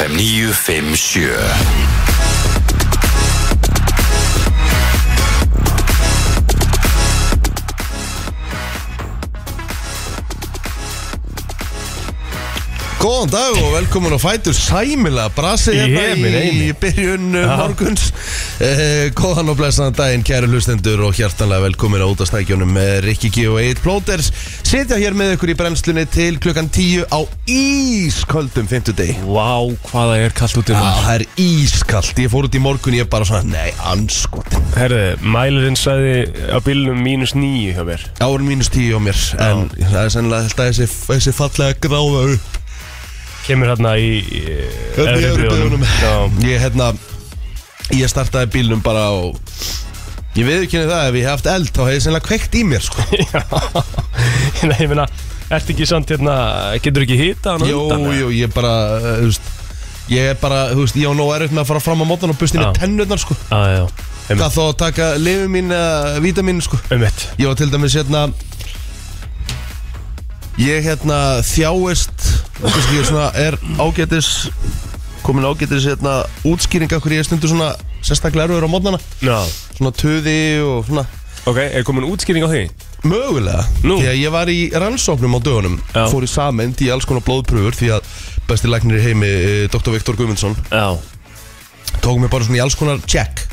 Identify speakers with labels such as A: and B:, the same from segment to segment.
A: FM 957
B: Góðan dag og velkomin á Fætur Sæmilega brasið
C: Í
B: hérna í,
C: heiminn,
B: í byrjun uh, morguns eh, Góðan og blessaðan daginn kæru hlustendur og hjartanlega velkomin á útastækjunum með Rikki G og Eid Plóters Sitja hér með ykkur í brennslunni til klukkan 10 á ísköldum 50 degi
C: Vá, hvaða er hérna. kallt út í
B: Já,
C: maður
B: það er ískallt, ég fór út í morgun ég bara svona, nei, anskotin
C: Herði, mælurinn Ah, sagði á bílunum mínus nýju hjá mér
B: Árun mínus tíu á mér, en það er sennilega alltaf þessi, þessi fallega gráða upp
C: Kemur hérna í, í
B: Hérna í
C: efri
B: efri
C: bréfunum. Já,
B: Ég, hérna, ég startaði bílnum bara á Ég veður kynni það, ef ég hef haft eld þá hefði sennilega kveikt í mér, sko
C: Nei, ég meina, ertu ekki samt hérna, getur ekki hýta hann á
B: Jú,
C: undan, eða?
B: jú, ég bara, eh, þú veist Ég er bara, þú veist, ég á nóg erfitt með að fara fram á mótan og busti með
C: Já.
B: tennurnar, sko
C: Já, Ah, já,
B: Það þó að taka lifið mín eða vítamín, sko
C: um mitt
B: Ég var til dæmis hérna Ég hérna þjáist kannski ég svona, er ágætis komin ágætis hérna útskýring af hverju ég er stundu svona sérstaklega erfiður á mótnana
C: Já,
B: svona töði og svona
C: ok, er komin útskýring á því?
B: mögulega
C: Nú.
B: því að ég var í rannsóknum á dögunum
C: Já.
B: fór í samend í alls konar blóðpröfur því að besti læknir í heimi eh, Dr. Viktor Guðmundsson
C: Já
B: tók mig bara svona í alls konar check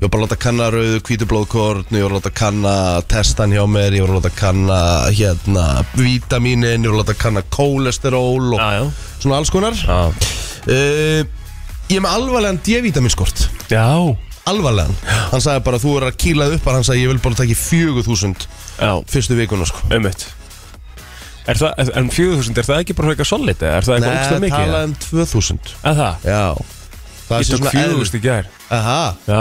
B: ég var bara að láta kanna rauðu hvítu blóðkorn ég var að láta kanna testan hjá mér ég var að láta kanna hérna vítaminin, ég var að láta kanna kolesterol og
C: Ah, Já, já
B: svona alls konar uh,
C: Já,
B: ég er með alvarlegan D-vitaminskort
C: já,
B: alvarlegan, hann sagði bara þú er að kýlað upp hann sagði ég vil bara taka í 4000
C: já
B: fyrstu vikuna sko
C: um mitt Er það, er- en 4000, er það ekki bara eitthvað solid, eða er það eitthvað ógstlega mikið?
B: talaði
C: eða?
B: um 2000
C: Er það?
B: já það
C: Ég
B: sé
C: tók
B: svona
C: 4000 í gær
B: aha,
C: Já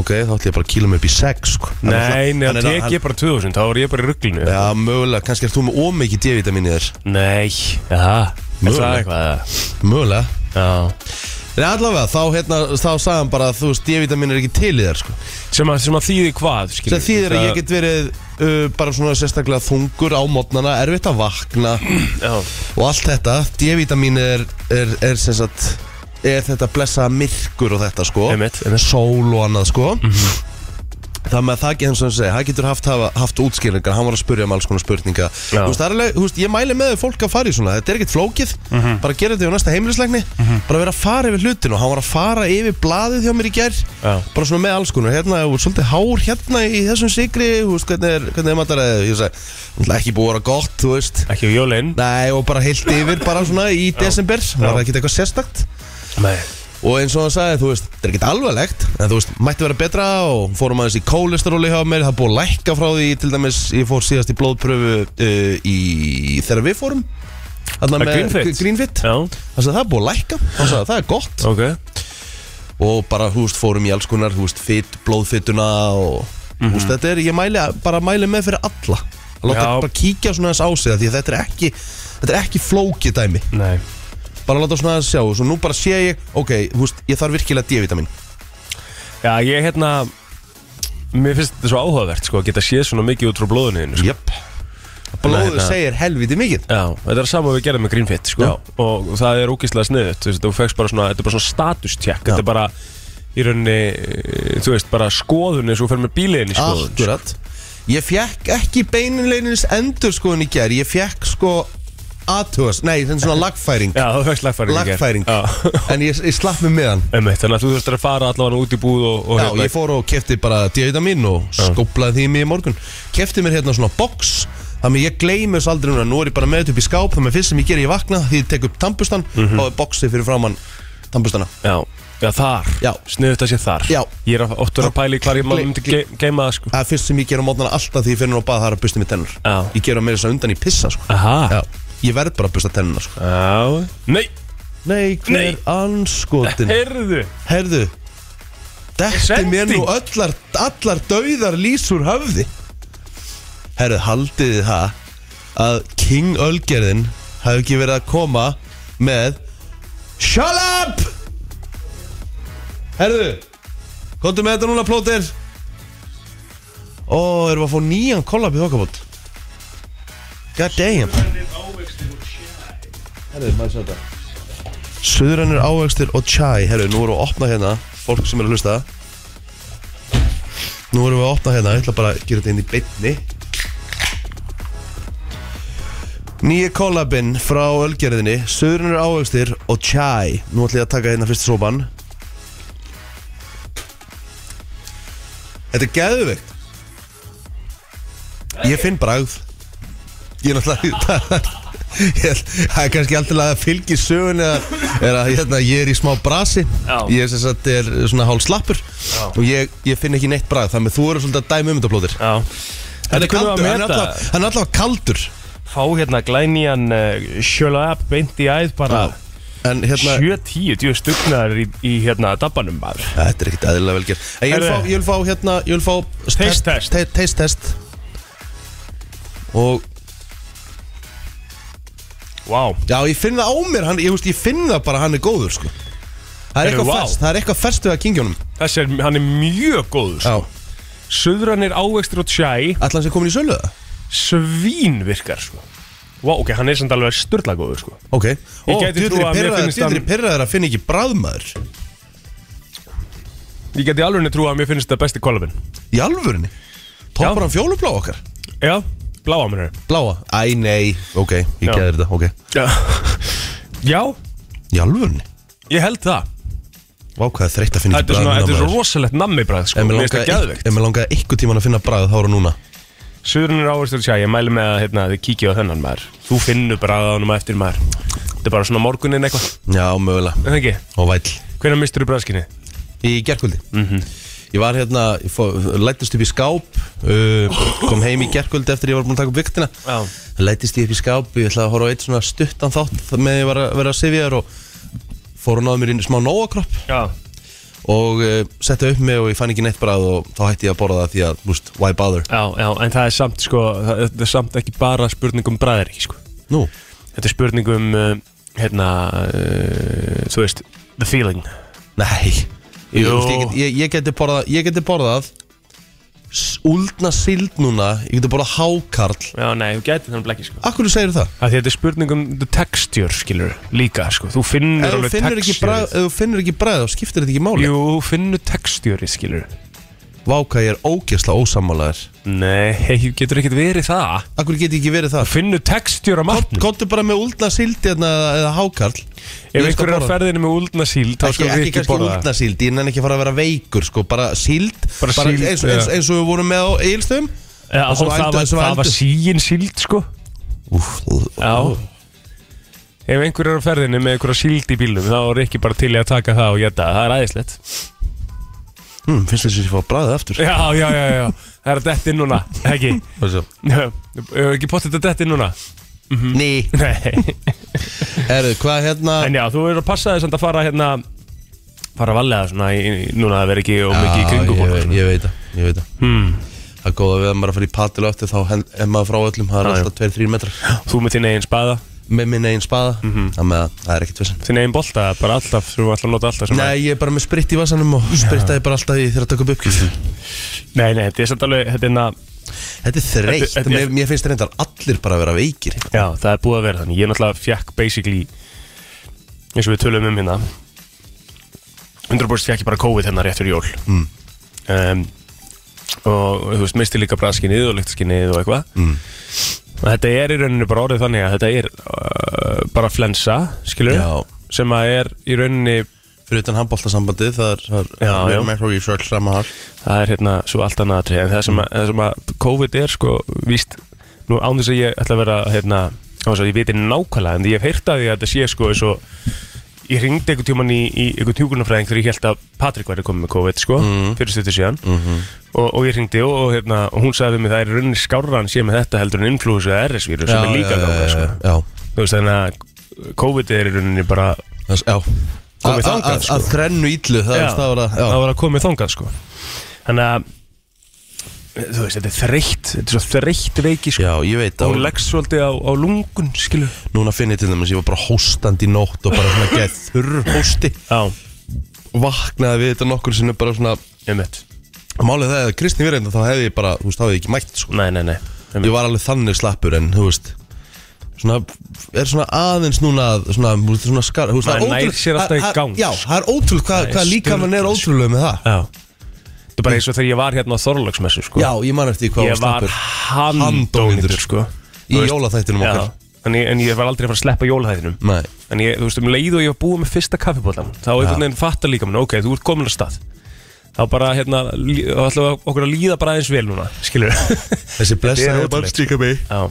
B: ok, þá ætlum ég bara að kýla mig upp í 6 sko Hann er
C: Nei,
B: svona-
C: nei,
B: hann er-
C: það tek
B: hann-
C: ég bara 2000, þá er ég bara í rugglinu
B: Já, mögulega, kannski er þú með ómikið D-vitamin í þér
C: Nei, já, er það
B: Mögulega.
C: eitthvað eða?
B: Mögulega
C: Já
B: En allavega, þá, hérna, þá sagðan bara að þú veist, D-vitamin er ekki til í þér sko.
C: Sem að, sem að þýði hvað, skilur
B: Sem þýðir að ég get verið uh, bara svona sérstaklega þungur á mótnana erfitt að vakna
C: Já,
B: og allt þetta D-vitamin er, er, er sem sagt er þetta blessa myrkur og þetta sko
C: Einmitt, einmitt. Mhm.
B: sól og annað sko Það með að það getur eins og hann segja, það getur haft, hafa, haft útskýringar, hann var að spurja um alls konar spurninga Þú veist, það er alveg, þú veist, ég mæli með þau fólk að fara í svona, þetta er ekkert flókið,
C: Mhm.
B: bara gera þetta í næsta heimilislegni, bara vera að fara yfir hlutin og hann var að fara yfir blaðið hjá mér í gær,
C: Já.
B: bara svona með alls konar, hérna, þú ert svolítið hár hérna í þessum sigri, þú veist, hvernig er, hvernig er mataræðið, ég sagði, náttúrulega ekki búið að vera gott, þú veist,
C: ekki á jólinn
B: Nei, og bara heilt yfir bara svona í desember Það var ekkert eitthvað sérstakt
C: Nei
B: Og eins og hann sagði, þú veist, þetta er ekkert alveglegt En þú veist, mætti vera betra og fórum aðeins í kólesteróli hjá mér Það er búið að lækka frá því, til dæmis Ég fór síðast í blóðpröfu uh, í þegar við fórum Alla
C: Að Greenfit?
B: Greenfit
C: Já,
B: Þannig að það er búið að lækka, hann sagði það er gott
C: ok
B: Og bara, þú veist, fórum í alls konar, þú veist, fit, blóðfituna Og, þú veist, þetta er, ég mæli, bara mæli með fyrir alla Að Láta
C: Mhm. Já.
B: bara kíkja svona aðeins á sig af Því að þetta er ekki, þetta er ekki flókið dæmi
C: Nei
B: bara láta svona að sjá og nú bara sé ég ok, þú veist, ég þarf virkilega D-vitamin
C: Já, ég hérna Mér finnst þetta svo áhugavert, sko, að geta séð svona mikið út frá blóðinu þínu, sko.
B: jöpp blóðu
C: Hérna-
B: segir helviti mikið
C: Já, þetta er sama við gerðum með Greenfit sko.
B: Já.
C: og það er ógeðslega sniðut þú fegst bara svona, þetta er bara svona status check þetta er bara í rauninni eh, þú veist, bara skoðun eins og þú fer með bíliðin í skoðun sko.
B: akkurat ég fekk ekki beininleginins endur skoðun í ger ég fekk sko aðtugast, nei, þetta er svona lagfæring
C: Já, þú fegst lagfæring í gær.
B: lagfæring,
C: Já,
B: en ég, ég slapp mig meðan
C: Einmitt, þannig að þú þurftir að fara allavega út í búð og, og hérna-
B: Já, ég fór og kefti bara D-vitamin og skóplaði því mig í morgun Kefti mér hérna svona box Þannig að ég gleymi þess aldrei núna Nú er ég bara með þetta upp í skáp Þannig að fyrst sem ég ger ég vakna Því ég tek upp tampustan
C: Mhm.
B: Þá er boxið fyrir framann tampustana
C: já, já, þar,
B: Já.
C: sniðut að sé þar
B: Já.
C: Ég er oft verið að pæli hvar ég maður myndi ge- geyma það sko.
B: Það er fyrst sem ég ger á mótnana alltaf því ég finnur á bað það er að busta mér tennur
C: Já.
B: Ég ger á mér þess að undan í pissa sko.
C: Aha,
B: Já, Ég verð bara að busta tennuna sko.
C: já. Nei,
B: Nei, hver
C: Nei.
B: anskotin
C: heyrðu
B: Herðu Detti
C: Sending.
B: mér nú allar, allar dauðar lýsur höfði Herðu, haldið þið það að King Ölgerðin hafi ekki verið að koma með Shut up Herðu Kontu með þetta núna plótir Ó, erum við að fá nýjan kollab í þokkabót God damn Herðu, maður sér þetta Suðrænir ávegstir og chai Herru, nú erum við að opna hérna Fólk sem er að hlusta Nú erum við að opna hérna Ég ætla bara að gera þetta inn í beinni Nýja kollabinn frá Ölgerðinni Suðrænir ávegstir og chai Nú ætla ég að taka hérna fyrst sopan Þetta er geðveikt Ég finn bragð Ég er náttúrulega Ég- Það er kannski alltaf að fylgi sögun er að hérna, ég er í smá brasi
D: Já.
B: Ég er sem sagt er svona hálf slappur Og ég, ég finn ekki neitt bragð Þannig að þú eru svolítið að dæmi um þetta plótir
C: Já
B: Hann
C: Þetta
B: er
C: kunum
B: kaldur,
C: við að
B: hann er
C: meta
B: alltaf, hann er alltaf kaldur
C: Fá hérna glænían uh, Sjöla app beint í æð bara
B: En hérna,
C: 7-10 Djú stugnar í, í hérna dabbanum maður
B: þetta er ekkert eðlilega vel gert En ég vil
C: Herre.
B: fá, ég vil fá hérna, ég vil fá
C: Taste test.
B: Taste test Og
C: Vá
B: Já, ég finn það á mér, hann, ég, veist, ég finn það bara að hann er góður sko. Það er
C: Heyrðu,
B: eitthvað
C: vá.
B: ferst, það er eitthvað ferst við að kingjónum
C: Þessi er, hann er mjög góður
B: Já,
C: Suðranir ávextir og tjæ
B: allan sem komin í sölu það
C: Svín virkar sko Vá, ok, hann er samt alveg styrla góður sko
B: Ok,
C: Ég
B: og
C: gæti trúað að mér finnist
B: djöðri
C: hann-
B: pyrraður að finna ekki bræðmaður
C: Ég geti alveg trú að mér finnst þetta besti kolabinn
B: Í alvörunni Toppar hann fjólublá okkar
C: Já, bláa minnur
B: Bláa, æ nei, ok, ég
C: Já.
B: gæði þetta, ok
C: Já Já,
B: Í alvörunni,
C: ég held það
B: vá hvað er þreytt að finna
C: Þetta
B: ekki
C: er svona, þetta er
B: bræðmaður
C: svo rosalegt nammi bræð sko
B: Ef mér
C: Mér finnst það
B: langaði
C: geðveikt
B: ef mig langaði einhver tíman að finna bræð þá er það núna
C: Suðrunir áherslu tjá, ég mæli með að hérna, þið kíkja á þennan maður Þú finnur bara að honum á eftir maður Þetta er bara svona morgunin eitthvað
B: Já, mögulega,
C: En það ekki,
B: og væll
C: hvenær mistur þú braskinni?
B: Í gerkvöldi
C: Mhm.
B: Ég var hérna, ég fó- læddist upp í skáp uh, Kom heim í gerkvöldi eftir ég var búin að taka upp viktina
C: Já.
B: Læddist ég upp í skáp Ég ætlaði að horfa á eitt svona stuttan þátt Með ég var að vera að sifjaður og Fór hún á mér inn í smá nóakropp
C: Já,
B: Og uh, setti upp mig og ég fann ekki neitt brað Og þá hætti ég að borða það því að, þú veist, why bother
C: já, já, en það er samt sko, það, þetta er samt ekki bara spurning um bræðir sko
B: Nú,
C: Þetta er spurning um, uh, hérna, uh, þú veist, the feeling
B: nei Ég,
C: Jú.
B: þú veist, ég, get- ég, ég geti borðað, ég geti borðað s- Úldna sild núna Ég geti borðað hákarl
C: Já, nei, þú gæti þannig blekki sko
B: Akkur segir það?
C: Af því Þetta er spurning um the texture, skilur, líka sko Þú finnur
B: Ef þú
C: alveg
B: finnur ekki
C: texture
B: bragð- ef þú finnur ekki bræð þá skiptir þetta ekki máli
C: Jú, þú finnur texture, skilur
B: Váka ég er ógeðslega ósammálaður
C: Nei, þú getur ekkert verið það
B: Akkur geti ekki verið það
C: Finnur texture á matnum
B: Kontu bara með úldna sildi hérna eða- eða hákarl
C: Ef
B: Ég skal
C: einhver er á
B: borða.
C: ferðinu með úldna síld þá
B: Ekki,
C: skal við
B: ekki
C: ekki
B: kannski
C: borða
B: úldna sildi Ég nenni ekki að fara að vera veikur sko Bara sild
C: Bara síld,
B: eins, og- eins,
C: já.
B: eins og við vorum með á Egilstöðum
C: Já,
B: Og
C: og
B: svo
C: það,
B: eldu-
C: var,
B: svo
C: það
B: eldu.
C: var síin síld sko Já Ef einhver er á ferðinu með einhverja síld í bílnum þá er ekki bara til í að taka það og geta það Það er aðeinslegt
B: hmm, Finnst þess að ég fá bræðið aftur
C: Já, já, já, já Það er að detta inn núna, ekki Hefur ekki potið að detta inn núna
B: Ný
C: Nei
B: Herru, hvað hérna
C: En já, þú verður að passa þess að fara hérna fara valega svona í, í- núna að vera ekki og mikið í
B: Já,
C: kringum
B: ég,
C: fólk
B: veit-
C: svona.
B: ég veit það, ég veit það
C: Hmm.
B: Það er góða við að maður er að fara í patil og eftir þá hel- er maður frá öllum, það er
C: Já, já.
B: alltaf 2-3 metrar
C: Þú með þín eigin spaða,
B: með minn eigin spaða, þannig að það er ekkert vissin
C: þín eigin bolta bara alltaf, þú erum alltaf að nota alltaf sem
B: Nei, ég er bara með spritt í vasanum og sprittaði bara alltaf í þegar að taka upp uppkjöf
C: Mhm. Nei, nei, þetta er samt alveg, þetta er hérna- na,
B: Þetta er þreytt,
C: Þetta- þetta er-
B: mér, mér finnst reyndar allir bara að vera veikir
C: já, það er búið að vera þannig. Ég náttúrulega fjakk basically, eins og við tölum um hérna, 100% fjakk ég bara COVID hérna rétt fyrir jól. Mm. Um, og þú veist, misti líka braskinnið og lyktaskinnið og eitthvað. Mm. Og þetta er í rauninu bara orðið þannig að þetta er uh, bara flensa, skilur,
B: Já.
C: sem að er í rauninni,
B: Fyrir utan handbóltasambandið, það er, það er
C: Já,
B: það er
C: já.
B: með hvað ég svo alls saman hal
C: það er hérna svo allt annað atrið, en það sem, að, það sem að COVID er sko, víst, nú án þess að ég ætla að vera, hérna, án þess að ég viti nákvæmlega, en ég hef heyrt að því að þetta sé sko eins og, ég ringdi einhvern tíman í, í einhvern hjúkunarfræðing þegar ég held að Patrik væri komið með COVID sko,
B: Mhm.
C: fyrir stuttu síðan og, og ég ringdi og, og, hérna, og hún sagði við mig það er í rauninni skárran sé með þetta heldur en influensu eða RS-víru sem er líka gáða sko.
B: Já,
C: Þú veist, þannig að COVID er í rauninni bara
B: það er- já Að-
C: Komið þangað,
B: að-
C: sko.
B: Að þrennu íllu, það
C: Já,
B: er það var að
C: það
B: já.
C: var að komið þangað sko Þannig að Þú veist, þetta er þreytt Þetta er svo þreytt veiki sko
B: Já, ég veit
C: Og
B: það
C: hún leggst svolítið á, á lungun, skilu
B: Núna finn ég til dæmis, ég var bara hóstandi í nótt og bara svona geð þurr hósti
C: Já,
B: Vaknaði við þetta nokkur sinni bara svona
C: einmitt
B: Málið það er að Kristni verið þá hefði ég bara, þú veist, þá hefði ég ekki mætt sko.
C: Nei, nei, nei
B: Ég
C: einmitt.
B: var alveg þannig slappur en, þú veist svona, er svona aðeins núna að- svona, svona, svona skar, þú veist,
C: Maður nær sér alltaf
B: það-
C: í
B: það-
C: gang.
B: já, það er ótrúlega hvað,
C: Það er
B: hvað líka mann er
C: sturlað, sko.
B: ótrúlega með það
C: Já Það er bara eins og þegar ég var hérna á Þorlöksmessu sko
B: já, ég man eftir því hvað
C: Ég var
B: slappur
C: handónýtur sko
B: í
C: Þú veist-
B: jólaþættinum
C: Já
B: okkar
C: En ég, en ég var aldrei að fara að sleppa jólahæðinum
B: Nei.
C: En ég, þú veist, um leið og ég var búið með fyrsta kaffibólan Þá einhvern veginn fattar líka minn, ok, þú ert komin að stað Þá bara, hérna, lí- þá ætlum við okkur að líða bara aðeins vel núna Skilur
B: þessi blessaði
C: ótrúlegt.
B: barnstíka mig
C: Já,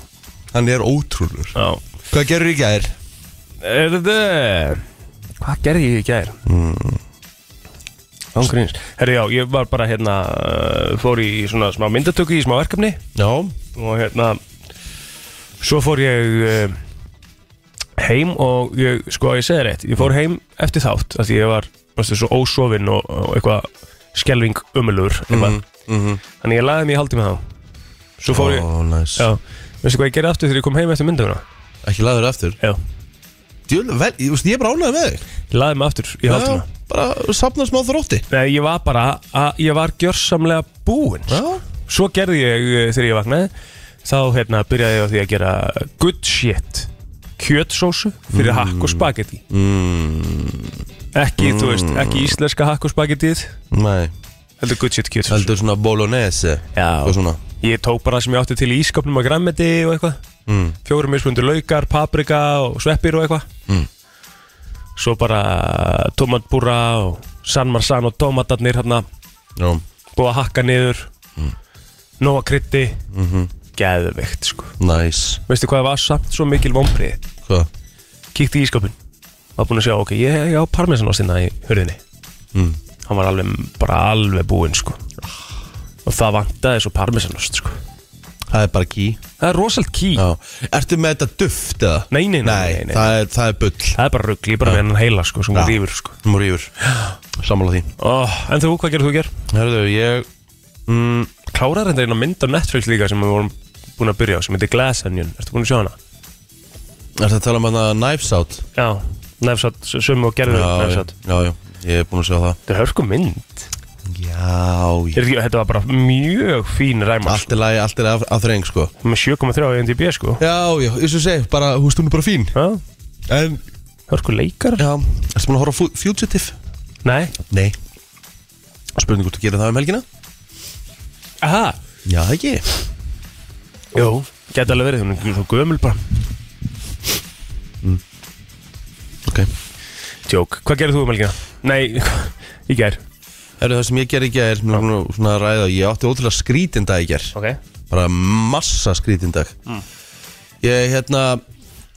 B: hann er ótrúlur
C: já
B: hvað gerur í gær?
C: Er þetta Hvað gerði ég í gær? Mm. Ángríns Herri já, ég var bara hérna uh, Fór í svona smá myndatöku í smá verkefni
B: já,
C: Og hérna Svo fór ég uh, Heim og ég, sko ég segi þér eitt Ég fór heim eftir þátt af Því ég var varstu, svo ósofinn og, og eitthvað Skelving umulur mm. Þannig ég laði mig í haldi með þá Svo fór ég
B: Mhm, ó, næs
C: Já, veistu hvað ég gerði aftur þegar ég kom heim eftir myndafuna?
B: ekki laður aftur
C: Já,
B: Djölu, vel, ég, þú veist, ég er bara ánægði með þig
C: ég laði mig aftur í haldina
B: Já, bara sapna smá þrótti
C: Nei, ég var bara að ég var gjörsamlega búinn
B: já,
C: Svo gerði ég eh, þegar ég vaknaði Þá hérna byrjaði ég á því að gera good shit Kjötsósu
B: Mm.
C: fyrir hakk og spagetti Ekki, þú
B: Mm.
C: veist, ekki íslenska hakk og spagettið
B: nei
C: Heldur good shit kjötsósu
B: heldur svona bolognese
C: Já.
B: og svona
C: Ég tók bara það sem ég átti til í ískapnum að græmmeti og eitthvað
B: Mm.
C: Fjórum mismundur laukar, paprika og sveppir og eitthvað
B: Mm.
C: Svo bara tomatbúra og San Marzano tomatarnir hérna
B: já,
C: búið að hakka niður mm. nóga krytti mm
B: Mhm.
C: geðveikt sko
B: næs
C: veistu hvað var samt svo mikil vombrið
B: hvað?
C: kíkti í ískapin var búin að sjá ok, ég, ég á parmesanástina í hurðinni
B: Mm.
C: hann var alveg bara alveg búinn sko og það vantaði svo parmesanost sko
B: það er bara ký
C: það er rosalt ký
B: já. ertu með þetta duft eða?
C: Nei, nei, nei, nei, nei.
B: Það, er, það er bull
C: það er bara rugg, ég er bara með hennan heila sko sem
B: Já.
C: hún rýfur sko
B: Nú er yfir Sammála því
C: oh, en þú, hvað gerir þú ger?
B: Herðu, ég
C: Mm, klárar þetta einn að mynda á Netflix líka sem við vorum búin að byrja á sem heitir Glass Onion ertu búin að sjá hana?
B: Er það að tala um hana Knives Out?
C: já, nefnsat, sömu og gerður
B: já,
C: nefnsat
B: já, já, ég er búin að sjá það
C: Þetta er hörku mynd
B: Já, já
C: Þetta var bara mjög fín ræma sko.
B: Allt er lagi, allt er að, að þreng, sko
C: Með 7,3 á IMDb sko
B: Já, já, eins og segi, bara, hú veist, hún er bara fín
C: Já,
B: En,
C: hörku leikar
B: já, ertu búin að horfa á Fu- Fugitive?
C: Nei
B: Nei Spurning hvort þú gerir það um helgina?
C: Aha
B: Já, það ekki
C: Jú Gæti alveg verið, hún er svo gömul bara
B: Ok
C: Tjók, hvað gerir þú um helgina? Nei, í gær
B: Herðu, það sem ég gerði í gær, mér er nú svona að ræða Ég átti ótrúlega skrítinda í gær
C: Ok
B: bara massa skrítindag ég hérna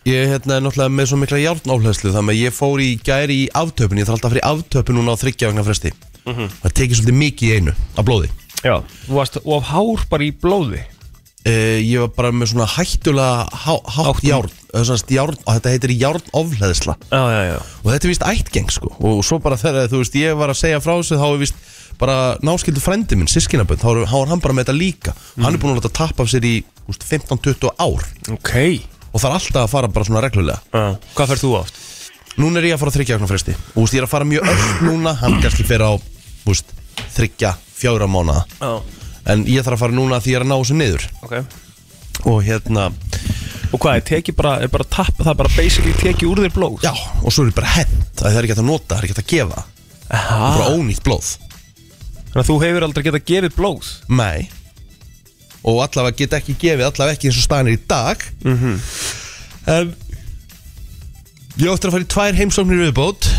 B: ég hérna er náttúrulega með svo mikla járnáhleðslu þannig að ég fór í gæri í aftöpun ég þarf alltaf að fara í aftöpun núna á þryggja vegna fresti það tekið svolítið mikið í einu af blóði
C: Já Þú varst of hár bara í blóði
B: uh, ég var bara með svona hættulega há, hátt járn, þessast járn og þetta heitir járnáhleðsla
C: Já, já, já
B: og þetta er vist ættgeng sko og svo bara þegar þú veist ég var að segja frá þessu þá er vist bara náskildu frendi minn sískinabönd, þá er- þá er hann bara með þetta líka hann er búin að láta tappa af sér í þú veist, 15-20 ár
C: Ok
B: og það er alltaf að fara bara svona reglulega
C: Já Hvað fer þú oft?
B: núna er ég að fara þryggja okna fresti og þú veist, ég er að fara mjög öll núna hann kannski fer á þú veist, þryggja, fjára mánuða
C: Já
B: en ég þarf að fara núna því ég er að ná þessu niður
C: Ok Og
B: og hérna,
C: hvað, er tekið bara, er bara tappa það er bara basically tekið úr þér blóð
B: já, og svo er ég bara hent að það er ekki hægt að nota, það er ekki hægt að gefa það
C: Aha
B: er bara ónýtt blóð,
C: Þannig að þú hefur aldrei getað gefið blóð
B: mei og allavega get ekki gefið, allavega ekki eins og staðan er í dag
C: Mhm.
B: -hmm. en ég áttur að fara í tvær heimsóknir í viðbót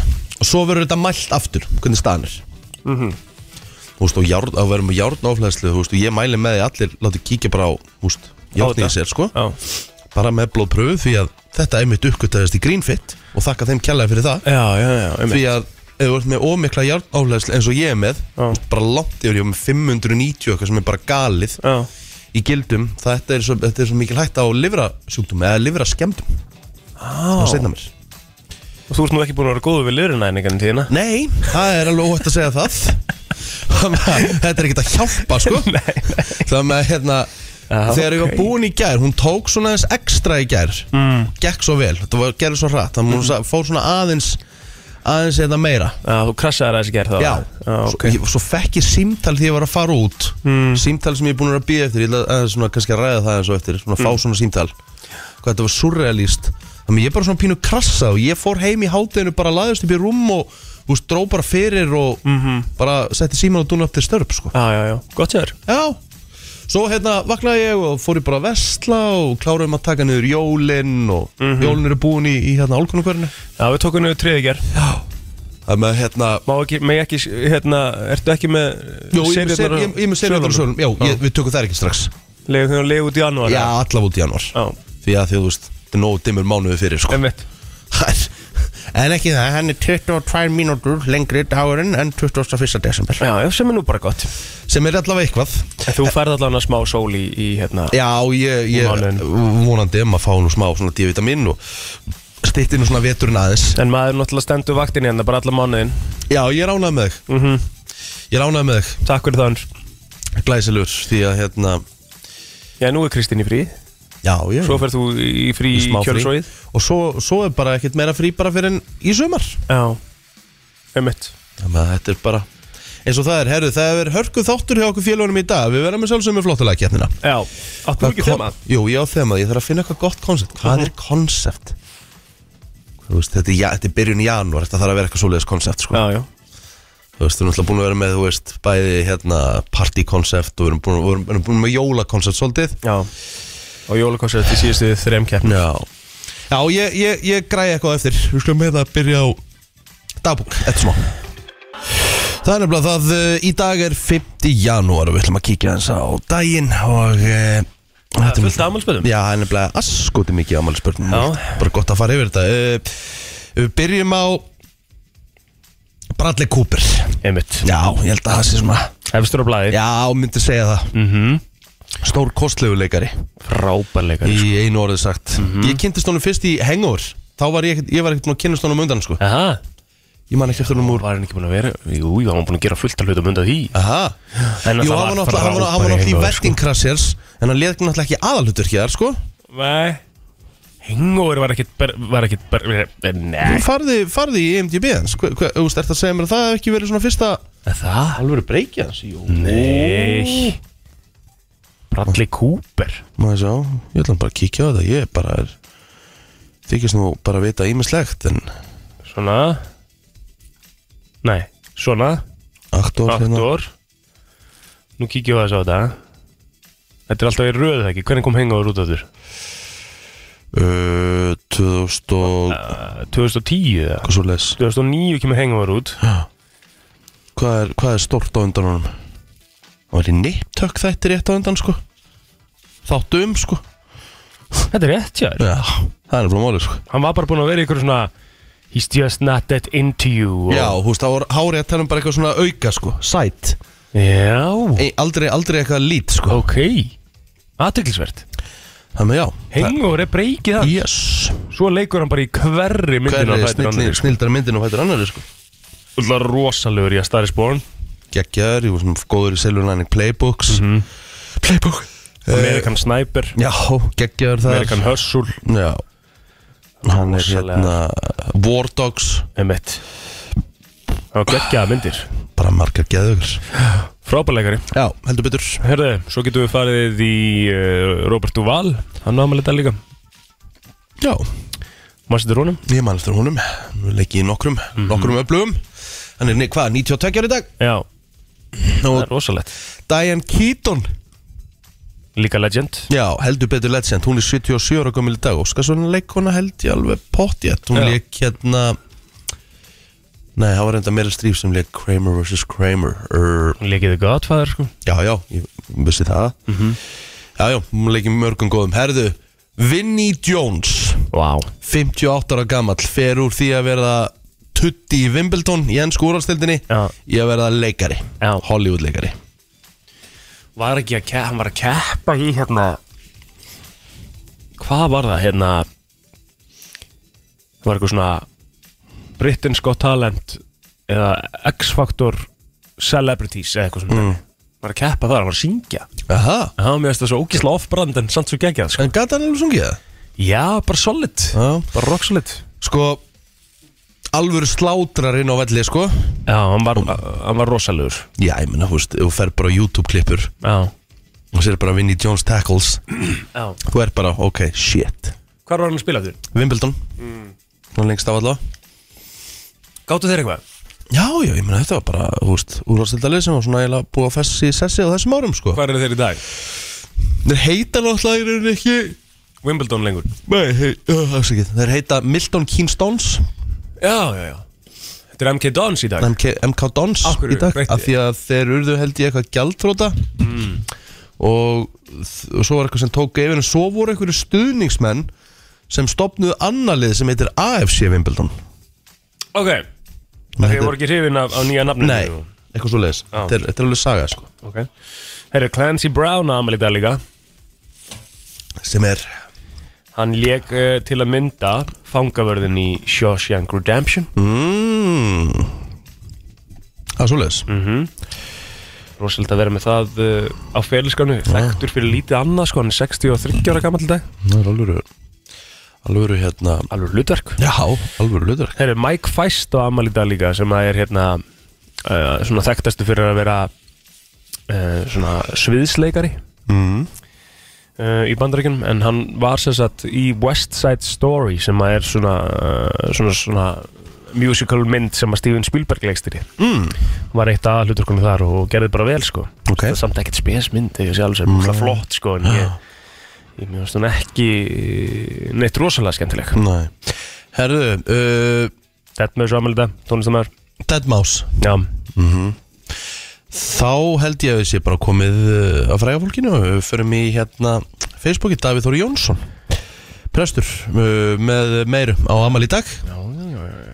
B: og svo verður þetta mælt aftur, hvernig staðan er
C: Mhm.
B: þú veist, og járn, að vera með járn áflæðslu, þú veist, og ég mæli með því allir látið kíkja bara á, þú veist, járn í
C: þetta.
B: sér, sko,
C: Já
B: bara með blóðpröfu því að þetta einmitt uppgöttaðist í Greenfit og þakka þeim kjallaði fyrir það,
C: Já, já, já, einmitt.
B: því að ef þú ert með ómikla járn áflæðslu eins og ég er með, þú veist, bara langt yfir, ég er með 590 eitthvað sem er bara galið
C: Já,
B: í gildum, þetta er svo, þetta er svo mikil hægt á livrasjúkdum eða livraskemmdum, það segna mér.
C: og þú ert nú ekki búin að vera góður við lirunæningarnir tíðina
B: Nei, það er alveg óhætt að segja það Þannig að Þetta er ekkert að hjálpa sko nei, nei. Þannig að hérna
C: Já,
B: Þegar ég var
C: ok.
B: búin í gær, hún tók svona aðeins ekstra í gær mm. Gekk svo vel, þetta var, gerði svo hratt Þannig að hún sa- fór svona aðeins aðeins eða meira
C: að þú krassaði aðeins í gerð þá
B: Já, Hmm.
C: ok.
B: svo, ég, svo fekk ég símtal því ég var að fara út Símtal sem ég er búin að býja eftir Ég ætla að, svona, kannski að ræða það eins og eftir Svona fá svona símtal Hvað þetta var surrealist Þannig ég er bara svona pínu krassa Og ég fór heim í hátteginu bara laðist upp í rúm Og þú veist, dró bara fyrir Og bara setti síman og dún upp til störp sko.
C: já, já, já, gott sér
B: Já Svo hérna vaknaði ég og fór ég bara að vesla Og kláruðum að taka niður jólin Og jólin eru búin í, í hérna álkonukverðinu
C: Já, við tókum niður triði ger
B: Það með hérna
C: Má ekki, með ekki, hérna, ertu ekki með
B: Jó, ég er með seri- ég- ég er með seriðar og sölum um Já, ég, við tökum það ekki strax
C: Leifum þegar að leifa út í janúar
B: Já, allavega út í janúar
C: Já,
B: Því að því að þú veist, þetta er nógu dimmur mánuði fyrir sko.
C: emmitt
B: En ekki það, hann er 22 mínútur lengri dagurinn en 21. desember
C: Já, já, sem er nú bara gott
B: Sem er allavega eitthvað
C: En þú færð allan að smá sól í, í hérna
B: Já, ég, ég
C: Mánuðinn.
B: vonandi um að fá nú smá svona D-vitamin og stýtti nú svona veturinn aðeins
C: En maður náttúrulega stendur vaktin hérna bara alla mánuðin
B: Já, ég ránaði með þig
C: Mhm.
B: Ég ránaði með þig,
C: Takk fyrir þann
B: glæsilur Því að hérna,
C: Já, nú er Kristín í frí
B: já, ég
C: Svo ferð þú í frí í
B: smá frí.
C: kjölsóið
B: Og svo, svo er bara ekkert meira frí bara fyrir en í sumar
C: Já, emmitt
B: Þannig að þetta er bara eins og það er, herru, það er hörkuð þáttur hjá okkur félagunum í dag, við verðum með sjálfsögum með flottulega keppnina
C: Já, áttu ekki þema
B: Jú, ég á þemað, ég þarf að finna eitthvað gott koncept Hvað er koncept? Þú veist, þetta er, ja- þetta er byrjun í janúar þetta þarf að vera eitthvað svoleiðis koncept, sko
C: Já, já
B: Þú veist, við erum alltaf búin að vera með, þú veist, bæði hérna partykoncept og við erum búin, við erum, við erum búin með jólakoncept svolítið
C: Já Og jólakonsert í síðustu þrem keppni
B: Já Já, ég, ég, ég græði eitthvað eftir Við skulum með að byrja á dagbúk, eftir smá Það er nefnilega það, eh, í dag er 5. janúar og við ætlum að kíkja hans á daginn og uh,
C: Það er fullt afmælspöðum
B: Já, það er nefnilega askoti mikið ámæli spurning
C: Já.
B: Bara gott að fara yfir þetta Eh, Við byrjum á Bradley Cooper
C: Emmitt
B: Já, ég held að það sé svona
C: Efstur á blæði
B: Já, myndi segja það mm
C: Mhm.
B: -hmm. Stór kostleguleikari
C: Frábærleikar
B: Í einu orðið sagt Ég kynntist honum fyrst í Hangover Þá var ég, ekkert- ég var ekkert búinn að kynast honum undan sko
C: Aha
B: Ég man ekki eftir honum úr
C: Var hann ekki búin að vera Jú, jú, hann var búin að gera fullt af hlutum undan því
B: Aha
C: En
B: Jú,
C: það
B: hann var náttúrulega- hann var- hann var
C: frábær
B: náttúrulega í sko.
C: hangover,
B: Wedding Crashers En hann leik náttúrulega ekki aðalhutur hér sko
C: Nei Hangover var ekkit ber, Var ekkit ber, eh, Nei
B: Farði, farði í E IMDb hans Hva- hva- sko, Þú veist, ert að segja mér að það hef ekki verið svona fyrsta Mm,
C: Það
B: Alvöru breyki hans, jú
C: Nei Bradley Cooper
B: Má ég sjá, ég ætla bara að kíkja á þetta Ég bara er Þykist nú bara að vita ímislegt En
C: Svona Nei Svona
B: aktor hérna
C: Aktor Nú kíkjum við þess á þetta Þetta er alltaf í röðu ekki Hvernig kom Hangover út af þér?
B: uh, 2000 og
C: Uh, 2010 eða
B: Hvað svo les
C: 2009 kemur Hangover út
B: Hvað er, hvað er stort á undan honum? Það var í niptök þætti rétt á undan sko Þáttu um sko
C: Þetta er rétt hjá þér
B: Já, það er nefnilega máli sko
C: Hann var bara búin að vera í ykkur svona He's just not that into you og,
B: Já, þú veist, það voru hárið að tala um bara eitthvað svona auka sko Sæt
C: Já
B: Ei, aldrei, aldrei eitthvað lít sko
C: Ok Aðteglisvert
B: Þannig já
C: Hangover er breykið
B: það-
C: hann
B: Yes
C: Svo leikur hann bara í hverri myndin
B: Hverri
C: sko.
B: sko. snillir- snilldari myndin og fættur annari sko
C: Útla rosalegur í að starri spórn
B: geggjaður, ég var svona góður í Silver Lining Playbooks
C: Mhm.
B: Playbook
C: Amerikan Sniper
B: Já, geggjaður það
C: Amerikan Hustle
B: Já Hann er
C: Rosalega.
B: hérna War Dogs,
C: Emmett Það var geggjaða myndir
B: bara margar geðugur
C: Frábæleikari
B: Já, heldur betur
C: Herðu, svo getum við farið í uh, Robert Duval Hann var aðmæli þetta líka
B: Já,
C: Mæstu til honum?
B: ég man eftir honum Leggi í nokkrum,
C: Mhm.
B: nokkrum öflugum Hann er, nei, hvað, 92 ára í dag
C: Já, það
B: Og
C: er rosalegt
B: Diane Keaton
C: Líka legend
B: Já, heldur betur legend, hún er 77 ára gömul í dag Óskarsson leikona held ég alveg pottjætt Hún
C: Já.
B: leik hérna Nei, það var reynda Meryl Streep sem leik Kramer vs. Kramer er,
C: Hún leikið The Godfather sko
B: Já, já, ég vissi það
C: Mhm.
B: Já, já, hún leikir mörgum góðum Herðu, Vinnie Jones
C: Vá
B: 58 ára gamall Fer úr því að verða Tutti í Wimbledon í ennsku úrvalstildinni
C: Já.
B: Í að verða leikari
C: Já.
B: Hollywood leikari
C: Var ekki að keppa, hann var að keppa í hérna Hvað var það hérna Það var eitthvað svona Britain's Got Talent Eða X-Factor Celebrities eða eitthvað svona mm. Var að keppa þar, hann var að syngja
B: Aha,
C: En Það var mér veist það svo ógísla off-brand en samt svo geggjað sko.
B: en gata hann alveg sungið það?
C: Já, bara solid
B: Já.
C: Bara rock solid
B: Sko alvöru slátrar inn á velli sko
C: Já, hann var, uh, hann var rosalegur
B: Já, ég menna, þú veist, þú fer bara á YouTube klippur
C: Já,
B: og sér bara Vinnie Jones Tackles
C: já
B: Þú er bara, ok, shit
C: Hvar var hann að spila þér?
B: Wimbledon mm. lengst af allavega
C: Gáttu þeir eitthvað?
B: Já, já, ég meina þetta var bara, þú veist, úrvastildalið sem var svona eiginlega búið að festi í sessi á þessum árum, sko.
C: Hvar eru þeir í dag?
B: Þeir heita náttúrulega í rauninni ekki,
C: Wimbledon lengur
B: nei, hei, það er ekki, þeir heita Milton Keynes Dons,
C: Já, já, já Þetta er MK Dons í dag
B: MK, MK Dons
C: Af hverju
B: í dag,
C: breytti-
B: af því að þeir urðu held ég eitthvað gjaldtróta Hmm. og, þ- og svo var eitthvað sem tók yfir, en svo voru einhverju stuðningsmenn sem stopnuðu annarlið sem heitir AFC Wimbledon.
C: Ok, þeir voru ekki hrifin af, af nýja nafninu
B: Nei, eitthvað svo leiðis,
C: Já.
B: þetta er þetta er alveg saga, sko,
C: Ok Herru, Clancy Brown aðmæli dag líka
B: sem er,
C: Hann lék uh, til að mynda fangavörðin í Shawshank Redemption
B: mmm, að svo leiðis.
C: Rósald að vera með það uh, á ferilskanu Þekktur fyrir lítið annað sko, hann er 63 ára gammal dag
B: Það er alvöru Alvöru hérna
C: Alveg hlutverk
B: Já, alvöru hlutverk
C: Herru, Mike Feist á ammali dag líka sem að er hérna uh, svona þekktastu fyrir að vera uh, svona sviðsleikari
B: mm.
C: uh, í bandaríkjunum en hann var sem sagt í West Side Story sem að er svona, uh, svona, svona musical mynd sem að Steven Spielberg leikstir í
B: Mm.
C: var eitt að hluturkunni þar og gerði bara vel sko
B: Ok. Ah.
C: það er samt ekkert spesmynd ég sé alveg sem mm. flott sko en ég, ég mjög stund ekki neitt rosalega skemmtileg
B: Nei Herðu uh,
C: Þetta með þessu aðmelda, tónlistamæður
B: Deadmau5
C: Já,
B: Þá held ég að þessi bara komið uh, að fræga fólkinu Við förum í hérna Facebooki Davíð Þóri Jónsson Prestur uh, með meiru á Amal í dag Já, já, já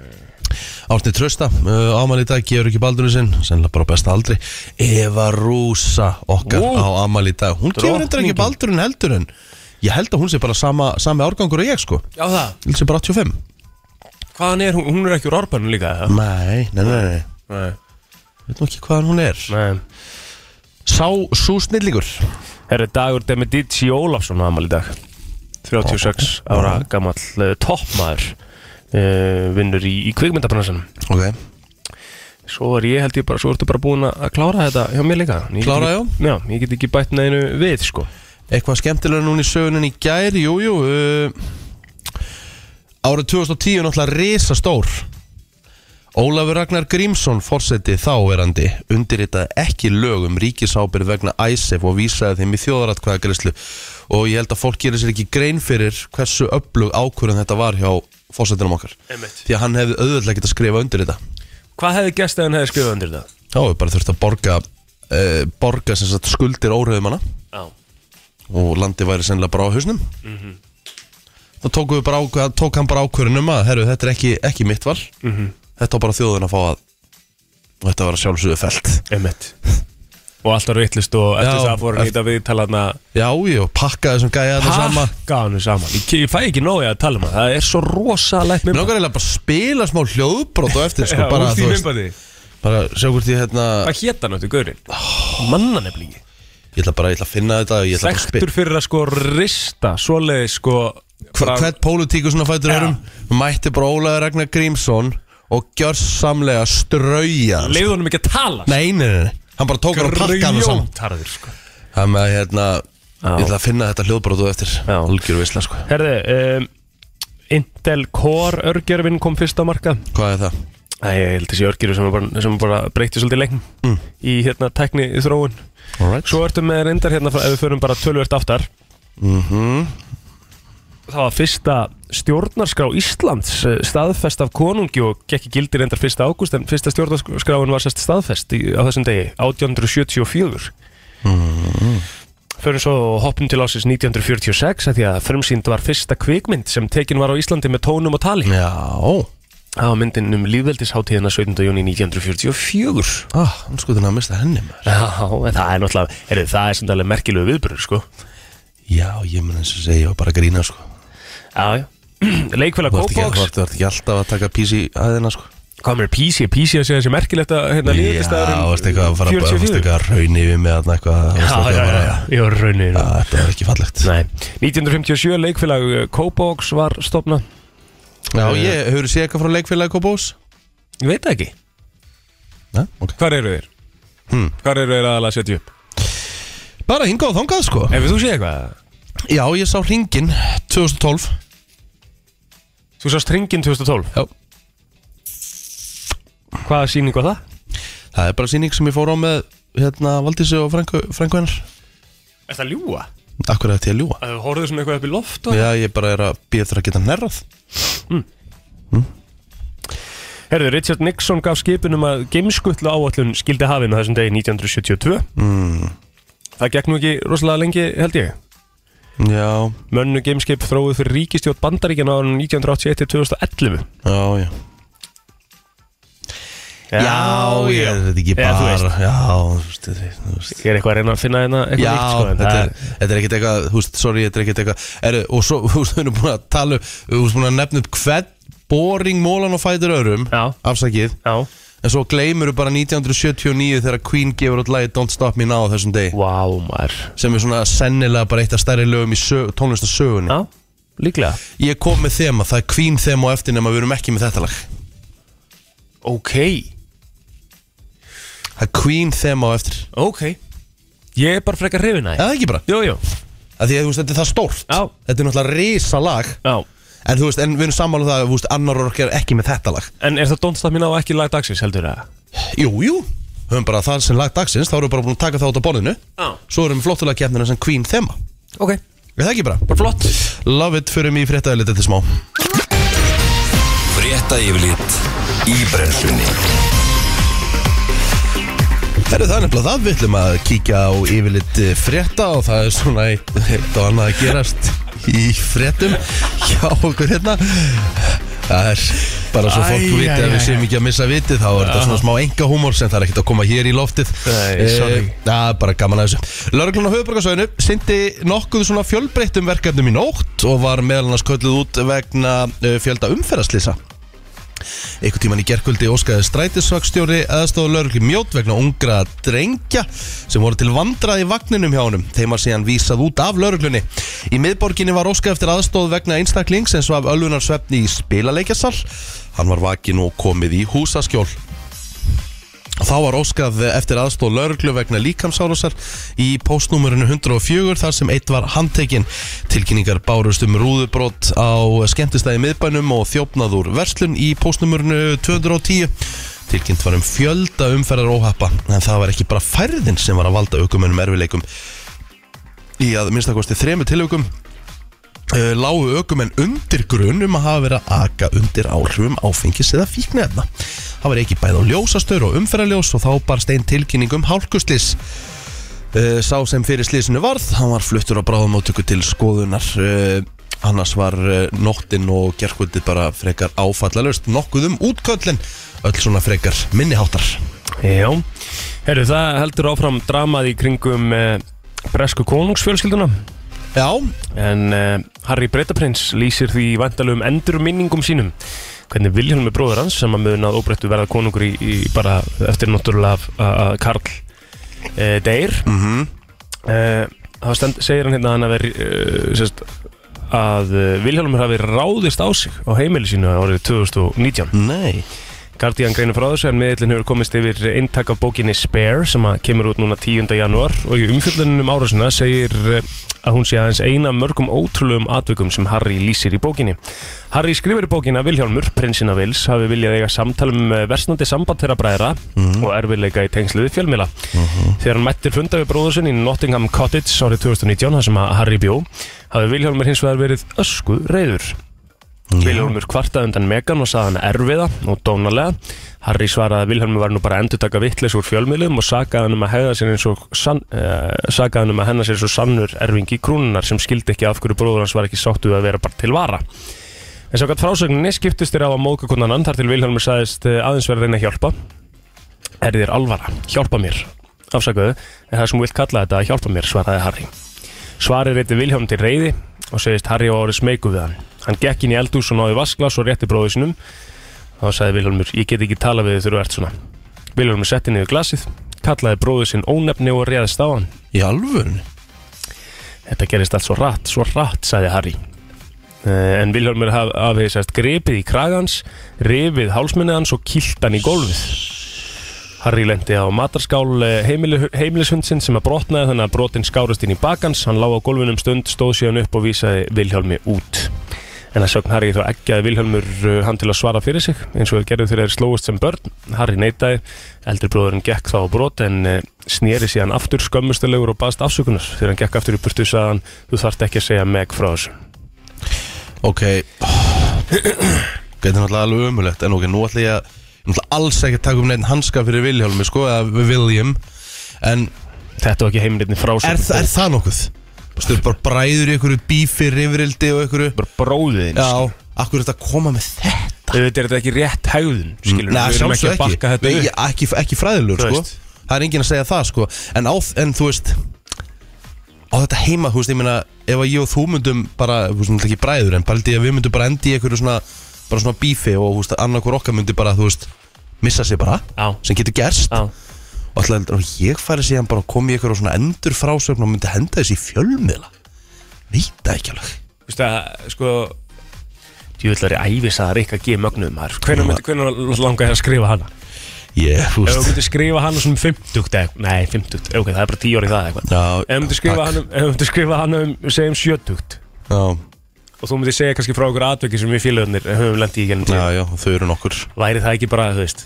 B: Árni Trösta, uh, Amal í dag, gefur ekki baldurinn sinn, sennilega bara á besta aldri Eva Rúsa okkar
C: Ú.
B: á Amal í dag Hún gefur hendur
C: Drottningin.
B: ekki baldurinn heldur en Ég held að hún sé bara sama, sami árgangur og ég sko
C: Já það,
B: Hún sé bara 85
C: hvaðan er hún? Hún er ekki úr árbænum líka eða?
B: Nei, nei, nei, nei
C: Nei,
B: Veit nú ekki hvaðan hún er
C: nei
B: Sá svo snillingur
C: Herri Dagur Demedici Ólafsson á amal í dag 36 ára gammal uh, toppmaður uh, vinnur í, í kvikmyndabransanum
B: Ok
C: Svo er ég held ég bara, svo ertu bara búin að að klára þetta hjá mér líka Ég get
B: Klára,
C: ekki- Já, ég get ekki bætt neðinu við sko
B: Eitthvað skemmtilega núna í sögunin í gær Jú, jú uh, Árið 2010 náttúrulega risastór Ólafur Ragnar Grímsson fórseti þáverandi undirritaði ekki lög um ríkisábyrð vegna ISEF og vísaði þeim í þjóðaratkvæðagreyslu og ég held að fólk gerir sér ekki grein fyrir hversu öflug ákvörðan þetta var hjá fórsetinum okkar
C: Einmitt.
B: því að hann hefði auðvitað ekki að skrifa undir þetta
C: Hvað hefði gæst ef hann hefði skrifað undir það?
B: þá hefur bara þurft að borga uh, borga sem sagt skuldir óriðumanna
C: Já
B: og landi væri sennilega bara á hausnum þá tók, við bara ákveð, tók hann bara ákvörunum að herru, þetta er ekki, ekki mitt val þetta var bara þjóðin að fá að og þetta var að sjálfsögðu felt
C: Emmett Og alltaf vittlist og eftir
B: Já,
C: það fór hann
B: eft-
C: í þetta viðtala hann að
B: já, já, pakka þessum gæja þetta sama
C: pakka hann saman Ég, ég fæ ekki nógu að tala um það, það er svo rosalegt
B: Mér
C: minnbandi.
B: langar eiginlega bara að spila smá hljóðbrot og eftir sko,
C: Já,
B: bara, þú
C: úr því
B: veist,
C: minnbandi.
B: bara sjá hvort ég hérna
C: Hvað hétt hann eftir gaurinn? Manna nefnilega ekki
B: Ah. ég ætla bara ég ætla að finna þetta ég ætla bara að
C: Þekktur
B: spila
C: fyrir að sko rista Svoleiði sko bara-
B: hvert pólitíku svona fætur erum mætti bara Ólaður Ragnar Grímsson og gjör samlega strauja
C: Leyfðu honum ekki að tala
B: nei, nei, nei, nei, hann bara tók hann og pakka hann saman
C: Grjótarður sko
B: Það með að hérna
C: Já.
B: Ég ætla að finna þetta hljóðbrótu eftir
C: Já.
B: Algjör veisla sko
C: Herði um, Intel Core örgjörfin kom fyrst á marka
B: Hvað er það?
C: Æ, ég held þessi örgjörfi sem, er bara- sem er bara breyti svolítið lengt mm. Í hérna tekni þróun
B: Alright
C: Svo ertu með reyndar hérna frá- Ef við förum bara tölvert aftar
B: Mhm.
C: Það var fyrsta stjórnarskrá Íslands eh, staðfest af konungi og gekk í gildi reyndar 1. ágúst en fyrsta stjórnarskráin var sérst staðfest í, á þessum degi, 1874
B: Mm-hmm.
C: Förum svo og hoppum til ásins 1946 að því að frumsýnd var fyrsta kvikmynd sem tekin var á Íslandi með tónum og tali
B: Já
C: Það var myndin um lífveldisháttíðina 17. júni 1944
B: Ah, hann sko þannig að mista henni maður
C: Já, en það er náttúrulega, heyrðu, það er samt alveg merkilegu viðbörður, sko
B: Já, ég mun eins og segja Ég var bara að grína sko
C: Já, já Leikfélag
B: Þú ert ekki,
C: Kópavogs
B: þú ert ekki alltaf að taka písi aðeina sko
C: Hvað með PC? PC að segja þessi merkilegt að hérna
B: Já,
C: líðvistæðurinn
B: varst eitthvað að fara Þú varst eitthvað að rauni við með þarna eitthvað þú varst
C: Já,
B: eitthvað
C: já,
B: að
C: já,
B: fara-
C: já, ég var raunin
B: Já, Þetta var ekki fallegt
C: eh, Nei, 1957 leikfélag Kópavóks var stopnað
B: Já, ég hefur séð eitthvað frá leikfélagi Kópós
C: Ég veit það ekki
B: Nei, ok
C: Hvar eru þeir? Hmm. Hvar eru þeir aðalega að setja upp?
B: Bara hingað og þangað sko
C: Ef þú sé eitthvað
B: Já, ég sá hringin 2012
C: Þú sá stringin 2012
B: Já
C: Hvaða sýning var það?
B: Það er bara síning sem ég fór á með hérna Valdísi og Franku, Franku hennar
C: Er það ljúa?
B: Akkur er þetta ég að ljúa
C: Að þú horfðu svona eitthvað upp í loft og...
B: Já, ég bara er að býða þér að geta nærrað
C: Herðu, Richard Nixon gaf skipunum að geimskuttla áallun skildi hafinu þessum degi 1972 mm.
B: Hmm.
C: Það gekk nú ekki rosalega lengi held ég
B: Já,
C: Mönnu geimskip þróið fyrir ríkistjótt bandaríkjana árun 1981-2011
B: já, já Já, ég er þetta ekki
C: Eða,
B: bara
C: þú veist.
B: Já, þú veist, þetta er- þú veist
C: Ég er eitthvað að reyna að finna hérna eitthvað
B: Já,
C: nýtt, sko, en
B: þetta
C: það
B: er, þetta er ekkert eitthvað, þú veist, sorry, þetta er ekkert eitthvað er, Og svo, þú veist, við erum búin að tala um- Þú veist, búin að nefna upp hvern Boring mólan og fætur öðrum
C: Já.
B: Afsakið
C: Já,
B: En svo gleymur bara 1979 Þegar Queen gefur út lagi Don't Stop Me Now á þessum degi
C: vá maður
B: Sem er svona sennilega bara eitt af stærri lögum í sög, tónlistasögunni
C: Já, líklega
B: Ég kom með þema, það er Queen þema á eftir Nefn að við erum ekki með þetta lag
C: Ok,
B: Það er Queen þema á eftir
C: ok Ég er bara frekar hrifin að
B: Eða ekki bara,
C: Jú, jú,
B: af því að þú veist, þetta er það stórt
C: Já.
B: Þetta er náttúrulega risa lag
C: já
B: En þú veist, en við erum sammála um það að þú veist, annar ork er ekki með þetta lag
C: En er það Don't Stop Me Now ekki lag dagsins heldur það?
B: Jú, jú, við höfum bara það sem lag dagsins Þá erum við bara búin að taka það út á borðinu
C: Já.
B: Svo erum við flottulega keppnina sem Queen þema
C: Ok,
B: Er það ekki bara?
C: bara flott
B: Love it, förum í fréttaðilegt eftir smá
E: Frétta yfirlit í brenslunni
B: Herru, það er nefnilega það, við ætlum að kíkja á yfirleitt eh, frétta og það er svona eitt, eitt og annað að gerast í fréttum hjá okkur hérna Það er bara svo fólk
C: Æ,
B: viti
C: æ,
B: að við
C: æ,
B: séum ekki að missa vitið þá er þetta svona smá enga húmór sem það er ekkert að koma hér í loftið
C: Nei,
B: Eh,
C: sorry.
B: Það er bara gaman að þessu Lörglun á höfuborgarsöðinu sindi nokkuð svona fjölbreyttum verkefnum í nótt og var meðal annars kölluð út vegna eh, fjölda umferðaslýsa Eitthvað tíman í gerkvöldi óskaði strætisvagstjóri aðstofu lauruglu mjót vegna ungra drengja sem voru til vandrað í vagninum hjá honum. Þeim var síðan vísað út af lauruglunni. Í miðborginni var óskaði eftir aðstofu vegna einstaklings sem svaf öllunar svefni í spilaleikjasal. Hann var vakin og komið í húsaskjól. Þá var óskað eftir aðstóð lauruglu vegna líkamsárásar í postnúmerinu 104 þar sem eitt var handtekinn. Tilkynningar bárust um rúðubrot á skemmtistæði miðbænum og þjófnað úr verslun í postnúmerinu 210. Tilkynnt var um fjölda umferðar óhappa en það var ekki bara færðin sem var að valda aukumennum erfileikum. Í að minnstakosti þremu tilaukum uh, lágu ökumenn undir grun um að hafa verið að aka undir áhrifum áfengis eða fíknefna. Það var ekki bæð á ljósastöru og umferðarljós og þá barst einn tilkynning um hálkuslis. Uh, sá sem fyrir slísinu varð, hann var fluttur á bráðumóttöku til skoðunar. Uh, annars var uh, nóttinn og gerkvöldið bara frekar áfallalust. Nokkuð um útköllin, öll svona frekar minniháttar.
C: Já, herru það heldur áfram dramað í kringum eh, bresku konungsfjölskylduna
B: Já,
C: en eh, Harry Bretaprins lýsir því vandalegum endurminningum sínum hvernig Vilhelm er bróður hans sem að mun að óbreyttu verða konungur í, í bara eftir náttúrulega að- að Karl eh, deyr mm -hmm. þá stend, segir hann hérna að hann að veri eh, sérst, að eh, Vilhelmur hafi ráðist á sig á heimili sínu árið 2019
B: nei.
C: Guardian greinir frá þessu en miðillin hefur komist yfir eintak af bókinni Spare sem að kemur út núna 10. janúar og í umfjöldunum um árásina segir eh, að hún sé aðeins eina af mörgum ótrúlegum atvikum sem Harry lýsir í bókinni. Harry skrifir í bókinna Vilhjálmur, prinsina Vils, hafi viljað eiga samtal um eh, versnandi samband þeirra bræðra og erfiðleika í tengslu við fjölmila. Þegar hann mættir funda við bróðursun í Nottingham Cottage árið 2019 þar sem að Harry bjó, hafi Vilhjálmur hins vegar verið ösku reyður. Vilhelmur kvartaði undan Megan og sagði hann erfiða og dónalega. Harry svaraði að Vilhelmur var nú bara að endur taka vittlis úr fjölmiðlum og sagaði hann um að hegða sér eins og sann, uh, sagaði hann um að hennar sér eins og sannur erfingi krúnunar sem skildi ekki af hverju bróður hans var ekki sáttu að vera bara til vara. En svo gætt frásögninni skiptist þér á að móka konan ann þar til Vilhelmur sagðist eh, aðeins verið að reyna að hjálpa. Er þér alvara? Hjálpa mér. Afsakaðu, en það sem þú vilt kalla þetta að hjálpa mér, svaraði Harry. Svarið reyti Vilhjálm til reyði og segist Harry á orðið smeyku við hann. Hann gekk inn í eldús og náði vasklas og rétti bróðu sinum. Þá sagði Vilhjálmur, ég get ekki tala við þig þegar þú ert svona. Vilhjálmur setti niður glasið, kallaði bróðu sinn ónefni og réðist á hann.
B: Í alvörun?
C: Þetta gerist allt svo rætt, svo rætt, sagði Harry. Eh, En Vilhjálmur haf- hafi sérst gripið í kragans, rifið hálsmennið hans og kilt hann í gólfið. Harry lendi á matarskál eh, heimili, heimilishundsinn sem að brotnaði þannig að brotin skárust inn í bakans. Hann lág á gólfinum stund, stóð síðan upp og vísaði Vilhjálmi út. En að sögn Harry þá eggjaði Vilhelmur uh, hann til að svara fyrir sig eins og þeir gerðu þegar þeir slóist sem börn. Harry neitaði, eldri bróðurinn gekk þá á brot en uh, snýri síðan aftur skömmustulegur og baðst afsökunar. Þegar hann gekk aftur í burtu sagði hann, þú þarft ekki að segja meg frá þessu.
B: Ok Þetta er náttúrulega alveg umulegt En ok, nú ætla ég að ég ætla alls ekki að taka um neitt hanska fyrir Vilhjálmi sko, eða við William En
C: Þetta var ekki heimriðni frásögn.
B: er, þa er það nokkuð? Þú er bara bræður í einhverju bífi, rifrildi og einhverju
C: bara bróðin?
B: Já, akkur er þetta að koma með þetta?
C: Þetta er þetta ekki rétt hægðun, skilur
B: Mm. Nei,
C: við erum ekki
B: sjálfsög
C: að
B: ekki,
C: bakka þetta
B: Við-
C: upp.
B: ég- ekki, ekki fræðilegur
C: Þú
B: sko.
C: veist.
B: Það er enginn að segja það sko. en, á, en þú veist Á þetta heima, þú veist, ég meina Ef að ég og þú myndum bara, þú veist, náttúrulega ekki bræður En baldi að við myndum bara endi í einhverju svona Bara svona bífi og þú veist, annarkur okkar myndi bara Þú veist, missa sig bara
C: Já.
B: Sem getur gerst
C: Já.
B: Og alltaf, og ég færi síðan bara að koma í einhverju svona endur frásögn Og myndi henda þessi í fjölmiðla Veit það ekki alveg
C: Þú veist að, sko, djúvillari æfisaðar ekki að gefa mögnum þar.
B: Sko.
C: Hvernig, hvernig langar þér að skrifa hana?
B: Ég, þú
C: Ef þú
B: veist
C: myndir skrifa hann um 50 dag, Nei, 50, ok, það er bara 10 ári það eitthvað
B: Já,
C: Ef þú myndir skrifa
B: takk.
C: hann um, ef þú myndir skrifa hann um, segjum 70
B: Já,
C: Og þú myndir segja kannski frá okkur atveki sem við félöðunir höfum lendi í gennum
B: já,
C: tíð
B: já, þau eru nokkur
C: Væri það ekki bara, þú veist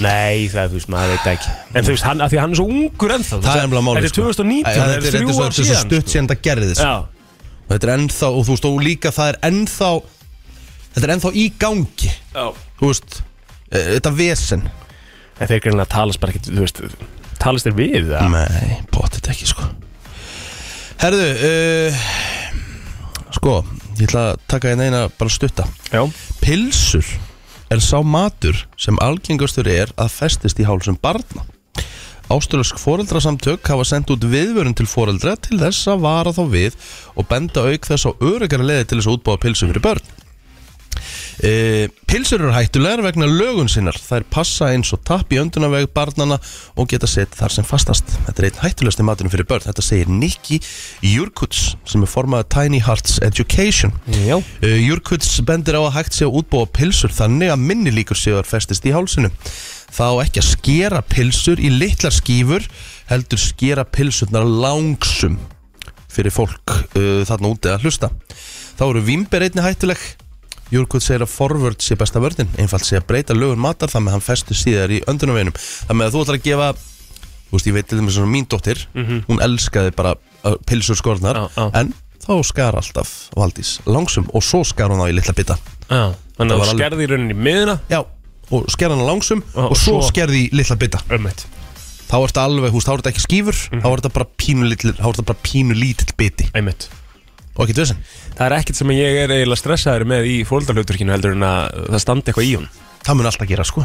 C: Nei, það, þú veist, maður veit það ekki En þú veist, hann, af því að hann er svo ungur ennþá þú
B: Það er
C: veist,
B: nefnilega málið
C: Þetta er 2019,
B: sko.
C: það er þrjú
B: svo-
C: ár
B: Þetta er svo
C: síðan
B: stutt síðan þetta gerði
C: Já,
B: Og þetta er ennþá, og þú veist, og líka það er ennþá Þetta er ennþá í gangi
C: já
B: Þú veist, e, þetta vesen
C: En þeir greinlega talast bara ekki, þú veist Talast þér við, það
B: Nei, potið ekki, sko Herðu, uh, sko, ég ætla að taka einn eina bara stutta
C: Já,
B: Pilsur er sá matur sem algengastur er að festist í hálsum barna. Áströlsk foreldrasamtök hafa sendt út viðvörun til foreldra til þess að vara þá við og benda auk þess á örugara leði til þess að útbúa pilsu fyrir börn. E, pilsur eru hættulegar vegna lögun sinnar. Þær passa eins og tapp í öndunaveg barnana og geta sett þar sem fastast. Þetta er einn hættulegasti maturinn fyrir börn. Þetta segir Nikki Jurkuts sem er formaður Tiny Hearts Education.
C: já
B: Uh, Jurkuts bendir á að hægt sé að útbúa pilsur þannig að minni líkur séu að festist í hálsinu. Það á ekki að skera pilsur í litlar skífur, heldur skera pilsurnar langsum fyrir fólk uh, þarna úti að hlusta. Þá eru vimber einni hættuleg. Jurkuts segir að forvörd sé besta vördin, einfalt sé að breyta lögur matar þannig að hann festur síðar í öndunaveginum. Þannig að þú ætlar að gefa þú veist, ég veit til þess að mín dóttir hún elskaði bara uh, pilsur skornar
C: Mhm. Já, já.
B: en þá skar alltaf Valdís langsum og svo skar hún á í litla bita
C: Já,
B: Það var
C: þannig að þú
B: alveg-
C: skerði í rauninni miðuna
B: já, og sker hann á langsum
C: Já,
B: og svo,
C: svo-
B: skerði í litla bita
C: Ömmett
B: þá er þetta alveg, þú veist, þá er þetta ekki skýfur
C: Mhm.
B: þá er þetta bara pínu lítill þá er þetta bara pínu lítill biti
C: Einmitt
B: og ekki dvesen
C: Það er ekkert sem ég er eiginlega stressaður með í fólkdarhlauturkinu heldur en að það standi eitthvað í hún
B: það mun alltaf gera sko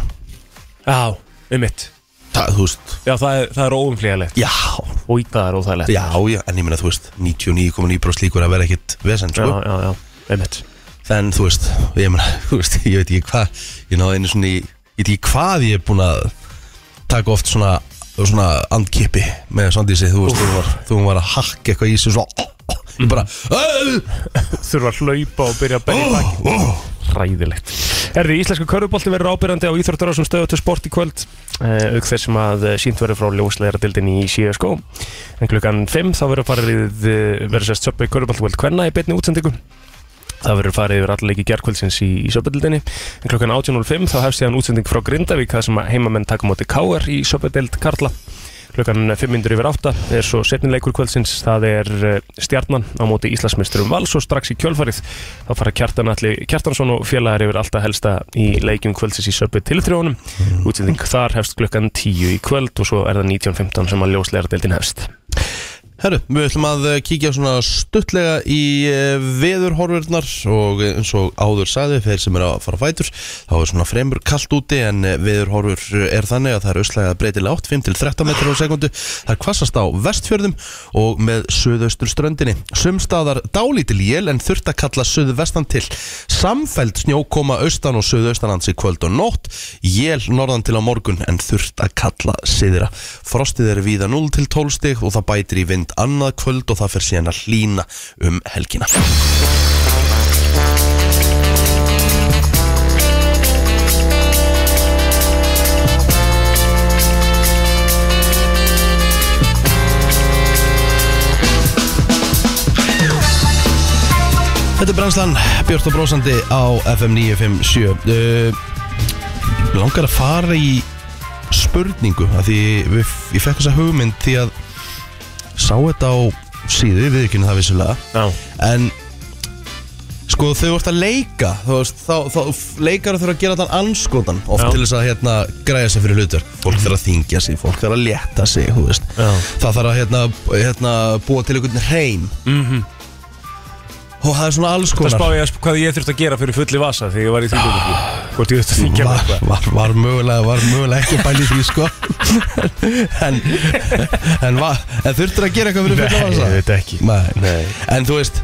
C: Já, um mitt
B: það, þú veist,
C: Já, það er, það er óumflýjalegt
B: já,
C: Og í það er óþægilegt
B: já, já en ég meina, þú veist 99,9% líkur að vera ekkit vesen sko
C: já, já, já, um mitt
B: En þú veist, ég meina, þú veist, ég veit ekki hvað Ég náði einu svona í, ég veit ekki hvað ég er búin að taka oft svona, svona andkipi með Sandísi, þú veist, þú var, þú var að hakka eitthvað í sig svo Ég bara, "Æ,
C: Þurfa að hlaupa og byrja að berja í
B: ó,
C: baki
B: ó."
C: Ræðilegt Herði, íslensku körfubolti verður ábyrjandi á íþróttur á sem stöðu til sport í kvöld uh, auk þess sem að eh, sínt verður frá ljósleira dildin í CSGO en klukkan 5 þá verður farið eh, verður sérst söpbi körfubolti kvöld hvenna í beinni útsendingu Það verður farið yfir alla leiki gerkvöldsins í, í söpbildinni en klukkan 18.05 þá hefst síðan útsending frá Grindavík það sem að heimamenn taka á móti KR í söpbild Karla Klukkan 5 mindur yfir 8 er svo setnileikur kvöldsins, það er eh, stjarnan á móti Íslandsmeisturum Vals og strax í kjölfarið þá fara Kjartan Alli Kjartansson og félagar yfir alltaf helsta í leikjum kvöldsins í söpbu tilþrjónum. Útsending þar hefst klukkan 10 í kvöld og svo er það 19.15 sem að ljósleira deildin hefst.
B: Herru, við ætlum að eh, kíkja svona stuttlega í eh, veðurhorfurnar og eh, eins og áður sagði þeir sem eru að fara á fætur þá er svona fremur kallt úti en eh, veðurhorfur er þannig að það er auslæga breytilega 8, 5 til 13 metrar á sekundu það er hvassast á vestfjörðum og með suðaustur ströndinni sumstaðar dálítil jél en þurft að kalla suðvestan til samfæld snjókoma austan og suðaustanlands í kvöld og nótt jél norðan til á morgun en þurft að kalla siðra frostið er víða 0 til 12 stig og það bætir í vind annað kvöld og það fer síðan að hlína um helgina Þetta er Branslan, Björn og Brósandi á FM 957 uh, Langar að fara í spurningu að Því við, ég fekk þessa hugmynd því að Sá þetta á síðu, við ekki það vissulega
C: Já,
B: En sko þau vart að leika þú veist, þá, þá leikar þurfa að gera þann anskotan oft
C: Já.
B: til þess að hérna, græja sig fyrir hlutur fólk þarf að þingja sig, fólk þarf að létta sig þú veist.
C: Já.
B: það þarf að hérna, hérna, búa til einhvern hreim og það er svona alls
C: Mhm. það
B: konar
C: spá ég að sp- hvað ég þurfti að gera fyrir fulli vasa þegar ég var í þingum Hvort ég þurfti að þingja með
B: var,
C: eitthvað
B: var, var mögulega var mögulega ekki að bæli því sko en, en, va, en þurftur að gera eitthvað fyrir fulla vasa
C: veit ekki
B: Nei.
C: Nei.
B: En þú veist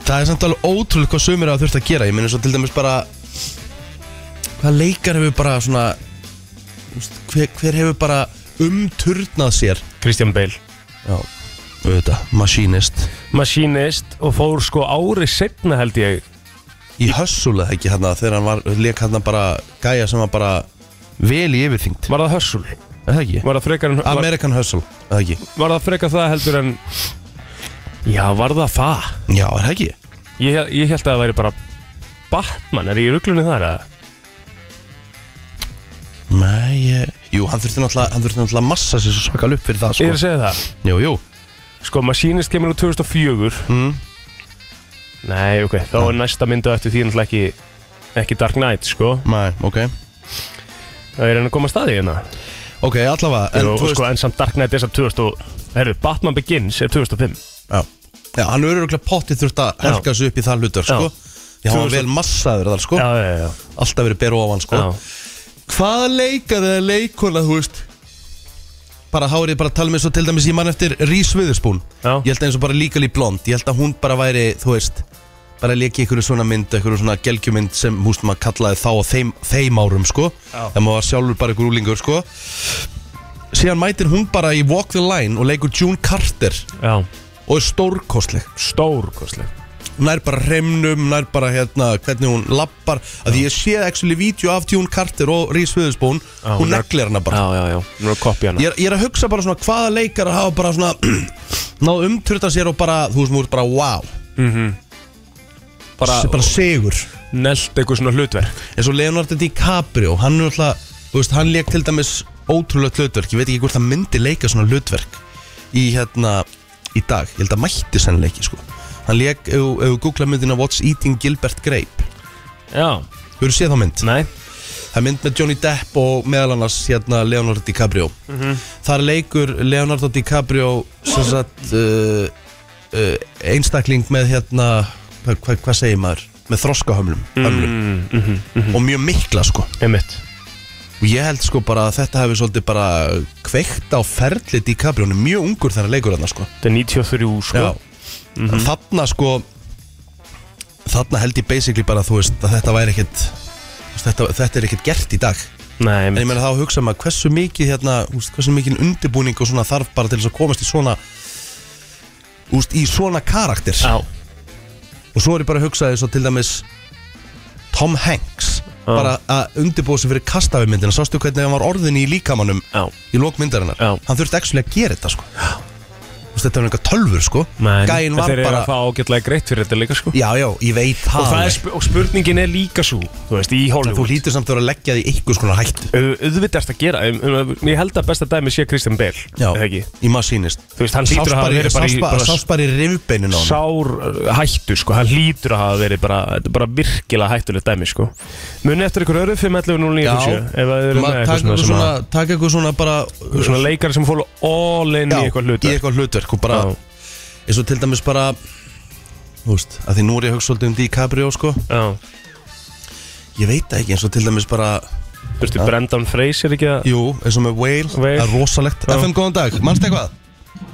B: Það er samt alveg ótrúlega hvað sumir að þurft að gera Ég meni svo til dæmis bara Hvað leikar hefur bara svona þú veist, hver, hver hefur bara umturnað sér
C: Kristján Bale
B: Já Auðvitað, masínist
C: Machinist og fór sko ári setna held ég
B: Ég hössula það ekki hérna þegar hann var Leik hérna bara gæja sem var bara Vel í yfirþyngd
C: Var það hörsul?
B: Er það ekki?
C: Var það frekar, en, var,
B: American Hustle Er það ekki?
C: var það, frekar það heldur en Já, var það það?
B: Já, er það ekki?
C: Ég, ég held að það væri bara Batman, er ég í ruglunni þar að
B: Nei, ég... Jú, hann þurfti náttúrulega Hann þurfti náttúrulega að massa sér svo svakal upp fyrir það
C: Ég er að
B: sko.
C: segja það
B: Jú, jú
C: Sko, Machinist kemur úr 2004
B: mm.
C: Nei, ok, þá er næsta myndu eftir því náttúrulega ekki ekki Dark Knight, sko
B: Nei, ok
C: Það er hann að koma að staði hérna
B: Ok, allavega
C: en,
B: þú
C: og, sko, en samt Dark Knight er samt 2000 og- Herru, Batman Begins er 2005
B: Já, já hann verður okkur pottið þurft að helga sig upp í það hlutur sko. Já, hann var vel massaður þar sko
C: Já, já, já,
B: Alltaf verið beru ofan sko
C: já.
B: Hvaða leikar eða leikona, þú veist Bara hárið bara að tala með svo til dæmis Ég man eftir Rís Viðurspún
C: Já.
B: Ég held að eins og bara líka líf blond Ég held að hún bara væri, þú veist Bara leiki ykkur svona mynd, ykkur svona gelgjumynd sem húst maður kallaði þá á þeim, þeim árum sko
C: Já.
B: En maður var sjálfur bara ykkur úlingur sko Síðan mætir hún bara í Walk the Line og leikur June Carter
C: já.
B: og er stórkostleg
C: Stór, kostleg
B: Hún nær bara hremnum, nær bara hérna hvernig hún lappar, að því ég sé actually vídeo af Tjón Carter og Rís Viðusbón
C: Já,
B: hún
C: hún er-
B: neglir hana bara
C: Já, já, já, nú er að kopja hana
B: ég er, ég er að hugsa bara svona hvaða leikar hafa bara svona náðu umturta sér og bara þú veist múið bara wow bara, bara sigur
C: Nelt eitthvað svona hlutverk
B: eins og Leonardo DiCaprio hann er alltaf, þú veist, hann leik til dæmis ótrúlega hlutverk, ég veit ekki hvort það myndi leika svona hlutverk í hérna, í dag, ég held að mætti sennleiki sko, hann leik ef ef þú googla myndina What's Eating Gilbert Grape
C: Já,
B: Þú eru séð þá mynd?
C: nei
B: Það er mynd með Johnny Depp og meðal annars hérna Leonardo DiCaprio Þar leikur Leonardo DiCaprio sem sagt uh, uh, einstakling með hérna hvað hva, hvað segir maður? Með þroskahömlum hömlum, og mjög mikla sko
C: Einmitt
B: og ég held sko bara að þetta hefur svolítið bara kveikt á ferli DiCaprio hann er mjög ungur þegar hann leikur þarna sko
C: Þetta er 93, sko
B: Já Þarna sko Þarna held ég basically bara þú veist að þetta væri ekkit þú veist, þetta, þetta er ekkit gert í dag
C: Nei,
B: En ég
C: einmitt
B: meina þá hugsa maður hversu mikið hérna, úst, hversu mikið undirbúning og svona þarf bara til þess að komast í svona úst, í svona karakter
C: Já,
B: og svo er ég bara að hugsa þess að til dæmis Tom Hanks bara að undirbúa sig fyrir kastafimyndina sástu hvernig hann var orðin í líkamannum
C: já
B: í lók myndarinnar
C: Já.
B: hann þurfti ekki að gera þetta sko Úst, þetta var einhver tölfur sko
C: Men,
B: gæinn var
C: Þeir eru
B: bara
C: að fá ágætlega greitt fyrir þetta líka, sko
B: Já, já, ég veit það,
C: Og, það er,
B: alveg.
C: sp- og spurningin er líka svo Þú veist, í
B: Þú
C: Hollywood
B: hlýtur samt að vera að leggja því einhvers konar hættu
C: Au- Auðvitað erst að gera um, um, Ég held að besta dæmi sé Kristján Bale eða ekki?
B: í maður sýnist
C: Þú veist, hann
B: Sást
C: hlýtur að hafa
B: bara í-
C: verið bara í
B: sást bara-
C: bara
B: sást bara í rifbeinin á hann
C: sár uh, hættu sko, hann hlýtur að hafa verið bara, þetta er bara virkilega hættulegt dæmi sko. Muni eftir ykkur öru 5.11.09.7 ef að þið eru með
B: maður
C: eitthvað
B: taka eitthvað
C: svona, svona,
B: svona, taka eitthvað svona bara
C: svona, leikari sem fólu all in
B: já,
C: í eitthvað hluta
B: í eitthvað hlutverk og bara,
C: Já.
B: eins og til dæmis bara þú veist, að því nú er ég að hugsa svolítið um DiCaprio sko,
C: Já,
B: ég veit það ekki eins og til dæmis bara,
C: þurftu Brendan Fraser ekki að
B: jú, eins og með Whale,
C: Whale.
B: það er rosalegt,
C: Já.
B: FM góðan dag, mannstu eitthvað?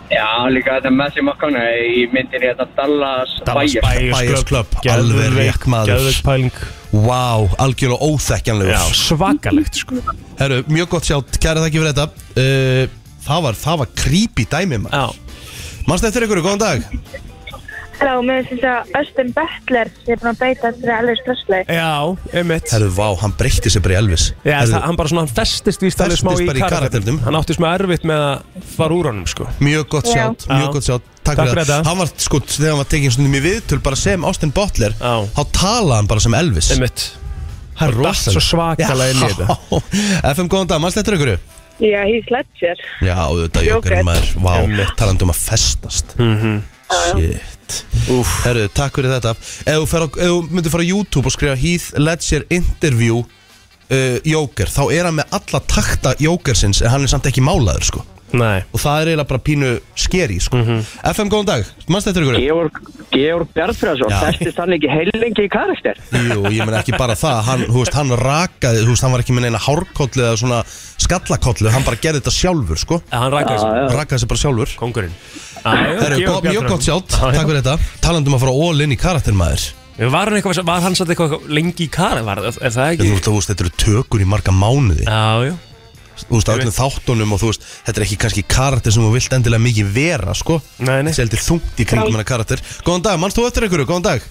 F: Já, líka þetta Messi makkana í myndinni þetta Dallas,
C: Dallas
F: Bæjar.
B: Bæjars
C: Bæjars
B: Club,
C: Club,
B: alveg rétt, maður.
C: Gæðveg pæling
B: Vá, wow, algjörlega óþekkjanlegur
C: Já, svakalegt sko
B: Herru, mjög gott sjátt, kæra þakki fyrir þetta Eh, uh, Það var, það var creepy dæmi maður
C: Já,
B: Manstu eftir ykkur, góðan dag
G: Já, mér finnst að Östin Bettler er búin að beita eftir Elvis Presley.
C: Já, einmitt
B: Herru, vá, hann breytti sér bara í Elvis
C: Já,
B: Herru,
C: það, hann bara svona, hann festist víst alveg smá
B: Festist
C: í
B: bara í
C: karakternum
B: karakternum.
C: Hann átti smá erfitt með að fara úr honum, sko
B: Mjög gott
G: Já.
B: sjátt, mjög
C: Já.
B: gott sjátt Takk,
C: Takk
B: fyrir
C: fyrir þetta.
B: það Hann var, sko, þegar hann var tekinn svona í viðtöl bara sem Austin Butler
C: Já.
B: þá talaði hann bara sem Elvis
C: Einmitt
B: Það er
C: Og datt svo svakalega inn í
B: þetta FM, góðan dag, maður slettur ykkur upp?
G: Já, Heath Ledger.
B: Já, auðvitað, jokkar
G: Joker.
B: maður Vá,
C: Einmitt. Mhm.
B: talandi um að festast Shit Herru, takk fyrir þetta Ef þú fer á- ef þú myndir fara á YouTube og skrifa Heath Ledger interview uh, Joker, þá er hann með alla takta Jokersins en hann er samt ekki málaður, sko
C: Nei,
B: og það er eiginlega bara pínu skeri sko.
C: Mhm.
B: FM, góðan dag, mannst þetta ykkur?
F: Georg, Georg Bjarnfræðsson,
B: Já.
F: festist hann ekki heilengi í karakter?
B: Jú, ég menn ekki bara það hann, þú veist, hann rakaði, þú veist, hann var ekki með neina hárkollu eða svona skallakollu hann bara gerði þetta sjálfur, sko
C: að hann rækkaði sig
B: rakaði sér bara sjálfur
C: Kongurinn
B: Það eru gott- mjög gott sjátt, takk fyrir þetta talandum að fara all in í karaktermaður
C: Var hann eitthvað, var hann satt eitthvað lengi í kara, var það, er
B: þú
C: það ekki?
B: veist, þú veist, þetta eru tökur í marga mánuði
C: Já, já
B: þú veist, á öllum þáttunum og þú veist, þetta er ekki kannski karakter sem þú vilt endilega mikið vera, sko
C: Nei, nei.
B: seldi þungt í kringum hennar karakter Góðan dag, mannst þú eftir ykkur, góðan dag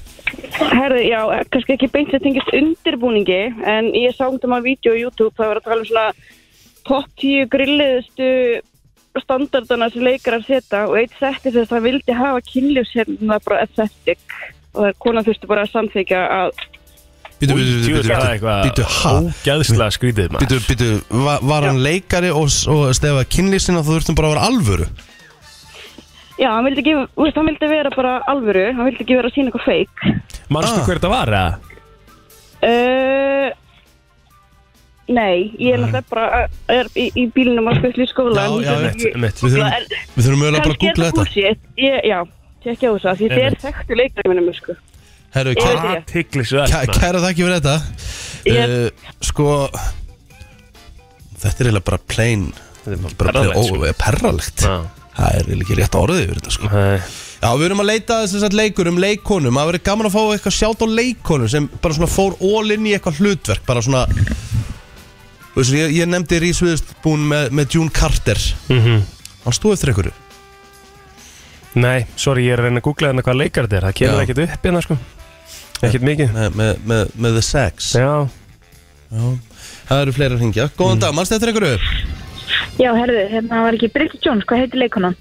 H: Herðu, já, kannski ekki beint að tengist undirbúningi, en ég sá um þetta á vídeo á YouTube, það var að tala um svona topp 10 grilliðustu standardana sem leikarar setja og eitt setti þess að hann vildi hafa kynljus hérna bara aesthetic og það konan þurfti bara að samþykja að
B: Býtu,
C: Új,
B: býtu,
C: djú,
B: býtu,
C: það er
B: býtu,
C: eitthvað
B: býtu, ha?
C: Ógæðslega skrítið maður
B: Býtu, býtu, var, var hann leikari og, og stefaði kynlýsina þú þurftum bara að vera alvöru?
H: já, hann vildi ekki, þú veist, hann vildi vera bara alvöru, hann vildi ekki vera að sína eitthvað feik
C: Manstu
B: Ah.
C: hver þetta var, eða?
H: uh, Nei, ég er náttúrulega bara er í, í bílunum að skutla í skóla
B: Já, já,
C: einmitt, einmitt.
B: Við þurfum,
H: En-
B: við þurfum mögulega bara að
H: Kannski er
B: googla
H: það
B: þetta
H: bullshit, ég, já, tekja á þessu af því þetta er
C: Einmitt.
H: þekktu leikarinnum sko.
B: Herru,
H: Ég
B: kæra,
H: veit ekki.
C: Tigglisverð
B: kæra,
C: maður.
B: kæra þakki fyrir þetta
H: Ég-
B: uh, Sko Þetta er eiginlega bara plain
C: Þetta er
B: bara
C: perralegt, sko.
B: plain ó, perralegt
C: Já.
B: Það er eiginlega ekki rétt orðið yfir þetta sko
C: Nei.
B: Já, við erum að leita að þessar leikur um leikonum Það verður gaman að fá eitthvað sjátt á leikonum sem bara svona fór all in í eitthvað hlutverk bara svona Þú veist, ég, ég nefndi Rís Viðustbún með, með June Carter mm -hmm. Hann stóð eftir einhverju
C: Nei, sorry, ég er að reyna að googla hérna hvað leikar þetta er Það kemur
B: Já.
C: ekkert upp hérna, sko Ekkert mikið
B: með, með, með, með The Sex
C: Já, Mm.
B: Það eru fleiri að hringja Góðan dag, mannstu eftir einhverju?
G: Já, herðu, hérna var ekki Bridget Jones, hvað heitir leikonan?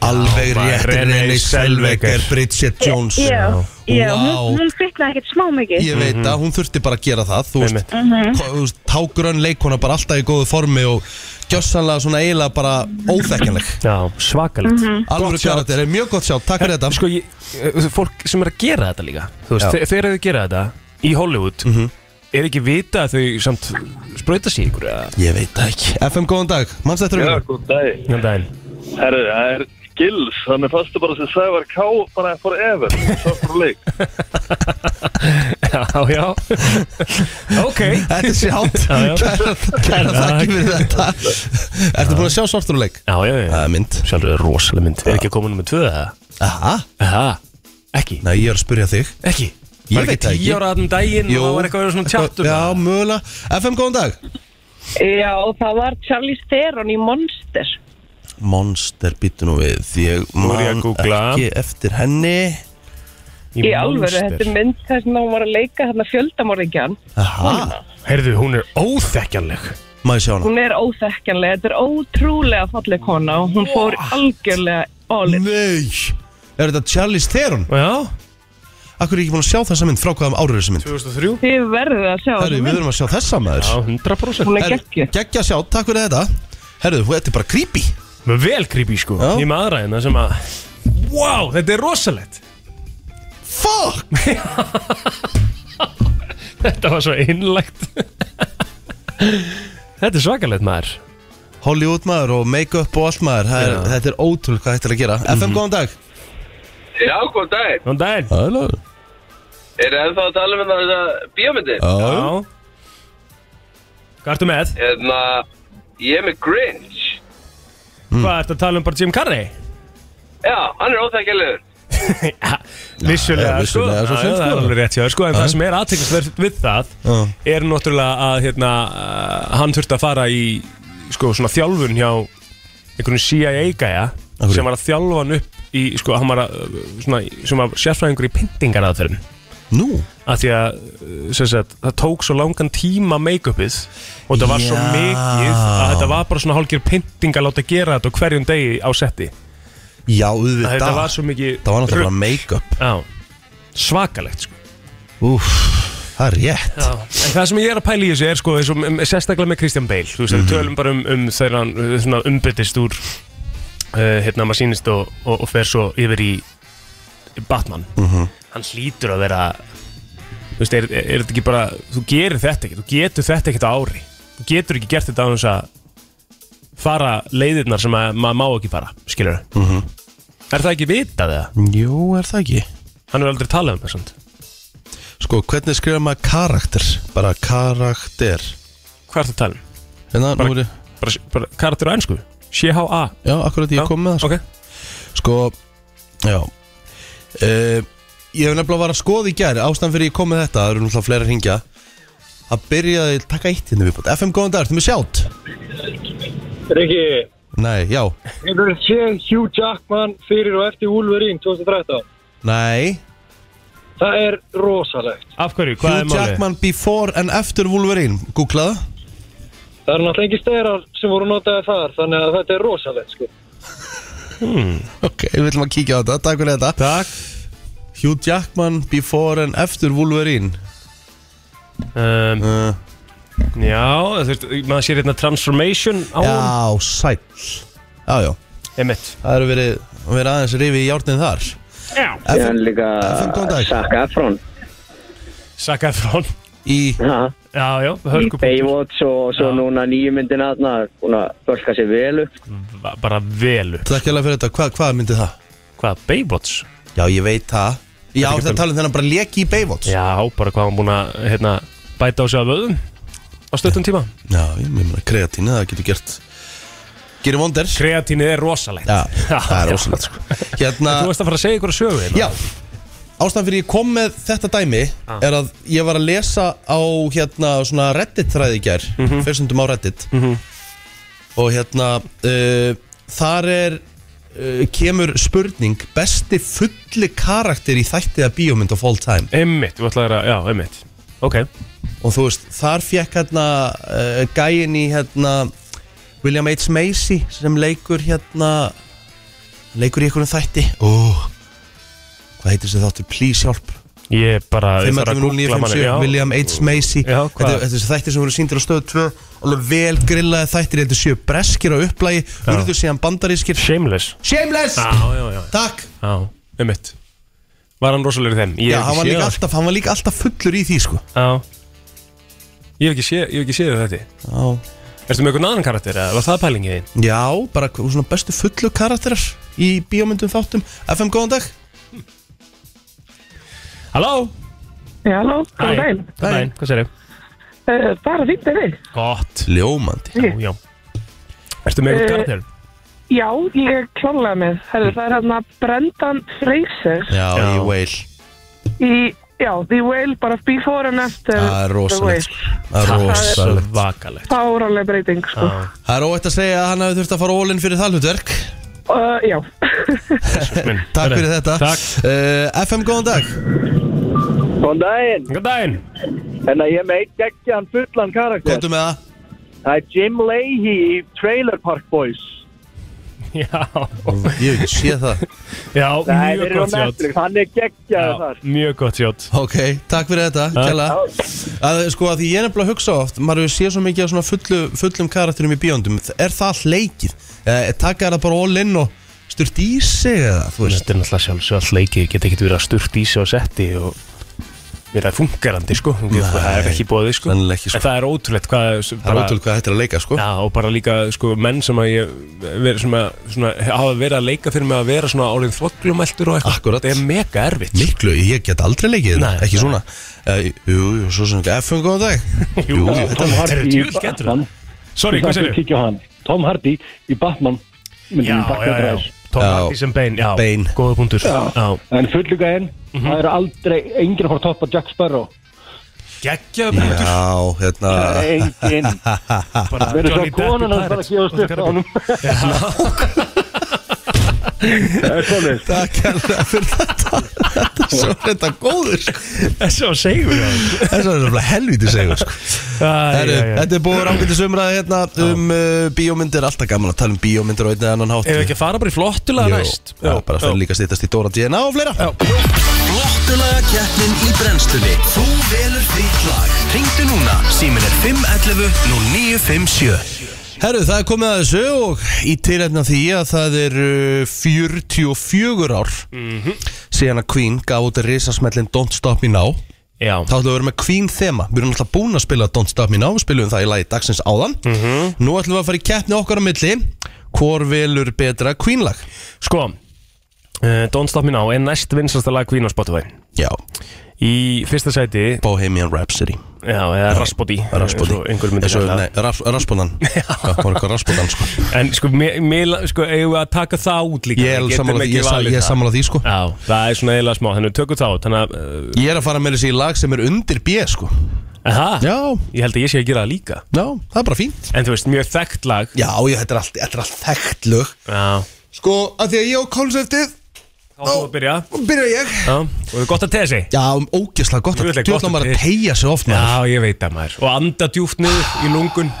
B: Alveg
C: maður,
B: rétt,
C: Renée
B: Renée Selveger,
C: Zellweger.
B: Bridget Jones
G: Já, já,
B: Vá.
G: hún, hún kviknaði ekkert smá mikið.
B: Ég veit að hún þurfti bara að gera það Þú veist,
C: Mhm. einmitt
G: Mhm.
B: ko- þú veist tágrönn leikona bara alltaf í góðu formi og gjössanlega svona eiginlega bara óþekkanleg
G: Mhm.
C: Já, svakalegt
B: Alvöru karakter, er mjög gott sjátt, takk fyrir þetta
C: Sko, ég, eh, fólk sem er að gera þetta líka Þú veist,
B: Já. Mhm.
C: þe- þegar þau gera þetta í Hollywood Er ekki vita að þau samt sprauta sér ykkur eða?
B: Ég veit það ekki FM, góðan dag, mannstættur
I: Já,
B: ykkur
I: góð dag.
C: Þann daginn
I: Herri, það er skills, hann er fastu bara sem Sævar K. bara forever, svo fyrir leik.
C: Já, já Ok
B: Þetta er sjátt,
C: Já, já.
B: kæra, kæra þakki fyrir þetta Ertu búin að sjá svarturuleik?
C: Já, já, já
B: Það er mynd
C: Sjálfur er rosalega mynd Er ekki að koma nummið tvö eða?
B: Aha,
C: Aha Ekki
B: nei ég er að spurja þig
C: Ekki
B: Ég
C: Var
B: veit það
C: ekki
B: ekki.
C: tíu ára aðnum um daginn og það var eitthvað að vera svona tjátt um
B: Já,
C: það.
B: mögulega FM, góðan dag
H: Já, það var Charlize Theron í Monster
B: Monster býttu nú við Ég
C: er ég að
B: man
C: googla.
B: ekki eftir henni
C: Í
H: Í alvöru,
C: Monster.
H: þetta er mynd þess að hún var að leika hérna fjöldamorðingjan
B: Aha,
C: Heyrðu, hún er óþekkjanleg
B: maður sjá hana
H: Hún er óþekkanlega, þetta er ótrúlega falleg kona og hún fór algjörlega
B: Mm.
H: all in
B: Nei, er þetta Charlize Theron?
C: Já
B: Akkur er ég ekki búin að sjá þessa mynd, frá hvaðum árið þessi mynd
C: 2003
H: Þið verðið að sjá
B: Herri,
H: þessa
B: við
H: mynd,
B: erum að sjá þessa maður
C: Já, 100%
H: hún er geggju
B: Gekkja sjá, takk fyrir þetta Herru, þetta er bara creepy
C: Með vel creepy sko
B: Já.
C: Ég með aðra hérna sem að Wow, þetta er rosalegt
B: Fuck
C: Þetta var svo innlegt Þetta er svakalegt maður
B: Hollywood maður og make-up og allt maður Her,
C: Já.
B: Þetta er ótrúlega hvað þetta er að gera FM, góðan dag
I: Já, góð dag.
C: Góðan daginn
B: Hello.
I: Er það ennþá að tala um þessa bíómyndi?
B: Já.
C: Já Hvað ertu með?
I: Hérna, ég er með Grinch.
C: Hvað ertu að tala um bara Jim Carrey?
I: Já, hann er óþækjalegur.
C: Ja, vissulega
B: já, vissulega,
C: sko
B: svo sem,
C: Já, já, Það er
B: sko.
C: alveg rétt hjá þér, sko En það sem er aðteknisverð við það
B: Já.
C: Er náttúrulega að hérna uh, Hann þurfti að fara í Sko svona þjálfun hjá Einhvern CIA gæja
B: Af hverju?
C: Sem var að þjálfa hann upp í, sko, hann var að, uh, svona, í- sem var sérfræðingur í pyntingaraðferðin
B: Nú
C: að því að uh, sem sagt, það tók svo langan tíma make-upið og það var svo
B: Já.
C: mikið að þetta var bara svona hálfgjör pynting að láta gera þetta á hverjum degi á setti
B: Já,
C: að
B: auðvitað
C: þetta var svo mikið
B: Það var náttúrulega bara make-up
C: já, svakalegt sko.
B: Úf, það er rétt
C: en það sem ég er að pæla í þessu er sko, eins og, um, sérstaklega með Christian Bale þú veist, mm við tölum bara um, um þegar hann uh, svona umbyttist úr uh, hérna maður sýnist og, og, og fer svo yfir í Batman hann hlýtur að vera þú veist, er, er, er þetta ekki bara þú gerir þetta ekki, þú getur þetta ekki á ári þú getur ekki gert þetta á þess að fara leiðirnar sem að maður má ekki fara, skilur
B: Mhm.
C: er það ekki vitað eða?
B: Jú, er það ekki
C: hann er aldrei talað um það samt.
B: Sko, hvernig skrifa maður karakter? Bara karakter
C: hvað er það að tala um?
B: Hérna, nú er ég
C: bara, bara karakter á ennsku CHA
B: Já, akkurat ég kom með það sko.
C: ok
B: Sko, já uh, Ég hef nefnilega var að skoða í gær Ástæðan fyrir ég kom með þetta, það eru náttúrulega fleiri að hringja Að byrjaði, taka eitt hérna viðbútt FM, góðan dag, ertu með sjátt?
J: Rikki,
B: Nei, já
J: hefur þið séð Hugh Jackman fyrir og eftir Wolverine 2013?
B: Nei,
J: Það er rosalegt.
C: af hverju hvað
B: Hugh
C: er málið
B: Jackman before and after Wolverine Googlaðu
J: Það eru náttúrulega engin steirar sem voru notaði þar, þannig að þetta er rosalegt, sko.
B: Ok, við ætlum að kíkja á þetta, takk fyrir þetta
C: takk
B: Hugh Jackman before and after Wolverine
C: um,
B: uh,
C: já þú veist maður sér hérna transformation á hann
B: Já, sæll Já, já,
C: emitt
B: það eru verið, verið aðeins rifið í járnið þar
F: Ég hann líka
B: FM, góðan dag.
F: Zac Efron
C: Zac Efron
B: Í,
F: Ha,
C: já já
F: Í
C: hörku
F: Baywatch og svo núna nýju myndina þarna Búin að bölka sér vel upp
C: bara velu
B: takk hérlega fyrir þetta, Hva, hvað myndi það?
C: hvað Baywatch
B: Já, ég veit það Já, það talið þennan bara leki í Baywatch
C: já bara hvað hann búin að hérna bæta á sig að vöðum á stöttum tíma
B: Já, ég meina kreatínu, það getur gert Gerir vonders Já,
C: kreatínið er rosalegt
B: það er rosalegt sko Hérna,
C: þú veist að fara að segja ykkur að sögu hérna
B: já Ástæðan fyrir ég kom með þetta dæmi er að ég var að lesa á hérna svona Reddit þræði í gær mm -hmm. á Reddit og hérna uh, þar er uh, kemur spurning besti fulli karakter í þættið að bíómynd of all time
C: emitt þú ætlaði að já emitt ok
B: og þú veist, þar fekk hérna uh, gæin í hérna William H. Macy sem leikur hérna leikur í einhvern þætti Ó, hvað heitir þessi þáttur? Please hjálp
C: ég bara ég þarf að googla manni.
B: 5.957,
C: Já.
B: William H. Macy
C: Já, hvað?
B: þetta, þetta er þessi þættir sem voru sýndir á stöðu 2 alveg vel grillaði þættir þetta séu breskir á upplægi urðu síðan bandarískir
C: shameless
B: Shameless!
C: já já já
B: Takk!
C: Já, um mitt Var hann rosalegur í þeim? Ég
B: Já, hann
C: hef ekki
B: var,
C: séð
B: líka alltaf, hann var líka alltaf fullur í því sko
C: Já Ég hef ekki séð, ég hef ekki séð þetta
B: Já,
C: Ertu með einhvern annan karakter eða var það pælingið þín?
B: Já, bara k- svona bestu fullu karakterar í bíómyndum þáttum FM, góðan dag
C: Halló?
H: Já, halló,
C: Hæ.
H: góðan daginn.
C: Góðan daginn, hvað sér ég?
H: Uh, bara fínt að þig.
C: Gott
B: Ljómandi
C: Já, já Ertu með einhvern karakter?
H: Já, ég er klálega með. Herðu, það er hérna Brendan Fraser
B: Já,
C: Já.
B: í Whale
H: í, já, The Whale, bara before and after
B: Það er
H: The
B: rosalegt
H: Whale.
B: sko. Það er rosalegt
C: Svakalegt
H: Fárálega breyting, sko.
C: Já.
B: Það er óætt að segja að hann hafi þurft að fara ólinn fyrir það hlutverk
H: Uh, já.
C: Minn.
B: Takk fyrir
C: Herre,
B: þetta
C: Takk
B: Eh, FM, góðan dag
J: Góðan daginn,
C: Góðan daginn
J: en ég er með eitt geggjan fullan karakter.
B: Kóttu með það
J: Það er Jim Leahy í Trailer Park Boys.
C: Já
B: Ég hef ekki séð það
C: Já,
J: Nei, þeir
C: mjög
J: eru á
C: gott sjátt
J: Netflix, hann er geggjaður
C: Já,
J: þar.
C: mjög gott sjátt
B: Ok, takk fyrir þetta, kjalla að, Sko, að því ég er nefnilega að hugsa oft Maður hefur séð svo mikið af svona fullu, fullum karakterum í bíómyndum Er það allt leikið? Eh, Taka það bara ólinn og styrt í sig eða, þú veist
C: Þetta er náttúrulega sjálfsögall leiki Ég get ekki verið að sturt í sig á setti og vera fungerandi sko Það er ekki bóðið sko
B: Sennilega ekki, sko.
C: En það er ótrúlegt hvað
B: Það er ótrúlega hvað þetta er að leika, sko
C: Já, og bara líka sko, menn sem að ég veri, sem að, svona, hafa verið að leika fyrir mig að vera svona álinn þvoglumæltur og eitthvað
B: Akkurat.
C: Það er mega erfitt
B: Miklu, ég get aldrei leikið þetta,
C: Nei,
B: ekki
C: nei.
B: svona uh, Jú, jú, svo sem ekki, FN, góðan dag Jú, þetta
C: Tom
B: er
C: Hardy er djúl getur það Sorry, hvað segir
J: kíkja á hann. Tom Hardy í Batman.
C: Já, já, já Tom
B: Já.
C: Hardy sem bein, já,
B: Bane.
C: góða punktur
J: Já.
C: já.
J: En fullu gæinn,
I: Mhm.
J: það eru aldrei, enginn að fara að toppa Jack Sparrow.
C: Geggjaður punktur
B: Já, hérna
J: Enginn.
C: bara
J: Verður svo
C: Johnny Depp í
J: konan að fara að
C: Pirates.
J: gefa stöfn á honum.
I: Það er svolítið
B: Takk hérlega fyrir þetta Þetta er svo reynda góður sko.
C: Þessi var segur
B: Þetta er svo helvítið segur sko. Herru,
C: Ef
B: Þetta er búið rámgættis umræði hérna um uh, bíómyndir Alltaf gaman að tala um bíómyndir á einn eða annan hátt
C: við ekki að fara bara í flottulega
B: Jú,
C: næst
B: það er bara að fyrir líka að stýttast í Dóra DNA og fleira
E: Flottulaga keppnin í brennslunni Þú velur þitt lag Ringdu núna, símin er 511 0957
B: Herru, það er komið að þessu og í tilhætna því að það er uh, 44 ár
E: Mhm.
B: síðan að Queen gaf út risasmellin Don't Stop Me Now
C: Já,
B: Þá ætlum við að vera með Queen þema Við erum alltaf búin að spila Don't Stop Me Now Við spilum það í lagi dagsins áðan Nú ætlum við að fara í keppni okkar á milli Hvor velur betra Queen lag?
C: sko uh, Don't Stop Me Now er næst vinsasta lag Queen á Spotify
B: Já,
C: Í fyrsta sæti
B: Bohemian Rhapsody Eh,
C: Já, eða Raspody
B: Raspody
C: eins og einhver myndi
B: Eins og-
C: kalla það.
B: Nei, ras, Raspodan Það var eitthvað Raspodan sko
C: En sko, mér, mér, sko, eigum við að taka það út líka
B: Ég er
C: Við getum
B: sammála því,
C: ekki
B: ég, sa-
C: valið
B: ég er
C: það.
B: sammála því sko
C: Já, það er svona eiginlega smá, þannig við tökum það út Þannig að, uh,
B: Ég er að fara með þessi í lag sem er undir B sko
C: aha,
B: Já,
C: ég held að ég sé að gera það líka
B: já, það er bara fínt
C: En þú veist, mjög þekkt lag
B: Já, ég, þetta er allt, þetta er allt þekkt lög
C: Já,
B: Sko, að því að ég á konseptið
C: þá þú að byrja
B: Byrja ég
C: Já, og það er gott að tegja sig
B: Já, um ógæslega gott
C: Jú, þetta er
B: Þú
C: gott
B: ætlum
C: að
B: bara að tegja sig oft
C: Já,
B: maður
C: ég veit það maður Og anda djúft niður í lungun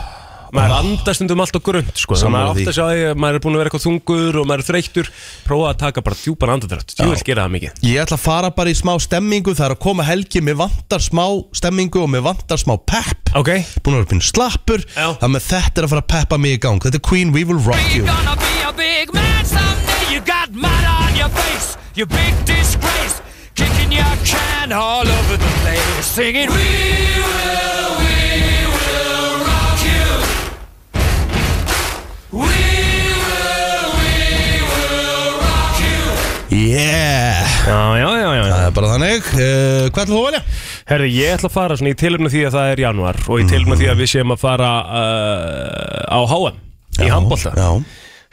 C: Maður andast undum allt á grund, sko Þannig að
B: Sammála
C: maður
B: því.
C: átt að sjá því að maður er búin að vera eitthvað þungur og maður er þreyttur Prófa að taka bara djúpan andadrætt Ég vil gera það mikið
B: Ég ætla að fara bara í smá stemmingu Það er að koma helgi, mér vantar smá stemmingu Og mér vantar smá pepp
C: Ok,
B: Búin að vera pínu slappur
C: Já.
B: Það með þetta er að fara að peppa mig í gang Þetta er Queen, We Will Rock You
K: gonna be a big man someday. You got mud on your face, you big disgrace. Kicking your can all over the place, singing, We will, we will rock you. We will, we will rock you.
B: Yeah
C: já, já, já, já
B: Það er bara þannig uh, Hvað ætlum þú að velja?
C: Herri, ég ætla að fara svona í tilumna því að það er januar og í
B: Mhm.
C: tilumna því að við séum að fara uh, á HM í handbólta
B: Já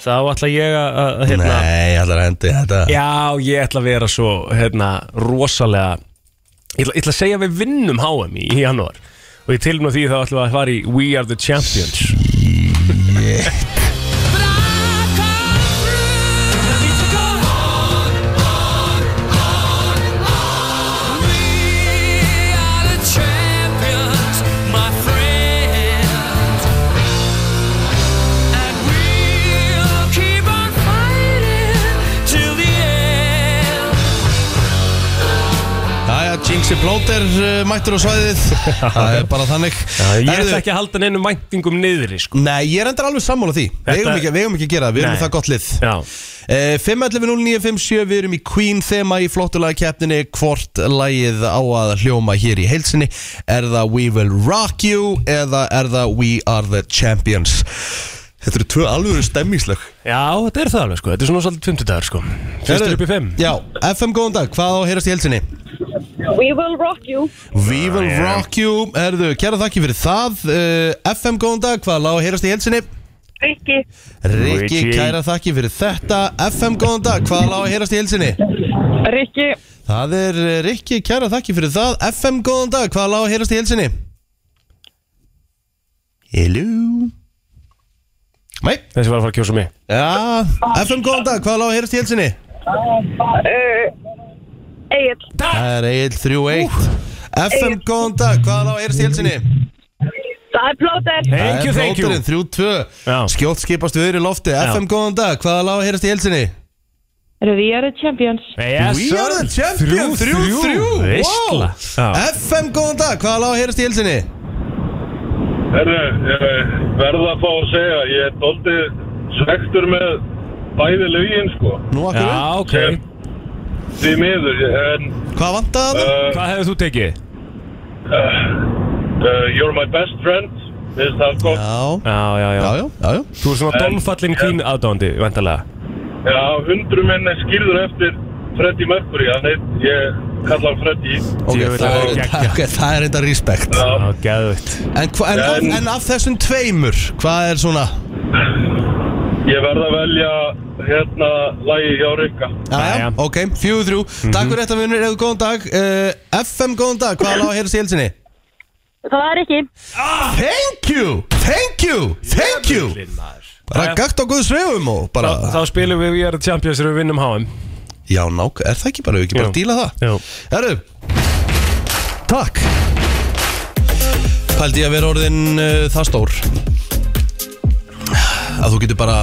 C: þá ætla ég að, að hérna,
B: Nei, ég ætla að hendi þetta
C: já, ég ætla að vera svo hérna, rosalega ég ætla, ég ætla að segja að við vinnum HM í, í januar og í tilumna því þá ætla að fara í We are the champions
K: But I come through. No need to go on, on, on, on. We are the champions, my friends. And we'll keep on fighting till the end.
B: Jæja, Jinxi Plóter uh, mættur á svæðið Það er bara þannig
C: ég
B: Herðu,
C: ætla ekki að halda neinum væntingum niðri sko.
B: Nei, ég er endur alveg sammála því
C: Þetta-
B: Við eigum ekki, við eigum ekki að gera það, við erum
C: Nei.
B: með það gott lið
C: já,
B: Eh, 5.11.09.57 Við erum í Queen þema í flottulega keppninni Hvort lagið á að hljóma hér í heilsinni Er það We Will Rock You Eða er það We Are The Champions Þetta eru tvö alvöru stemmingslög
C: já, þetta er það alveg sko. þetta er svona svolítið 50 dagar sko. fyrstur upp í 5
B: Já, FM góðan dag, hvað á að heyrast í heilsinni?
H: We will rock you
B: We Will Rock You Erðu, kæra þakki fyrir það uh, FM góðan dag, hvað á að heyrast í heilsinni?
G: Rikki,
B: Rikki,
C: Rikki.
B: kæra þakki fyrir þetta FM góðan dag, hvað á að heyrast í heilsinni?
H: Rikki,
B: Það er eh, Rikki, kæra þakki fyrir það FM, góðan dag, hvað lág að heyrast í helsinni? Hello Nei,
C: þessi var að fara að kjósa mig
B: já FM, góðan dag, hvað lág að heyrast í helsinni?
G: Egil,
B: Það er Egil 31 FM, góðan dag, hvað lág að heyrast í helsinni?
G: það er plóter,
C: thank you, thank you
B: 32,
C: Já.
B: skjótt skipast við öðru í lofti FM, góðan dag, hvað lág að heyrast í helsinni?
H: we are the champions
C: Yes,
B: We are the champion, 3-3
C: Veistla Já.
B: FM, góðan dag, hvað lág að heyrast í helsinni?
I: Herru, ég verða að fá að segja, ég er doldið svektur með bæði lögin, sko.
B: Nú, akkur
C: Já, ok
I: Því miður, en
B: Hvað vantaði það?
I: uh,
C: Hvað hefur þú tekið?
I: uh, You're my best friend, finnst það gott.
B: Já,
C: Já, já, já
B: já, já, já, já.
C: Þú er svona dolfallin kvín aðdándi, vandalega
I: Já, hundru minni skýrður eftir Freddy Mercury, hann heit, ég kalla hann Freddy.
B: Ok,
C: Djöfull,
B: það
C: það
B: er
C: er
B: enda-
C: geggjað.
B: ok, það er enda respekt
C: Já, geðvitt
B: en, hva, en, en,
I: En-
B: en af þessum tveimur, hvað er svona
I: Ég verða að velja hérna lagi hjá Rikka.
B: Jæja,
C: Jæja.
B: ok, fjögur þrjú Takk fyrir þetta vinnur, eða góðan dag uh, FM góðan dag, hvað er lág að heyra sélsinni?
G: það er Rikki,
B: Thank you, thank you, thank you bara gagt á guðs vegum og bara
C: Þá, þá spilum við við erum champions þegar við vinnum HM
B: Já, nák, er það ekki bara, við ekki bara
C: Jú.
B: að díla það
C: Jú.
B: Herru Takk Pældi ég að vera orðin uh, það stór að þú getur bara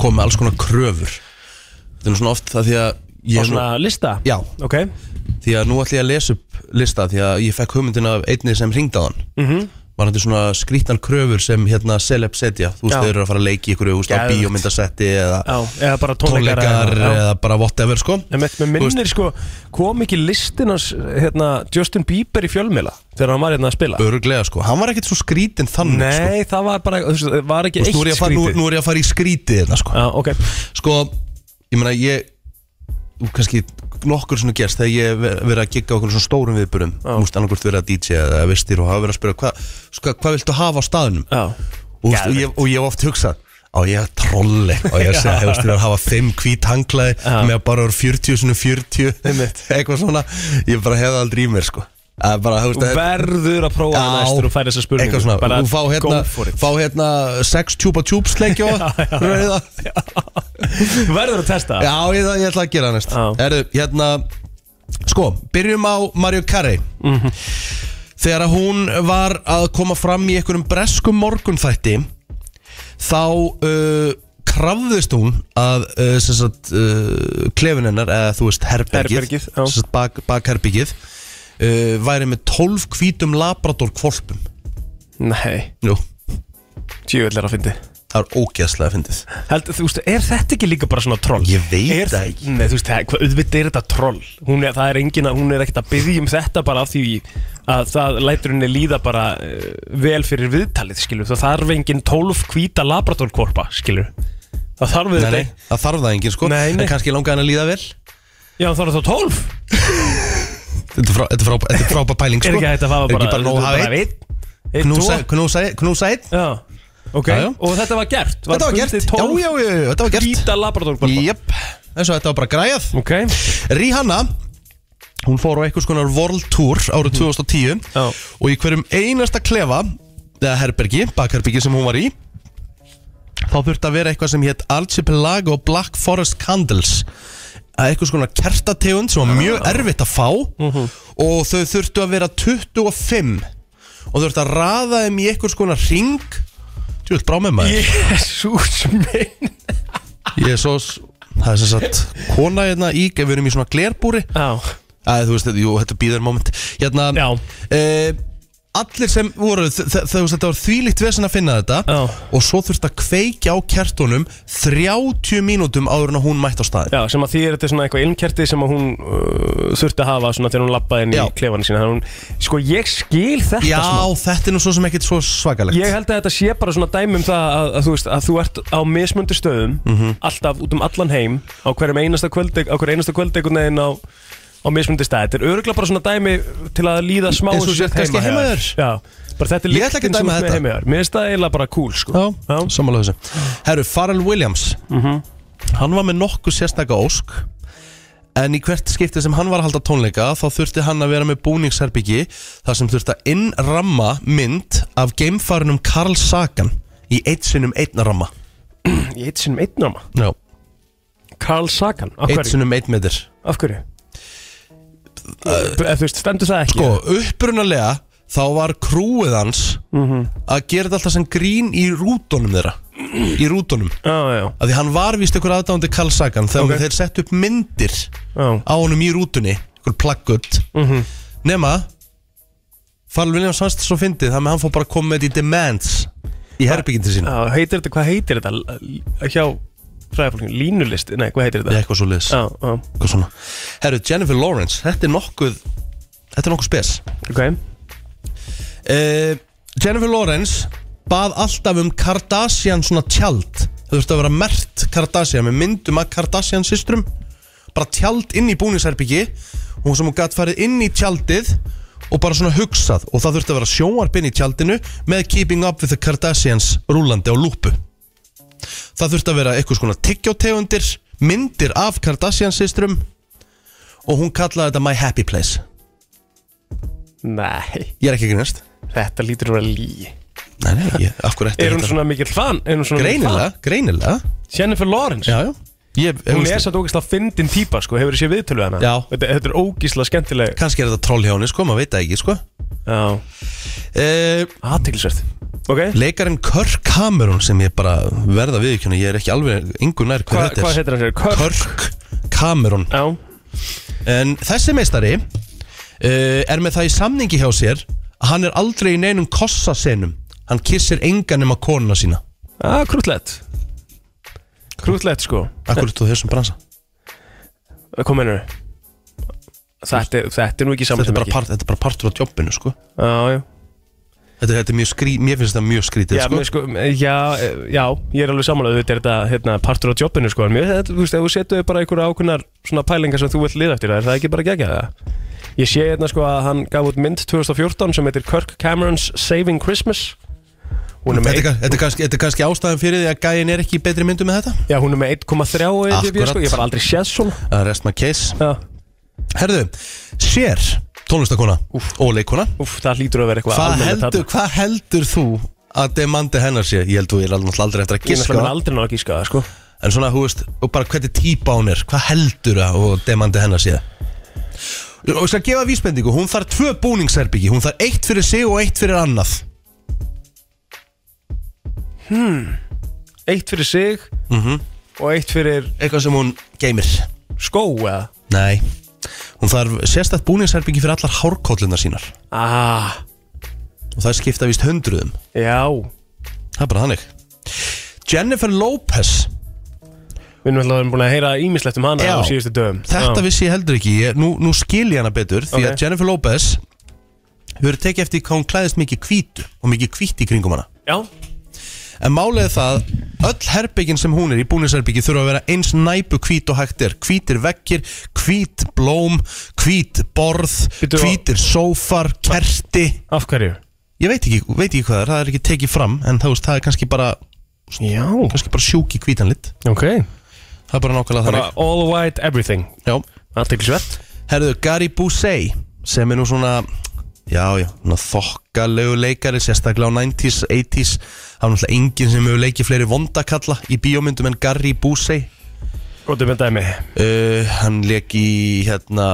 B: komið með alls konar kröfur Þetta er nú svona oft það því að ég
C: Og
B: er nú,
C: svona lista
B: Já,
C: Ok
B: því að nú ætlum ég að lesa upp lista því að ég fekk hugmyndin af einni sem ringdi á hann mm
C: Mhm.
B: -hmm. var hann svona skrítnar kröfur sem hérna celeb setja, þú veist
C: Já.
B: þeir eru að fara að leiki ykkur, þú veist á
C: Geðvegt.
B: bíómyndasetti eða
C: Já, eða bara tónleikar
B: tónleikar
C: eða- já.
B: eða bara whatever sko
C: En með, með
B: Þú veist-
C: minnir sko, kom ekki listin hans, hérna, Justin Bieber í fjölmila þegar hann var hérna að spila?
B: Öruglega sko, hann var ekkert svo skrítinn þannig sko.
C: Nei, það var bara, þú veist, það var
B: Þú
C: ekki
B: veist, nú, er ég
C: eitt
B: að fara, nú,
C: skrítið.
B: nú er ég að fara í skrítið þetta sko
C: Já, ok.
B: Sko, ég meina ég þú kannski nokkur svona gerst þegar ég hef ver- verið að gigga okkur svona stórum viðburum Þú veist, annarkvort verið að DJ eða vestir og hafa verið að spyrja hvað sko, hva viltu hafa á staðnum
C: Já.
B: og, veist, og, ég, og ég hef oft hugsað á ég að trolli og ég að segja, hefur styrir að hafa 5 hvít hanglaði með að bara voru 40 svona 40 eitthvað svona, ég bara hefði aldrei í mér sko að bara, þú veist,
C: Þú
B: að-
C: verður að prófa það næstur og færa þessa spurningu.
B: Eitthvað svona,
C: Bara
B: og fá
C: go
B: hérna,
C: for it.
B: fá hérna sex tjúpa tjúpsleikja Rauða
C: Þú verður að testa það.
B: Já, ég, ég ætla að gera það næst
C: Já.
B: Erðu, hérna Sko, byrjum á Mario Carey
C: Mhm.
B: Þegar að hún var að koma fram í einhverjum breskum morgunþætti Þá uh, krafðist hún að uh, sem sagt, uh, klefin hennar eða þú veist herbergið,
C: Herbergið, já.
B: sem sagt, bak, bakherbergið uh, væri með 12 hvítum labrador kvolpum
C: Nei,
B: Jú,
C: tjóðlega að fyndi.
B: það er ógeðslega fyndið
C: Held, þú veist, er þetta ekki líka bara svona troll?
B: Ég veit
C: er,
B: það ekki.
C: Nei, þú veist, það- hvað auðvitað er þetta troll? Hún er, það er engin að, hún er ekkert að byggja um þetta bara af því að það lætur henni líða bara uh, vel fyrir viðtalið, skilur. Það þarf engin 12 hvíta labradorkorpa, skilur. Það þarf við
B: Nei, nei, það þarf það enginn sko
C: Nei, nei.
B: En kannski langaði hann að líða vel
C: Já, það er þá 12.
B: Sko, Þetta er frá- þetta er frá- þetta er frábær pæling sko
C: Er ekki hægt að
B: Er
C: hafa
B: ekki
C: bara,
B: nóg að hafa einn?
C: einn? Einn,
B: Knúsa-
C: tvo?
B: knúsa- Knúsa einn
C: Já, ok.
B: Já, já.
C: Og þetta var gert?
B: Þetta var gert Já, já, já, já, þetta var gert
C: Hvíta labradorkorpa?
B: Jep, þess að þetta var bara græjað
C: Ok,
B: Rihanna Hún fór á einhvers konar world tour árið 2010
C: Já.
B: Og í hverjum einasta klefa Eða herbergi, bakherbergi sem hún var í Þá þurfti að vera eitthvað sem hétt Archipelago Black Forest Candles Að einhvers konar kertategund sem var mjög erfitt að fá Og þau þurftu að vera 25 Og þurftu að raða þeim í einhvers konar ring Þú veit brá með maður
C: jesús minn
B: Ég er svo Það er sem sagt Kona hérna í Við erum í svona glerbúri
C: Já,
B: Æ, þú veist, þetta- jú, þetta býður moment Hérna
C: Já.
B: eh, Allir sem voru, þ- þ- þú veist, þetta var þvílíkt vesen að finna þetta
C: Já.
B: Og svo þurfti að kveikja á kertunum 30 mínútum áður en að hún mætt á staðin
C: já, sem að því er þetta svona eitthvað ilmkerti sem að hún uh, þurfti að hafa svona þegar hún lappaði inn
B: Já.
C: í klefana sína Þannig að hún, sko ég skil þetta
B: Já,
C: smá.
B: þetta er nú svo sem ekkert svo svakalegt
C: Ég held að þetta sé bara svona dæmi um það að, að, þú, veist, að þú ert á mismöndu stöðum
B: Mhm.
C: alltaf út um allan heim á hverjum einasta kvöldeg, á hverjum einasta kvöldegundin á, á mismöndu stað Þetta er örgulega bara svona dæmi til að líða smá
B: Eins og
C: eins
B: sért
C: sért
B: kannski heima
C: hjá þér. Já, bara þetta er
B: Ég ætla ekki að
C: lyktin sem
B: dæma
C: þú ert með
B: þetta.
C: heima hjá þér. Mér finnst það eiginlega bara cool sko
B: Já, Mhm. sammála þessu Herru, Pharrell Williams Hann var með nokkuð sérstaka ósk En í hvert skipti sem hann var að halda tónleika Þá þurfti hann að vera með búningsherbyggi Þar sem þurfti að innramma mynd Af geimfarinum Carl Sagan Í eitt sinnum einn ramma
C: Ég heit sinum einn áma
B: Já,
C: Carl Sagan, af
B: eitt
C: hverju?
B: sinnum einn metr
C: Af hverju? Uh, þú veist, stendur það ekki?
B: Sko, upprunalega Þá var krúið hans Að gera þetta alltaf sem grín í rútonum þeirra Í rútonum
C: Já, já,
B: að því hann var vist ykkur aðdándi Carl Sagan þegar þeir sett upp myndir
C: Já.
B: á honum í rútunni ykkur plaggut nema Farl Williams hans svo fyndið þannig að hann fór bara að koma með þetta í demands í herbyggindu sín
C: já heitir þetta, hvað heitir þetta? L- l- Hjá fræðafólkinu, línulist, nei, hvað heitir
B: eða
C: þetta?
B: eitthvað svo liðs
C: Já, já,
B: eitthvað svona herru Jennifer Lawrence þetta er nokkuð þetta er nokkuð spes
C: ok
B: uh, Jennifer Lawrence bað alltaf um Kardashian svona tjald það þurfti að vera mert Kardashian með myndum að Kardashian systrum bara tjald inn í búningsherbyggi og sem hún gætt farið inn í tjaldið og bara svona hugsað og það þurfti að vera sjónvarp inn í tjaldinu með Keeping Up with the Kardashians rúlandi á lúpu það þurfti að vera eitthvað svona tyggjótegundir myndir af Kardashian systrum og hún kallaði þetta My Happy Place
C: Nei,
B: ég er ekki að grínast
C: þetta lítur að vera lí
B: Nei, nei, ég, af hverju ætti
C: Er
B: ég
C: hún
B: þetta?
C: svona mikill fan? Er hún svona mikill fan?
B: Greinilega, greinilega
C: Jennifer Lawrence
B: Já, já ég,
C: Hún
B: veist-
C: er satt ógislega fyndin típa sko, hefur þið séð viðtölu hana
B: Já.
C: Þetta, þetta er ógislega skemmtileg
B: Kannski er þetta troll hjá henni, sko, maður veit það ekki, sko
C: Já,
B: uh,
C: aðtilsvært Ok,
B: Leikarinn Kirk Cameron sem ég bara verða við ekki Ég er ekki alveg yngur nær hver
C: Hva,
B: þetta
C: hvað
B: er
C: heitir hann sér? Kirk?
B: Kirk Cameron
C: Já,
B: En þessi meistari uh, er með það í samningi hjá sér að hann er aldrei í neinum kossasenum Hann kissir engan nema konuna sína
C: ah, krútlegt Krútlegt sko
B: Akkur þú þessum bransa
C: Hvað mennur þau? Þetta, er- þetta er nú ekki
B: þetta er,
C: samtum
B: bara part, þetta er bara partur á jobbinu sko
C: Já, já
B: Þetta, þetta er mjög skrý, mér finnst þetta mjög skrítið
C: Já,
B: sko.
C: mér sko, já, eh, já, ég er alveg samanlega þetta er þetta hérna, partur á jobbinu sko, en mér, þetta, þú veist, ef þú setur bara einhverja ákveðnar svona pælingar sem þú vilt liða eftir það, er það ekki bara gegja það? Ég sé hérna sko að hann gaf út mynd 2014 sem heitir Kirk Cameron's Saving Christmas Hún
B: þetta,
C: er
B: er,
C: með,
B: kann- þetta, er kannski, þetta er kannski ástæðan fyrir því að gæin er ekki í betri myndu með þetta
C: ein- já, hún er með 1,3 EDB,
B: Akkurat.
C: sko, ég hef bara aldrei séð svona
B: Að Rest my case
C: Já,
B: Herðu, sér tónlistakona og leikona
C: úf, það hlýtur að vera eitthvað
B: Hvað
C: almennilegt
B: heldur,
C: þarna.
B: hva heldur þú að demandi hennar sé? Ég held þú ég er alveg aldrei eftir að
C: Ég er
B: giska á
C: náttúrulega
B: það.
C: aldrei ná að gíska það, sko
B: En svona, hú veist, og bara hvernig típa hún er Hvað heldur að og demandi hennar sé? Og ég skal gefa vísbendingu Hún þarf tvö búningsherbyggi Hún þarf eitt fyrir sig og eitt fyrir annað
C: Eitt fyrir sig
B: Mhm.
C: og eitt fyrir
B: Eitthvað sem hún geymir
C: skó, eða?
B: Nei Hún þarf sérstætt búningsherbyggi fyrir allar hárkóllunar sínar
C: Ah,
B: Og það skipta víst hundruðum
C: já,
B: Það er bara þannig Jennifer Lopez
C: Við erum alltaf búin að heyra ímislegt um hana
B: Já.
C: á síðustu dögum
B: Þetta
C: Já.
B: vissi ég heldur ekki, ég, nú, nú skil ég hana betur Því
C: Ok.
B: að Jennifer Lopez Við erum tekið eftir hvað hún klæðist mikið hvítu Og mikið hvíti í kringum hana
C: Já,
B: En málið er það, öll herbyggin sem hún er í búnisherbyggi Þurfa að vera eins næpu hvít og hægt er Hvítir vekkir, hvít blóm, hvít borð
C: Bíddu, og-
B: Hvítir sófar, kerti
C: af hverju?
B: Ég veit ekki, veit ekki hvað það er, það er ekki tekið fram En það, það er kannski bara,
C: Já,
B: kannski bara sjúki hvítan lit
C: ok
B: Það er bara nákvæmlega
C: Bara
B: þannig
C: all white everything
B: Já
C: Allt ekki svett
B: Herðu, Gary Busey sem er nú svona já, já, svona þokkalegu leikari sérstaklega á 90s, 80s það er náttúrulega enginn sem hefur leikið fleiri vondakalla í bíómyndum en Gary Busey
C: Gótið með dæmi
B: uh, hann leik í hérna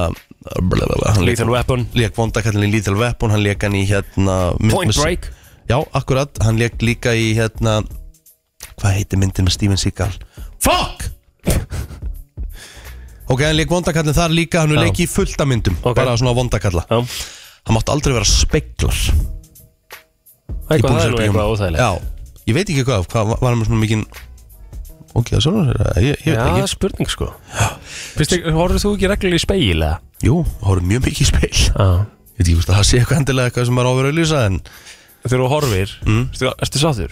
B: blablabla, hann leik,
C: Lethal Weapon
B: leik vondakallin í Lethal Weapon hann leik hann í hérna mynd
C: Point
B: með-
C: Break
B: já, akkurat, hann leik líka í hérna hvað heitir myndin með Steven Seagal
C: Fuck!
B: ok, hann leik vondakallin þar líka hann
C: Já.
B: leik í fullta myndum,
C: Ok.
B: bara svona vondakalla
C: Já,
B: hann mátti aldrei vera speklar
C: eitthvað það er nú
B: búningsherbergjum.
C: eitthvað óþægilegt
B: Já, ég veit ekki hvað, hvað var- var hann með svona mikinn Ok, það er svona ég, ég veit
C: Já,
B: ekki
C: spurning sko Fyrst ekki, horfður þú ekki reglulega í speil eða?
B: Jú, það voru mjög mikið í speil
C: Já
B: Ég veit ekki hvort að það sé eitthvað endilega eitthvað sem maður á að vera að lýsa En
C: Þegar þú horfir,
B: Mm.
C: veistu hvað, ertu sáttur?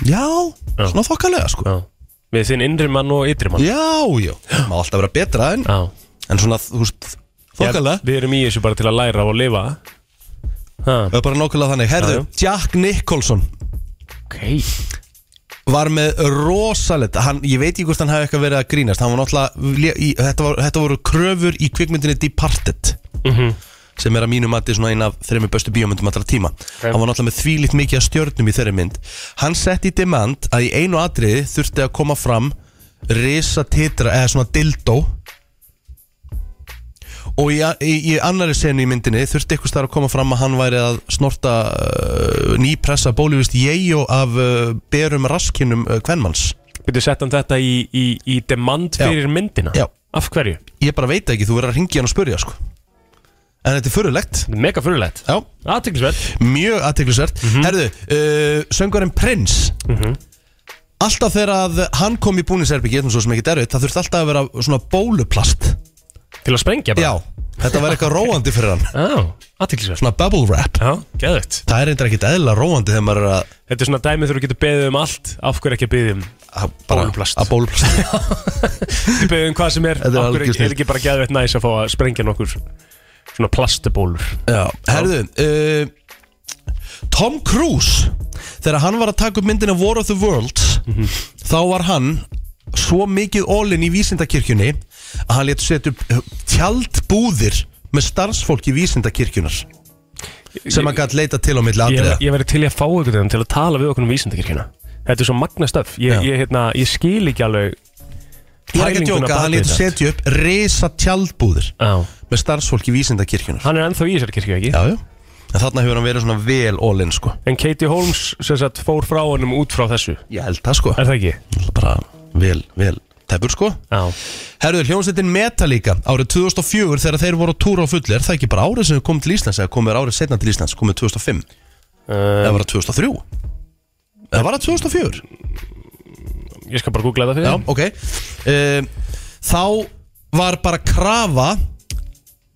B: já,
C: Já.
B: svona þokkalega sko
C: Já Við þinn innri mann og ytri mann
B: Já, já, má alltaf vera betra en
C: Já
B: En svona, þú veist,
C: Ég-
B: þokkalega
C: Við erum í þessu bara til að læra og lifa Ha,
B: Það er bara nákvæmlega þannig Herðu,
C: Já, já.
B: Jack Nicholson
C: ok
B: var með rosalett hann, ég veit ekki hvort hann hafi eitthvað verið að grínast hann var náttúrulega, í, þetta, var, þetta voru kröfur í kvikmyndinni Departed
C: Mhm.
B: sem er að mínu mati svona eina af þreimur bestu bíómyndum allra tíma hann var náttúrulega með þvílitt mikið að stjörnum í þeirri mynd hann setti í demand að í einu atriði þurfti að koma fram risa titra eða svona dildó og í, í, í annari senu í myndinni þurfti eitthvað starf að koma fram að hann væri að snorta uh, nýpressa bólivist jeigjó af uh, berum raskinum uh, kvenmanns
C: Byrju sett hann þetta í, í, í demand
B: Já.
C: fyrir myndina?
B: Já.
C: Af hverju?
B: ég bara veit ekki, þú verður að ringi hann og spurja sko. en þetta er förulegt
C: Þetta er Mega fyrirlegt
B: Já,
C: Aðtiklisvert
B: mjög aðteglisvert Herðu, uh, söngurinn Prince Alltaf þegar að hann kom í búningsherbyggi eins og sem ekki derfið, það þurfti alltaf að vera svona bóluplast
C: Til að sprengja bara
B: Já, þetta var eitthvað róandi fyrir hann
C: Já Aðtiklisvert
B: Svona bubble wrap
C: Já, geðvægt
B: Það er eitthvað ekkert eðla róandi þegar maður er að
C: Þetta er svona dæmið þegar þú getur beðið um allt Af hverju ekki að beðið um
B: að bara-
C: Bóluplast.
B: að bóluplast
C: Þú beðið um hvað sem er
B: Þetta er
C: Af hverju
B: algjör
C: ekki- er ekki bara geðvægt næs að fá að sprengja nokkur Svona plastubólur
B: Já, herðu uh, Tom Cruise Þegar hann var að taka upp myndina War of the Worlds Þá var hann svo mikið ólinn í vísindakirkjunni að uh, hann létt setja upp eh, tjaldbúðir með starfsfólki vísindakirkjunar sem að gæti leita til á milli
C: Ég,
B: atriða
C: ég verði til í að fá ykkur þeim til að tala við okkur um vísindakirkjuna Þetta er svo magna stöf Ég,
B: Já.
C: ég, hérna, ég skil ekki alveg
B: Ég er ekki að
C: pælinguna
B: djóka,
C: bak
B: hann
C: við
B: lítur
C: þetta.
B: setja upp risa tjaldbúðir
C: Já.
B: með starfsfólki vísindakirkjunar
C: Hann er ennþá í þessari kirkju ekki
B: Já, já En þarna hefur hann verið svona vel all-in sko
C: En Katie Holmes sem sagt fór frá honum út frá þessu
B: Ég held það sko
C: Er það ekki?
B: Bara vel, vel teppur sko
C: Já
B: Herruður, hljómsveitin Metallica árið 2004 þegar þeir voru á túr á fulli Er það ekki bara árið sem þau kom til Íslands eða komið árið setna til Íslands, komið 2005
C: uh,
B: Eða var það 2003 Eða var það 2004
C: Ég skal bara googla það fyrir
B: Já,
C: þig.
B: ok um, Þá var bara krafa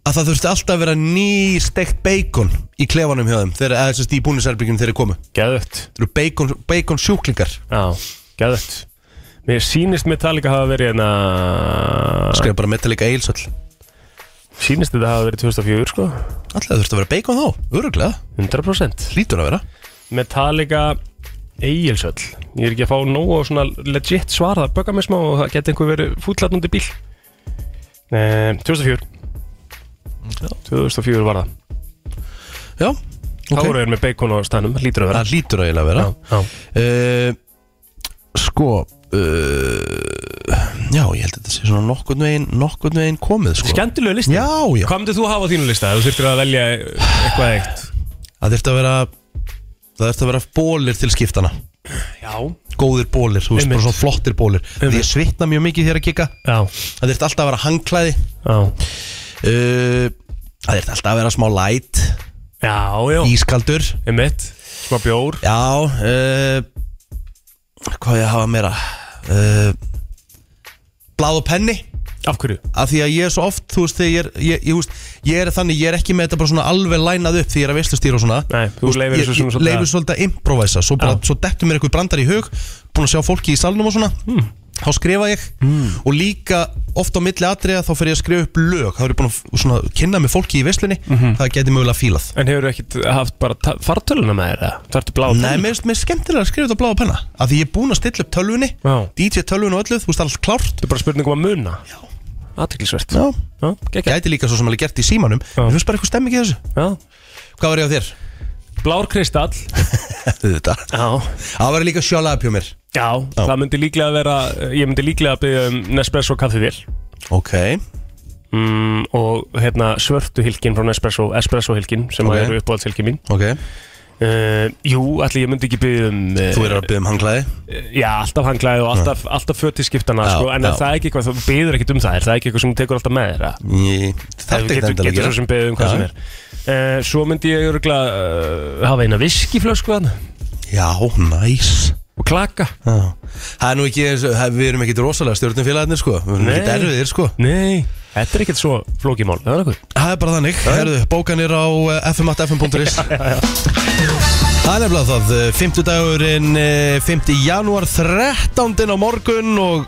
B: að það þurfti alltaf að vera ný steikt bacon í klefanum hjá þeim þegar eða þessast í búnisarbyggjum þeir eru komu
C: Geðvögt
B: Þeir eru bacon, bacon sjúklingar
C: Já, geðvögt Mér sýnist Metallica hafa verið en að
B: Skrifa bara Metallica Eilsöll
C: Sýnist þetta hafa verið 2004 sko
B: Alltaf þurfti að vera bacon þá, öruglega
C: 100%
B: Lítur að vera
C: Metallica Egilsöll Ég er ekki að fá nógu á svona legit svar Það böggar mig smá og það geti einhver verið fúllatn undir bíl Eh, Nei, 2004 2004 var það
B: Já,
C: Þá
B: ok
C: voru þeir með bacon á stænum, lítur að vera
B: Það lítur að eiginlega að vera
C: já.
B: uh, Sko uh, Já, ég held að þetta sé svona nokkurn veginn, nokkurn veginn komið sko.
C: Skemmtilegu listi
B: Já, já.
C: Hvað myndir þú hafa á þínu lista? ef Þú þurftir að velja eitthvað eitt
B: Það þurfti að vera Það þurfti að vera bólir til skiptana
C: Já
B: góðir bólir, þú veist,
C: Einmitt.
B: bara svona flottir bólir því ég svitna mjög mikið þegar að kika
C: Já,
B: það þurft alltaf að vera hangklæði
C: já
B: uh, það þurft alltaf að vera smá light
C: Já, já
B: ískaldur,
C: Emmett Smá bjór
B: já uh, hvað á ég að hafa meira uh, blað og penni
C: Af hverju?
B: af því að ég er svo oft, þú veist, þegar ég er ég, ég, þú veist, ég er þannig, ég er ekki með þetta bara svona alveg lænað upp því ég er að veistustýra og svona
C: Nei, þú leyfir þessu svona svolítið
B: leifir
C: að-
B: svolítið að improvisa svo, bara,
C: Já.
B: svo dettur mér eitthvað brandar í hug búin að sjá fólki í salnum og svona
C: Hmm.
B: þá skrifa ég og líka ofta á milli atriða þá fer ég að skrifa upp lög þá er ég búin að f- svona, kynna með fólki í veislinni
C: Mhm.
B: það geti mögulega fílað
C: En hefur þú ekkit haft bara ta- fartöluna með þér? eða? Þarftu blá
B: Nei, mér finnst- mér finnst skemmtilega að skrifa þetta á bláa penna af því ég er búin að stilla upp tölvunni
C: Já.
B: DJ tölvun og öllu, þú veist allt klárt
C: Þetta er bara spurningum að muna Já Atryglisvert
B: Já,
C: Já, geggjað.
B: gæti líka svo sem alveg gert í símanum Mér finnst bara eitthvað stemming í þessu
C: Já
B: Hvað var ég á þér?
C: Blár kristall
B: Þetta
C: Já
B: Það var líka sjálega pjó mér
C: Já, það myndi líklega vera Ég myndi líklega að byggja um Nespresso kaffivél
B: Ok
C: mm, Og hérna svörtu hilkin frá Nespresso Espresso hilkin sem
B: Ok.
C: okay. eru uppáhaldshilkin mín
B: Ok,
C: uh, Jú, allir ég myndi ekki byggja um uh,
B: þú er að byggja um hanglaði
C: Já, alltaf hanglaði og alltaf, alltaf fötiskiptana
B: Já,
C: sko, En
B: já.
C: er það er ekki eitthvað, þú byður ekkert um það Er það ekki eitthvað sem þú tekur alltaf með þér? eða?
B: Það er
C: Þú
B: ekki endilega
C: getur,
B: að
C: getur svo
B: gera
C: sem beðið um hvað
B: Já.
C: sem er uh, Svo myndi ég örgla uh, hafa eina viskiflösku hann
B: Já, næs
C: og klaka
B: Já. Það er nú ekki, það- við erum ekkit rosalega stjórnum félagarnir sko Við erum
C: Nei.
B: ekkit erfiðir sko
C: Nei, þetta er ekkert svo flókimál Það er nokkuð
B: Það er bara þannig, herðu, bókanir á eh, fm.fm.is Það er nefnilega það, eh, 50 dagurinn, 5. janúar, 13. á morgun og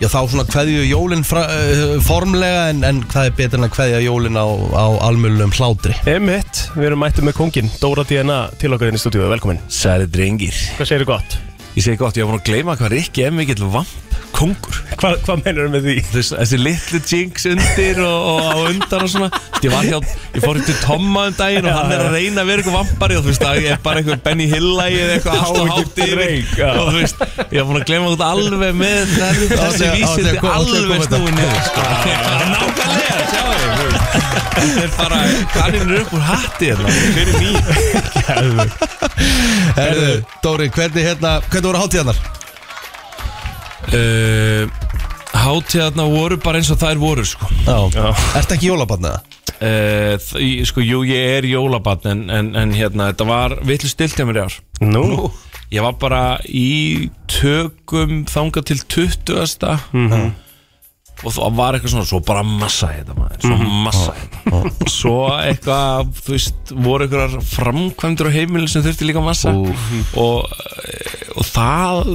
B: já þá svona kveðju jólin fra, uh, formlega en, en hvað er betur en að kveðja jólin á, á almjölunum hlátri
C: Emmett, við erum mættið með kongin Dóra DNA til okkar inn í stúdíu, velkomin
L: Særi drengir
C: Hvað segir þú gott?
L: Ég segi gott, ég var búin að gleyma hvað Rikki er mikill vamp kongur
C: Hva, hvað mennur með því?
L: Þess, Þessi litlu jinx undir og, og á undan og svona Ég, var hjá, ég fór til Tomma um daginn og hann er að reyna að vera eitthvað vampari og þú veist, það er bara eitthvað Benny Hillagi eða eitthvað allt og hátt
C: Dreyk,
L: yfir
C: já.
L: og þú veist, ég var búin að gleyma þetta alveg með þessi, þessi
B: átti að- átti að
L: vísindi
B: koma- átti að koma
L: alveg
B: þetta.
L: snúið niður sko. Nákvæmlega, sjáðu þú veist. Þetta er bara, kanninn er upp úr hatti hérna, fyrir mér
B: Herðu, Dóri, hvernig hérna, hvernig voru hátíðarnar?
L: uh, Hátíðarna voru bara eins og þær voru sko.
B: Já Ertu ekki jólabarn eða?
L: Uh, sko Jú, ég er jólabatn en, en, en hérna, þetta var vitlu stilt hjá mér í ár
C: Nú,
L: Ég var bara í tökum þanga til 20. Og það var eitthvað svona, svo bara massa þetta maður, svo massa þetta Svo eitthvað, þú veist, voru eitthvað framkvæmdur á heimilinu sem þurfti líka massa og, eh, og það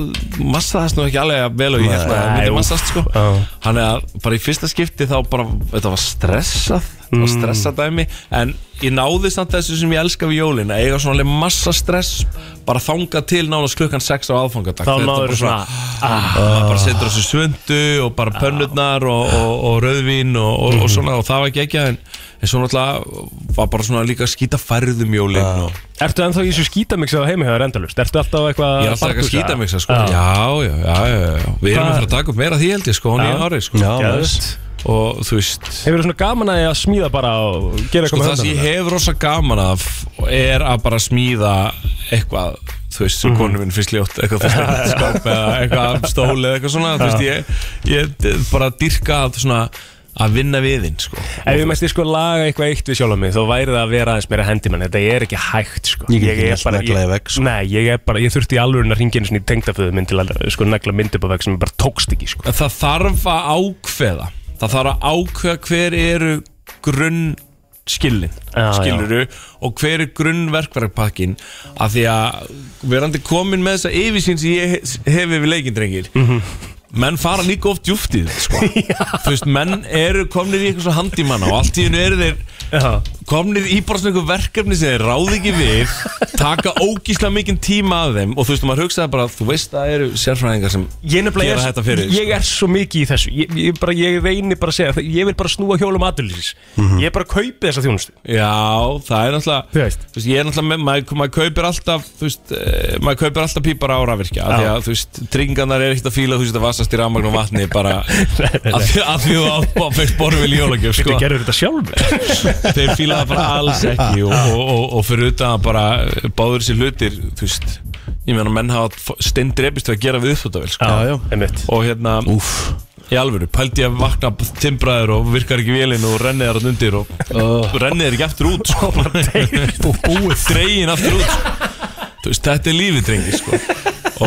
L: massaðast nú ekki alveg vel og ég held að það myndi
C: Nei,
L: massast sko
C: Já.
L: Þannig að bara í fyrsta skipti þá bara, þetta var stressað, þetta var
C: Mm.
L: stressað dæmi En ég náði samt þessu sem ég elska við jólin, að eiga svona alveg massa stress Bara þangað til nánast klukkan 6 á aðfangadag
C: þá
L: Þetta var
C: náður
L: bara
C: svona ah,
L: maður bara setur á sig Mhm. svöndu og bara pönnurnar og, og, og rauðvín og, og, og svona og það var ekki ekki en, En svo náttúrulega var bara svona líka að skýta færðum jólin og
C: Ertu ennþá í þessu skítamixið á heimihjáður endalust? Ertu alltaf eitthvað
L: ég er alltaf ekki að
C: barnhúsa?
L: skýta mig sko. já. Já, já, já, já, já Við erum að fara að taka upp meira af því held ég sko, hún er árið sko.
C: Geðveikt.
L: Og þú veist
C: Hefur þú svona gaman að ég að smíða bara og gera
L: sko,
C: eitthvað
L: Það sem ég hef rosa gaman af er að bara smíða eitthvað þú veist, sem konum minn finnst ljótt eitthvað fyrst eitthvað skáp eða eitthvað stól eða eitthvað svona, þú veist, ég, ég bara dyrka að svona að vinna við þinn sko.
C: Ef ég mætti sko laga eitthvað eitt við sjálf á mig þá væri það að vera aðeins meira hendimann Þetta er ekki hægt sko
B: Ég get ekki
C: er
B: neglt negla í vegg, sko.
C: Nei, ég er bara, ég þurfti í alvörun að ringa einu svona í tengdaföðu minn til að sko negla mynd upp á vegg sem ég bara tókst ekki sko
L: En það þarf að ákveða Það þarf að ákveða hver eru grunn skilin
C: Já,
L: skiluru og hver er grunn verkverkpakkin af því að verandi komin með þessa yfirsýn sem ég he- hef yfir leikindrengir
C: Mhm.
L: menn fara líka oft djúpt í þetta sko. þú veist, menn eru komnir í eitthvað svo handimanna og allt í hennu eru þeir
C: Já,
L: komnir í bara svona einhver verkefni sem þeir ráði ekki við taka ógíslega mikinn tíma af þeim og þú veist, maður hugsaði bara þú veist, það eru sérfræðingar sem
C: ég nefnilega
L: gera þetta fyrir
C: er,
L: þig,
C: ég er svo mikið í þessu Ég, ég, bara, ég reyni bara að segja, það- ég vil bara snúa hjólum aðurlýsis Ég bara kaupi þessa þjónustu
L: Já, það er náttúrulega
C: Þú veist.
L: þú veist, Ég er náttúrulega með, maður, maður kaupir alltaf Þú veist, eh, maður kaupir alltaf pípar á rafvirkja af Því að þú veist, tryggingarnar er ekkert að fíla Þú veist að vassast í rafmagn og vatni bara Af því af því að þú áfækst borfið jólagjöf
C: Þú
L: sko.
C: gerður þetta sjálf
L: Þeir fíla það bara alls ekki Og, og, og, og fyrir utan að bara eh, báður sér hlutir Þú veist, ég meina menn hafa steindrepist við að gera við uppþóttavel sko.
C: Já, já, einmitt
L: Og hérna Úf. Í alvöru, pældi ég að vakna timbraður og virkar ekki vélinn og rennið þar að undir og uh. rennið þér ekki aftur út sko. og búið dregin aftur út sko. Þú veist, þetta er lífið drengi sko.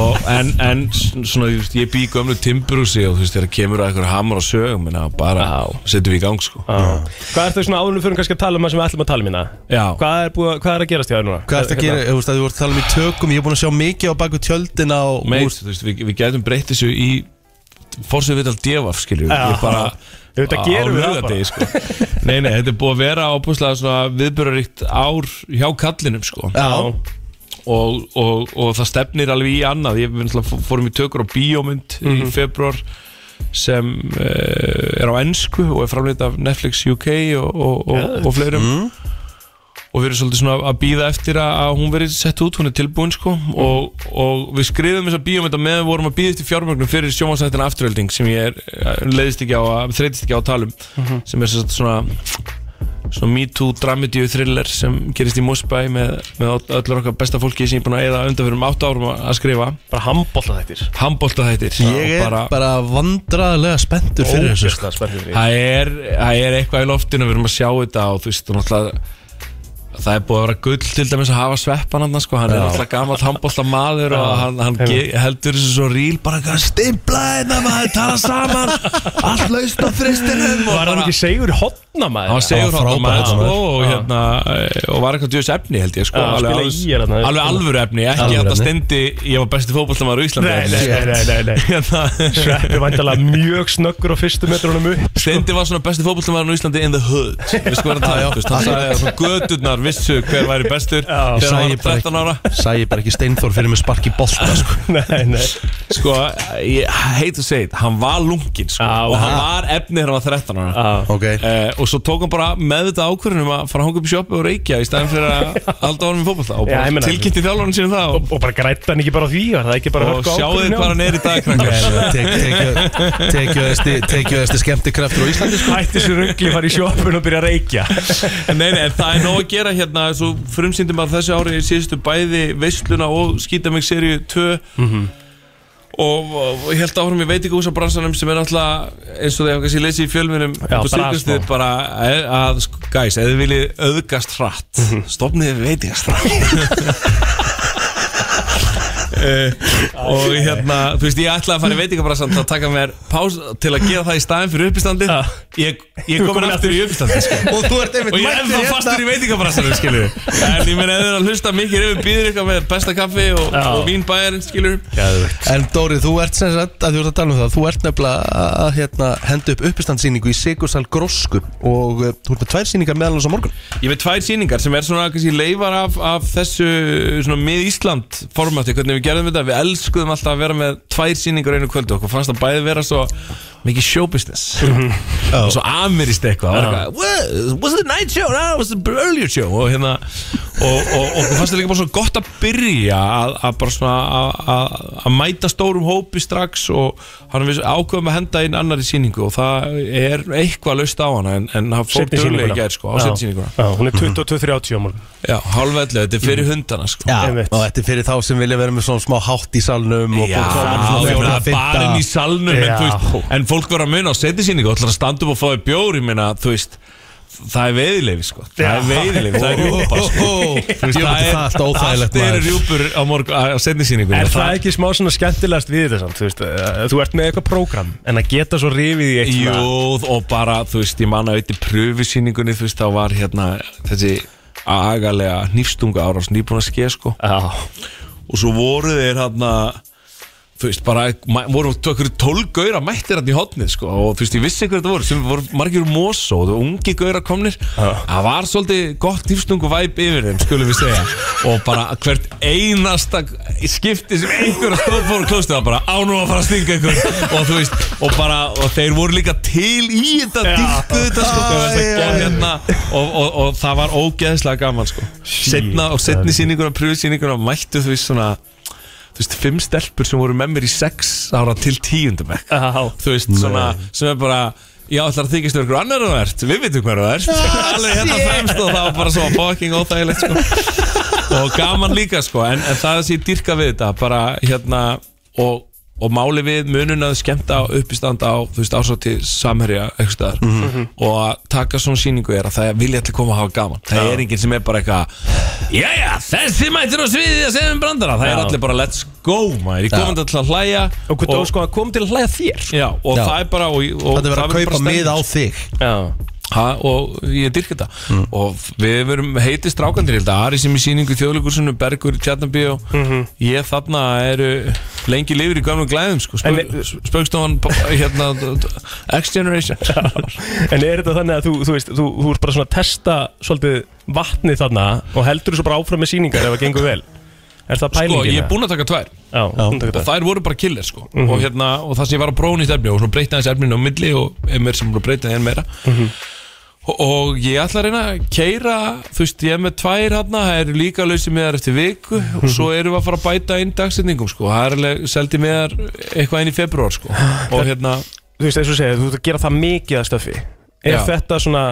L: og, en, en svona, þú veist, ég bý í gömlu timbrúsi og þú veist, þegar kemur að eitthvað hamar og sögum minna, bara setjum við í gang sko.
C: Hvað er þau svona áðunum fyrir kannski að tala um það sem við ætlum að tala um hérna?
L: Já,
C: Hvað er, búið, hvað er að gerast hjá þér núna?
B: Hvað ertu að gera, þú veist að þú voru að tala um í tökum Ég er búin að sjá mikið á baku tjöldina og
L: meir, þú veist, við, við gætum breytt þessu í fórsöðu vital devaf, skiljum við. ég bara
C: Auðvitað
L: á
C: gerum við það bara.
L: laugardegi, sko. Nei, nei, þetta er búið að vera ábúslega svona viðbjörðaríkt ár hjá kallinum sko.
B: Já,
L: og, og, og það stefnir alveg í annað ég við náttúrulega fó- fórum í tökur á bíómynd í februar sem uh, er á ennsku og er framleitt af Netflix UK og, og, og, og fleirum og við erum svolítið svona að býða eftir að, að hún verið sett út, hún er tilbúin sko og, og við skrifum þessa bíómynda meðan við vorum að býða eftir fjármögnum fyrir sjómanstættina afturölding sem ég er, eh, leiðist ekki á að, þreytist ekki á að tala um sem er sem sagt svona svona Me Too dramedy thriller sem gerist í Mosbæ með, með öll- öllur okkar besta fólki sem ég er búin að eða undanfyrum 8 árum að að skrifa
C: Bara handbólta þettir
L: handbólta þættir
B: ég er bara, vandræðilega spenntur fyrir þessu sko.
L: það er, það er eitthvað í loftinu við erum að sjá þetta og þú veist og náttúrulega Það er búið að vera gull til dæmis að hafa sveppan hann sko, hann er alltaf gammal handbólta maður og hann, hann ge- heldur þessu svo ríl bara að stimpla þetta maður, tala saman allt laust á þristinum og
C: Var hann
L: bara-
C: ekki segur í hotna maður?
L: hann var segur
B: Það var
L: hann maður
B: frábært
L: sko,
B: maður.
L: og, hérna, eh, og var eitthvað djöðs efni held ég sko,
C: Já,
L: alveg,
C: spilaði
L: alveg,
C: í hérna,
L: alveg alvöru efni ekki
B: Alvöru
L: að það
B: efni.
L: stendi ég var besti fótballtamaður í Íslandi Hérna,
C: Nei, nei, nei, nei, nei, nei.
L: nei.
C: Sveppi vandalega mjög snöggur á fyrstu metrunum upp
L: stendi var svona besti fótballtamaður í Íslandi in the hood við sko verðum það, þú veist, hann sagði að svona gödurnar vissu hver væri bestur þegar hann
B: Sæi
L: var
B: bara
L: 13 ára
B: Sæ ég bara ekki steinþór fyrir mig spark í bolta sko.
C: Nei, nei
L: sko, ég hate to say it hann var lungin sko,
C: Já,
L: og hann var efni þegar hann var 13 ára
B: Ok,
L: Eh, og svo tók hann bara með þetta ákvörðunum að fara að hanga upp í sjoppu og reykja í stæðan fyrir að halda honum í fótballta og
C: Já, ég
L: bara
C: meina-
L: tilkynnti þjálfarinn sínum það og
C: Og bara græta hann ekki bara á því, var það ekki bara
L: og sjáu þið hvað hann er í dag krakkar.
B: tekjuðasti skemmtikraftur á Íslandi sko.
C: Hætti sér ruggli, fara í sjópun og byrja að reykja
L: Nei, nei, en það er nóg að gera hérna svo frumsýndum að þessu ári síðustu bæði veisluna og skýta mig seríu 2 og, og, og ég held áfram í veitingúsabransanum sem er náttúrulega eins og þegar kannski lesið í fjölminum
C: Já,
L: og
C: bara
L: síkast þið
C: smá.
L: bara að, að sko, guys, ef þið viljið auðgast hratt mm -hmm. stopnið veitingast hratt Eh, og hérna, þú veist, ég ætlaði að fara í veitingabransan til að taka mér pás til að gera það í staðin fyrir uppistandi ég, ég komin aftur í uppistandi sko.
B: Og þú ert einmitt
L: Og
B: hérna.
L: ég er ennþá fastur í veitingabransanum, skilur En ég meina, ef þið er að hlusta mikið yfir Býður ykkur með besta kaffi og, og vín bæjarinn, skilur
B: En Dóri, þú ert sem sagt að þú ert að tala um það Þú ert nefnilega að- að hérna, henda upp uppistandsýningu í Sigursal Grósku Og uh, þú ert með tvær sýningar meðal hans á morgun
L: Ég er með tvær sýningar sem er svona kannski leifar af, af þessu svona mið Ísland formati Hvernig við gerðum þetta, við elskuðum alltaf að vera með tvær síningar á einu kvöldu okkur fannst það bæði vera svo mikið showbusiness
A: Mhm.
L: og svo amirist eitthvað Það var
K: Já.
L: eitthvað, "What? was it the night show, no, was it the earlier show og hérna og, og, og okkur fannst það líka bara svona gott að byrja að, að bara svona að- að- að mæta stórum hópi strax og hann við ákveðum að henda inn annari síningu og það er eitthvað laust á hana en, en það fór
A: Seinni
L: dörlega
A: sýninguna.
L: í gær sko, á
A: Já.
L: setjum síninguna
A: Já, hún er 22.30 á morgun
L: Já, hálfvellu, þetta er fyrir hundana sko.
B: Mm. Já,
A: Einmitt.
B: og þetta er fyrir þá sem vilja vera með svona smá hátt í salnum og
L: Já,
B: bara koma svona
L: ég
B: fjóra,
L: meina,
B: fimmta.
L: barinn í salnum en,
A: Já.
L: þú veist, en fólk var að muna á setjusýningu og ætlar að standa upp og fáið bjór ég meina, þú veist Það er veiðilefi sko Það er veiðilefi, það er rjúpa sko Þú veist,
B: Djöfull, það er allt óþægilegt,
L: Allt eru
B: maður.
L: rjúpur á, morg- á setjusýningu
A: Er það ekki smá svona skemmtilegast við þetta samt, þú veist, að þú ert með eitthvað prógram en að geta svo rifið í eitt svona-
L: Jú, og bara, þú veist, ég manna auðvitað pröfusýningunni, þú veist, þá var hérna þessi agalega nýfstunga árás nýbúin að skeið, sko Já. og svo voru þeir hérna þú veist, bara, ma- voru okkur tólgauðra mættir hérna í hotnið, sko og þú veist, ég vissi hver þetta voru, sem voru margir úr Mosó og ungi gauðra komnir það var svolítið gott nýfstungu væp yfir þeim, skulum við segja og bara hvert einasta skipti sem einhverja stóð fór klóstið það bara ánum að fara að stinga einhver og þú veist, og bara, og þeir voru líka til í þetta, dýrkuðu þetta sko,
B: Æ,
L: og,
B: já, já.
L: hérna, og, og, og það var ógeðslega gaman sko. setna og setni síninguna, pröfusýninguna mættu þú veist svona þú veist, fimm stelpur sem voru með mér í sex ára til tíundabæk þú veist, svona, sem er bara Já, ætlar að þykist ykkur annar en þú ert, við veitum hver þú ert Alveg hérna fremst og það var bara svo fucking óþægilegt sko. Og gaman líka sko, en, en það sé dyrka við þetta Bara hérna, og, og máli við mununa skemmta og uppistanda á, þú veist, ásóti samherja einhvers staðar
B: Mhm.
L: Mhm. Og að taka svona sýningu er að það vilja allir koma að hafa gaman Það er enginn sem er bara eitthvað Jæja, þessi mættir á sviðið að segja um brandara Það er allir bara let's go, maður Ég komandi alltaf að hlæja
A: Og hvernig á sko að koma til að hlæða þér
L: Já, og
B: Já.
L: það er bara sko. og, og,
B: Þetta er verið að kaupa mið á þig
A: Já,
L: ha, Og ég dyrk þetta
A: Mm.
L: Og við verum heiti strákandir Ég held að Ari sem í sýningu í þjóðleikursunum Bergur í Tjarnabí og
A: Mhm.
L: ég þarna eru lengi lifur í gamlum glæðum sko,
A: En
L: spö,
A: við-
L: Spöggstofan pa- hérna, d- d- X Generation Sko,
A: en er þetta þannig að þú, þú veist, þú, þú ert bara svona að testa svolítið vatnið þarna og heldur þú svo bara áfram með sýningar ef það gengur vel Er það
L: Sko,
A: pælingin? hérna?
L: ég er búinn að taka tvær
A: Já, hún tekur
L: og
A: það
L: þær voru bara killer sko og, hérna, og það sem ég var að bróna í stefni og svona breyta aðeins efninu á milli og er mér sem búin að breyta þeim meira og, og ég ætla að reyna að keira þú veist ég er með tvær hérna það eru líka lausir meðar eftir viku og svo erum við að fara að bæta inn dagsetningum sko það er alveg seldi meðar eitthvað inn í februar sko og hérna
A: Þú veist, eins og segja, þú ert að gera það mikið að stöfi Er
L: Já.
A: þetta svona,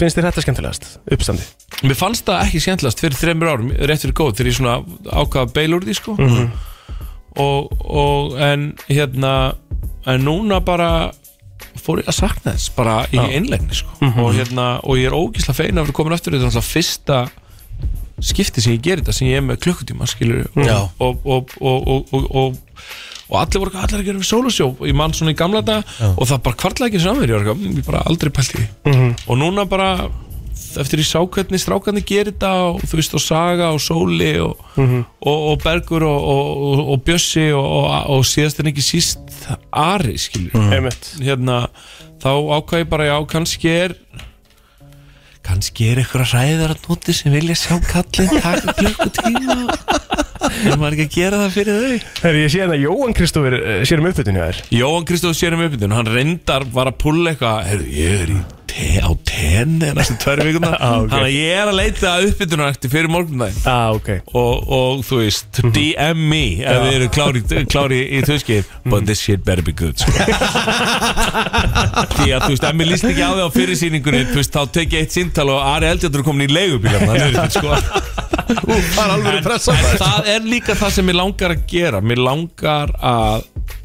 A: finnst þér þetta skemmtilegast uppstandi?
L: Mér fannst það ekki skemmtilegast fyrir þreymur árum rétt fyrir góð þegar ég svona ákvaða beil úr því sko og, og en hérna en núna bara fór ég að sakna þess bara í einlegni sko og hérna og ég er ógísla fein að vera komin aftur þetta er alltaf fyrsta skipti sem ég gerir þetta sem ég er með klukkutíma skilur
B: Já.
L: og, og, og, og, og, og, og og allir voru eitthvað, allir að gera við sólusjó ég man svona í gamla dag og það bara kvartlaði ekki saman ég var eitthvað, "Mm, ég bara aldrei pælt í því og núna bara eftir ég sá hvernig strákarnir gerir þetta og þú veist og Saga og Sóli og, og, og Bergur og, og, og, og Bjössi og, og, og síðast en ekki síst Ari skilur
C: Mhm.
A: Einmitt
L: hérna, þá ákvæði bara já kannski er kannski er eitthvað ræðar að núti sem vilja sjá kallin taka klukkutíma en maður ekki að gera það fyrir þau
A: Herri, ég sé hérna að Jóhann Kristófur eh, sér um uppbytun hjá þér
L: Jóhann Kristóf sér um uppbytun hann reyndar var að pulla eitthvað heyrðu, ég er í te á tenni hérna næstu tvær vikuna
A: Ah, ok.
L: þannig að ég er að leita uppbytunar eftir fyrir morgundaginn
A: Ah, ok
L: og, og þú veist
B: Mhm.
L: DM me ef þið eru klári, klári í töskið
B: Mhm.
L: but this shit better be good sko. því að þú veist ef mér líst ekki á því á fyrirsýningunni þú veist þá tek ég eitt síntal og Ari Eldjardur er komin í leigubíl þannig er þetta sko
B: Það er alveg pressa
L: en það er líka það sem ég langar að gera Mér langar að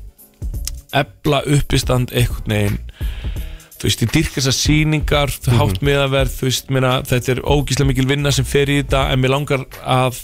L: Ebla uppistand einhvern veginn Þú veist, ég dyrk þessar sýningar mm
B: Mhm.
L: -hmm. Hátt miðaverð, þú veist, minna, þetta er ógíslega mikil vinna sem fer í þetta En mér langar að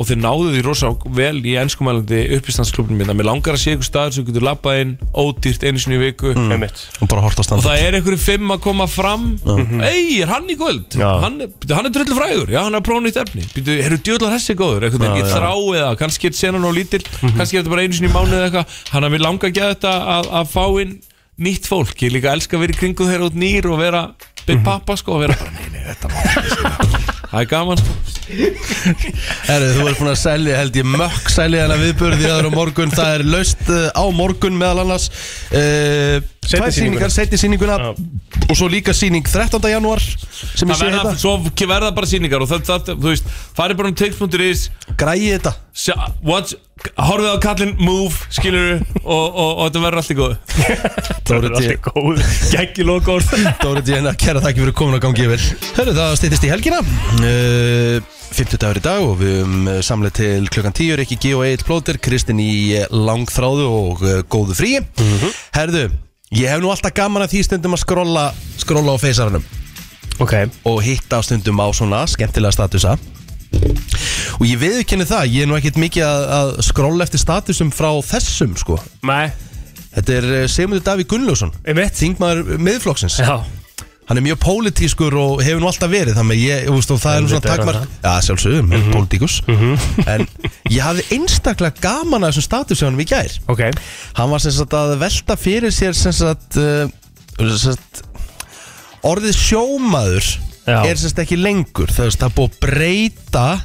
L: Og þeir náðu því rosa vel í enskumælandi uppistandsklubnum minna Mér langar að sé einhver staður sem getur labbað inn Ódýrt einu sinni í viku
A: Mm. Einmitt
B: Og bara horta að
L: Og
B: standa
L: það er einhverju fimm að koma fram Mm-hmm. Ei, er hann í kvöld?
A: Já.
L: Hann, er- bíddu, hann er drullfrægur, já, hann er að prófa nýtt efni Býtu, eru djöðlar hessi góður? Einhvern veginn, ég
A: Já, Mhm. já.
L: þrái það, kannski er senan og lítil Kannski er þetta bara einu sinni í mánuð eða eitthvað Hann að mér langa ekki að þetta að, að fá inn nýtt fólk Ég líka elska að vera í kringum
A: Mhm.
L: þeirra út nýr Og vera big pappa, sko, og vera bara Nei, nei, þetta má ekki segja." Það er gaman, sko
B: Herru, þú ert búin að selja, held ég, mökk selja hérna hana viðburði aður á morgun Það er laust uh, á morgun meðal annars uh, Tvær
C: sýninguna.
B: sýningar, setni sýninguna Og svo líka sýning 13. janúar Sem ég
L: Það
B: sé hérna.
L: verða,
B: þetta
L: svo verða bara sýningar og það, það, þú veist, farið bara um text.is
B: Græði þetta
L: sjá- watch- horfið á kallinn, move, skilur og, og, og, þetta verður allt í góðu
C: Það er alltaf góð Gækki lokaord
B: Dóri Díana, kæra þakki fyrir komin að gangi yfir Hörru, það stýttist í helgina uh, 50 dagur í dag og við um samlega til klukkan 10 Rikki G og Egil Plóter, Kristinn í eh, langþráðu og uh, góðu frí Herðu, ég hef nú alltaf gaman að því stundum að skrolla, skrolla á feysaranum
C: Ok
B: og hitta stundum á svona skemmtilega statusa og ég veðurkenni það, ég er nú ekkert mikið að, að skrolla eftir statusum frá þessum sko
C: Nei
B: Þetta er eh, Sigmundur Davík Gunnljósson
C: Einmitt.
B: Þingmaður miðflokksins
C: Já
B: hann er mjög pólitískur og hefur nú alltaf verið þannig að ég, þú veist, og það er nú svona
C: Auðvitað er hann Mhm.
B: takkmark Já, sjálfsögum, mm -hmm. pólitíkus En ég hafði einstaklega gaman að þessum status hjá hann í gær
C: Ok
B: Hann var sem sagt að velta fyrir sér sem sagt, uh, sem sagt Orðið sjómaður
C: Já.
B: er sem sagt ekki lengur Það veist, það er búið að breyta